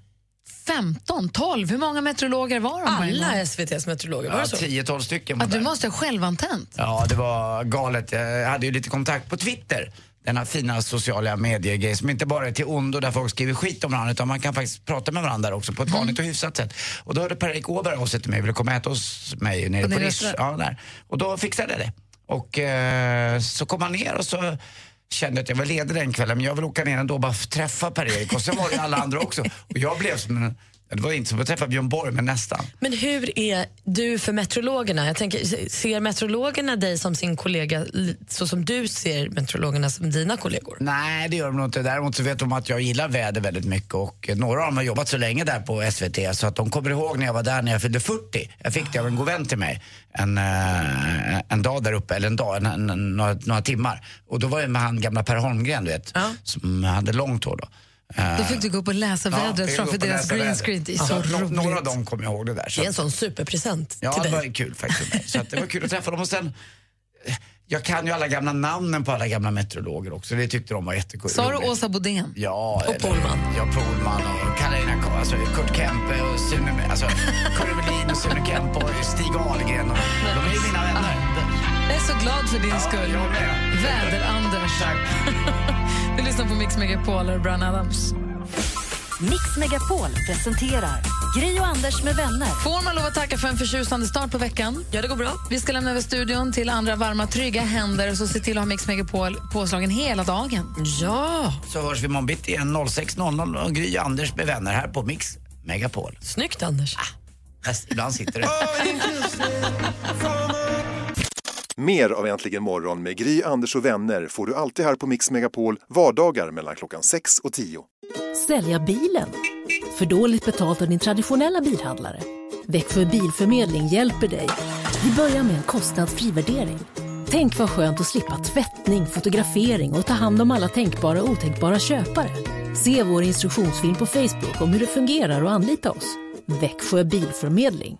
Speaker 2: 15, 12, hur många meteorologer var de?
Speaker 4: Alla SVTs meteorologer, var
Speaker 3: Ja,
Speaker 4: det så?
Speaker 3: 10-12 stycken var
Speaker 2: Att du
Speaker 3: där.
Speaker 2: måste ha självantänt.
Speaker 3: Ja, det var galet. Jag hade ju lite kontakt på Twitter. Denna fina sociala medier som inte bara är till ondo där folk skriver skit om varandra utan man kan faktiskt prata med varandra också på ett
Speaker 2: Mm.
Speaker 3: vanligt och hyfsat sätt. Och då hörde Per-Erik Åberg av sig till mig och ville komma och äta hos mig nere
Speaker 2: Och ni
Speaker 3: på Rish.
Speaker 2: röstade?
Speaker 3: Ja, där. Och då fixade jag det. Och eh, så kom han ner och så kände jag att jag var ledig den kvällen men jag vill åka ner ändå och bara f- träffa Per-Erik och sen var det ju alla andra också. Och jag blev som en, det var inte som att träffa Björn Borg men nästan.
Speaker 4: Men hur är du för meteorologerna? Jag tänker, ser meteorologerna dig som sin kollega li- så som du ser meteorologerna som dina kollegor?
Speaker 3: Nej, det gör de nog inte. Däremot så vet de att jag gillar väder väldigt mycket och eh, några av dem har jobbat så länge där på SVT så att de kommer ihåg när jag var där när jag fyllde 40. Jag fick det av en god vän till mig en, eh, en dag där uppe, eller en dag, en, en, en, några, några timmar. Och då var jag med han gamla Per Holmgren, du vet, som hade långt hår då. Eh,
Speaker 2: Då fick du gå upp och läsa
Speaker 3: ja, fick
Speaker 2: vädret
Speaker 3: jag gå
Speaker 2: framför
Speaker 3: upp och
Speaker 2: deras
Speaker 3: läsa
Speaker 2: green
Speaker 3: vädret.
Speaker 2: screen. Det är
Speaker 3: Ja,
Speaker 2: så
Speaker 3: nå-
Speaker 2: roligt.
Speaker 3: Några av dem kommer jag ihåg det där. så
Speaker 4: Det är en
Speaker 3: att-
Speaker 4: sån superpresent
Speaker 3: Alltså- Ja,
Speaker 4: till
Speaker 3: det
Speaker 4: dig.
Speaker 3: var ju kul faktiskt. för mig. Så att det var kul att träffa dem. Och sen, eh, jag kan ju alla gamla namnen på alla gamla meteorologer också. Det tyckte de var jättekul.
Speaker 2: Sa du
Speaker 3: roligt.
Speaker 2: Åsa Bodén?
Speaker 3: Ja, och Polman. Ja, Polman och Karolina Karl, alltså Kurt Kempe och Sune, alltså Kurre Melin och Sune Kempe och Stig Ahlgren. Och, de är ju mina vänner.
Speaker 2: Jag är så glad för din skull. Väder-Anders. du lyssnar på Mix Megapol och Brian Adams.
Speaker 1: Mix Megapol presenterar Gry och Anders med vänner.
Speaker 2: Får man lov att tacka för en förtjusande start på veckan?
Speaker 4: Ja, det går bra.
Speaker 2: Vi ska lämna över studion till andra varma, trygga händer och så se till att ha Mix Megapol påslagen hela dagen.
Speaker 4: Ja.
Speaker 3: Så hörs vi imorgon bitti igen 06.00 och Gry och Anders med vänner här på Mix Megapol. Ah,
Speaker 4: Snyggt, Anders.
Speaker 3: Fast ibland sitter det.
Speaker 8: Mer av Äntligen morgon med Gry, Anders och vänner får du alltid här på Mix Megapol vardagar mellan klockan 6 och 10.
Speaker 17: Sälja bilen? För dåligt betalt av din traditionella bilhandlare? Växjö Bilförmedling hjälper dig. Vi börjar med en kostnadsfri värdering. Tänk vad skönt att slippa tvättning, fotografering och ta hand om alla tänkbara och otänkbara köpare. Se vår instruktionsfilm på Facebook om hur det fungerar och anlita oss. Växjö Bilförmedling.